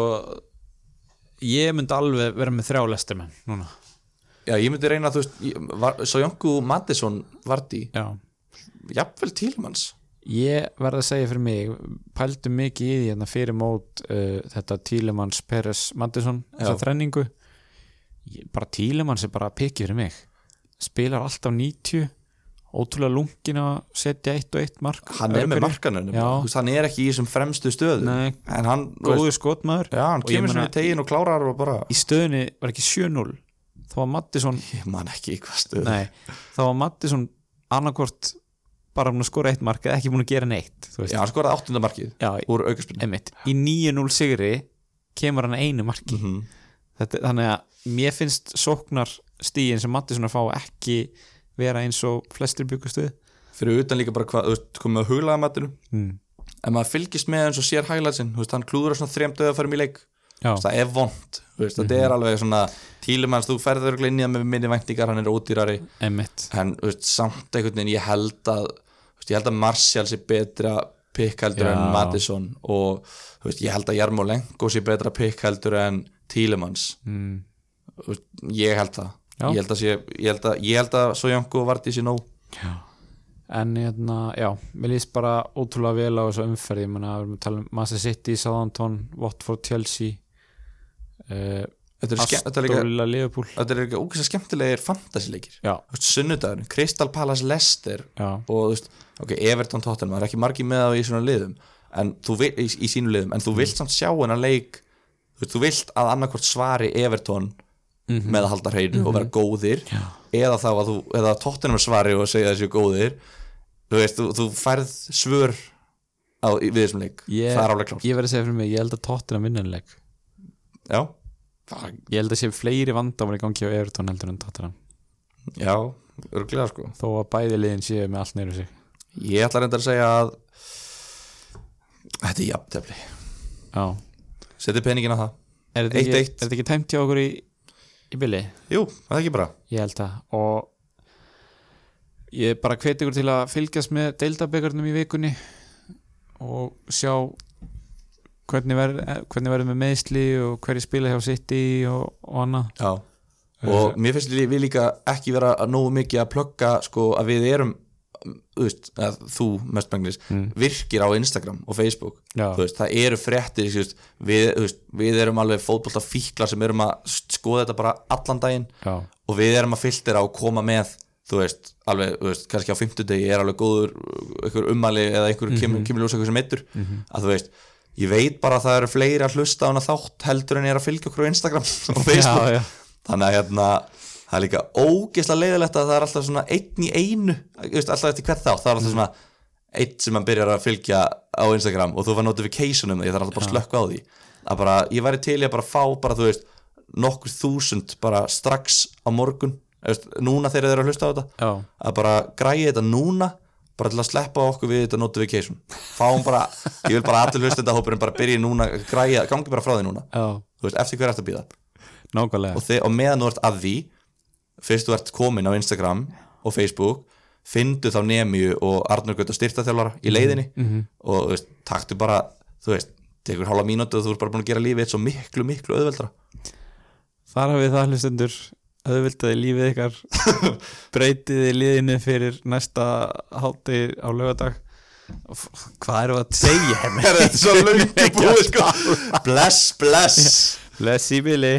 A: Ég myndi alveg vera með þrjá lestirmenn núna
B: Já, ég myndi reyna, þú veist, ég- var- Soyuncu Madison Vardí,
A: Já
B: jafnvel Tílmanns
A: Ég verð að segja fyrir mig pældu mikið í því hérna fyrir mót uh, þetta Tílemanns Peres Mandesson þessa
B: Já.
A: þrenningu ég, bara Tílemanns er bara pikið fyrir mig spilar alltaf 90 ótrúlega lungin að setja eitt og eitt mark
B: hann er
A: Öðru
B: með
A: hverju.
B: markanum,
A: Já.
B: þú veist, hann er ekki í þessum fremstu stöðum
A: Nei.
B: en hann, þú veist,
A: góður skotmaður
B: já, hann
A: Og ég
B: kemur
A: meina-
B: svona í tegin og klárar og bara,
A: í stöðunni var ekki 7-0 þá var Mattisson
B: (laughs) ég man ekki í hvað stöð
A: Nei, þá var Mattisson annarkvort bara búin að skora eitt mark eða ekki búin að gera neitt þú veist.
B: já, hann skoraði áttundamarkið
A: Já,
B: úr aukarspilni
A: einmitt í 9-0 sigri kemur hann að einu
B: Mm.
A: marki
B: Mhm.
A: Þetta, þannig að mér finnst sóknar stíin sem Mattisson að fá ekki vera eins og flestir byggust við
B: fyrir utan líka bara hvað, þú veist, komið að huglaða matinu
A: mm.
B: en maður fylgist með eins og sér hæglaðsinn, þú veist, hann klúður að svona þrem döðafærum í leik
A: Já, Mhm.
B: Þú veist, það er vond, þú veist, þetta er alveg svona tílumanns, þú ferður örugglega inn í það með minni væntingar, hann er ódýrari
A: einmitt
B: en þú veist, samt einhvern veginn ég held að þú veist, ég held að Martial sé betra pikkheldur en
A: Já.
B: Madison og þú veist, ég held að Jarmolenko sé betra pikkheldur en Tílemans
A: mm.
B: ég held það
A: Já.
B: ég held að, sé, ég held að, ég held að Sojanko vart í sér nóg
A: En hérna, já, mér líst bara ótrúlega vel á þessu umferð ég meina, við erum að tala um Massa City, Southampton Watford, Chelsea uh,
B: þetta er, ske, þetta er líka
A: Astorilla, Liverpool
B: Þetta er líka ógæslega skemmtilegir fantasileikir
A: Já,
B: Sunnudagurinn, Crystal Palace Leicester
A: já,
B: og þú veist, ok, Everton Tottenham það er ekki margir með það í svona liðum en þú vil, í, í sínu liðum, en
A: Mhm.
B: þú vilt samt sjá hennar leik, þú veist, þú vilt að annarkvort svari Everton með að halda hreinu og vera góðir
A: Mhm. Já.
B: eða þá að þú, eða að Tottenham svari og segja þessi góðir þú veist, þú, þú færð svör á, í- við þessum leik,
A: Ég-
B: það er alveg klárt
A: Ég verð að segja fyrir mig, ég held að Tottenham vinna þennan leik
B: já, Það-
A: Ég held að sé fleiri vandamál í gangi á Everton heldur en Tottenham
B: já, örglega sko
A: Þó að bæði liðin séu með allt neyru sig
B: ég ætla reyndar að segja að þetta er jafntefli
A: Já
B: seti peningin á það,
A: Er þetta ekki, er
B: 1-1.
A: þetta ekki tæmt hjá okkur í, í bili?
B: jú, það er ekki bara
A: Ég held það og ég bara hveti ykkur til að fylgjast með deildabekarnum í vikunni og sjá hvernig verð- eh, hvernig verðum við meðsli og hverju spila hjá City og, og annað
B: Já og mér finnst lí- við líka ekki vera að nógu mikið að plugga sko að við erum þú veist, að þú mest benglis virkir á Instagram og Facebook
A: Já.
B: Þú veist, það eru fréttir þú veist, við, þú veist, við erum alveg fótbolta fíklar sem erum að skoða þetta bara allan daginn
A: Já,
B: og við erum að filtera og koma með þú veist, alveg, þú veist, kannski á fimmtudegi er alveg góður einhver ummæli eða einhver kemur,
A: Mhm.
B: kemur ljós eitthvað sem eittur að þú veist, ég veit bara að það eru fleiri að hlusta á hana þátt heldur en er að fylgja okkur á Instagram (laughs) og Facebook
A: já, já.
B: þannig að hérna það er líka ógeðslega leiðilegt að það er alltaf svona einn í einu, þú veist, alltaf eftir hvert þá það er alltaf svona einn sem mann byrjar að fylgja á Instagram og þú var notification um því, það er alltaf bara slökku á því að bara, ég væri til í að bara fá bara, þú veist, nokkur þúsund bara strax á morgun þú veist, núna þegar þeir eru að hlusta á þetta
A: Já.
B: að bara græja þetta núna bara til að sleppa okkur við þetta notification fáum bara, ég vil bara að allir hlusta þetta hópurinn bara byrja núna, græja, gangi bara frá því núna
A: Já,
B: þú veist, eftir hver eftir að býða
A: nákvæmlega
B: og, þið, og meðan þú ert að því fyrst þú ert komin á Instagram og Facebook fyndu þá Nemiu og Arnur Gauta styrtaþjálfara í leiðinni og þú veist, taktu bara þú veist, tekur hálfa mínútu og þú ert bara búin að gera lífið eitt svo miklu, miklu auðveldra
A: Þar hafið það hlustendur auðvitaði lífið (laughs) ykkar breytiði liðinu fyrir næsta hátti á lögadag hvað erum við að segja henni
B: (laughs) Þetta er svo löngu búið sko Bless, bless
A: bless í bili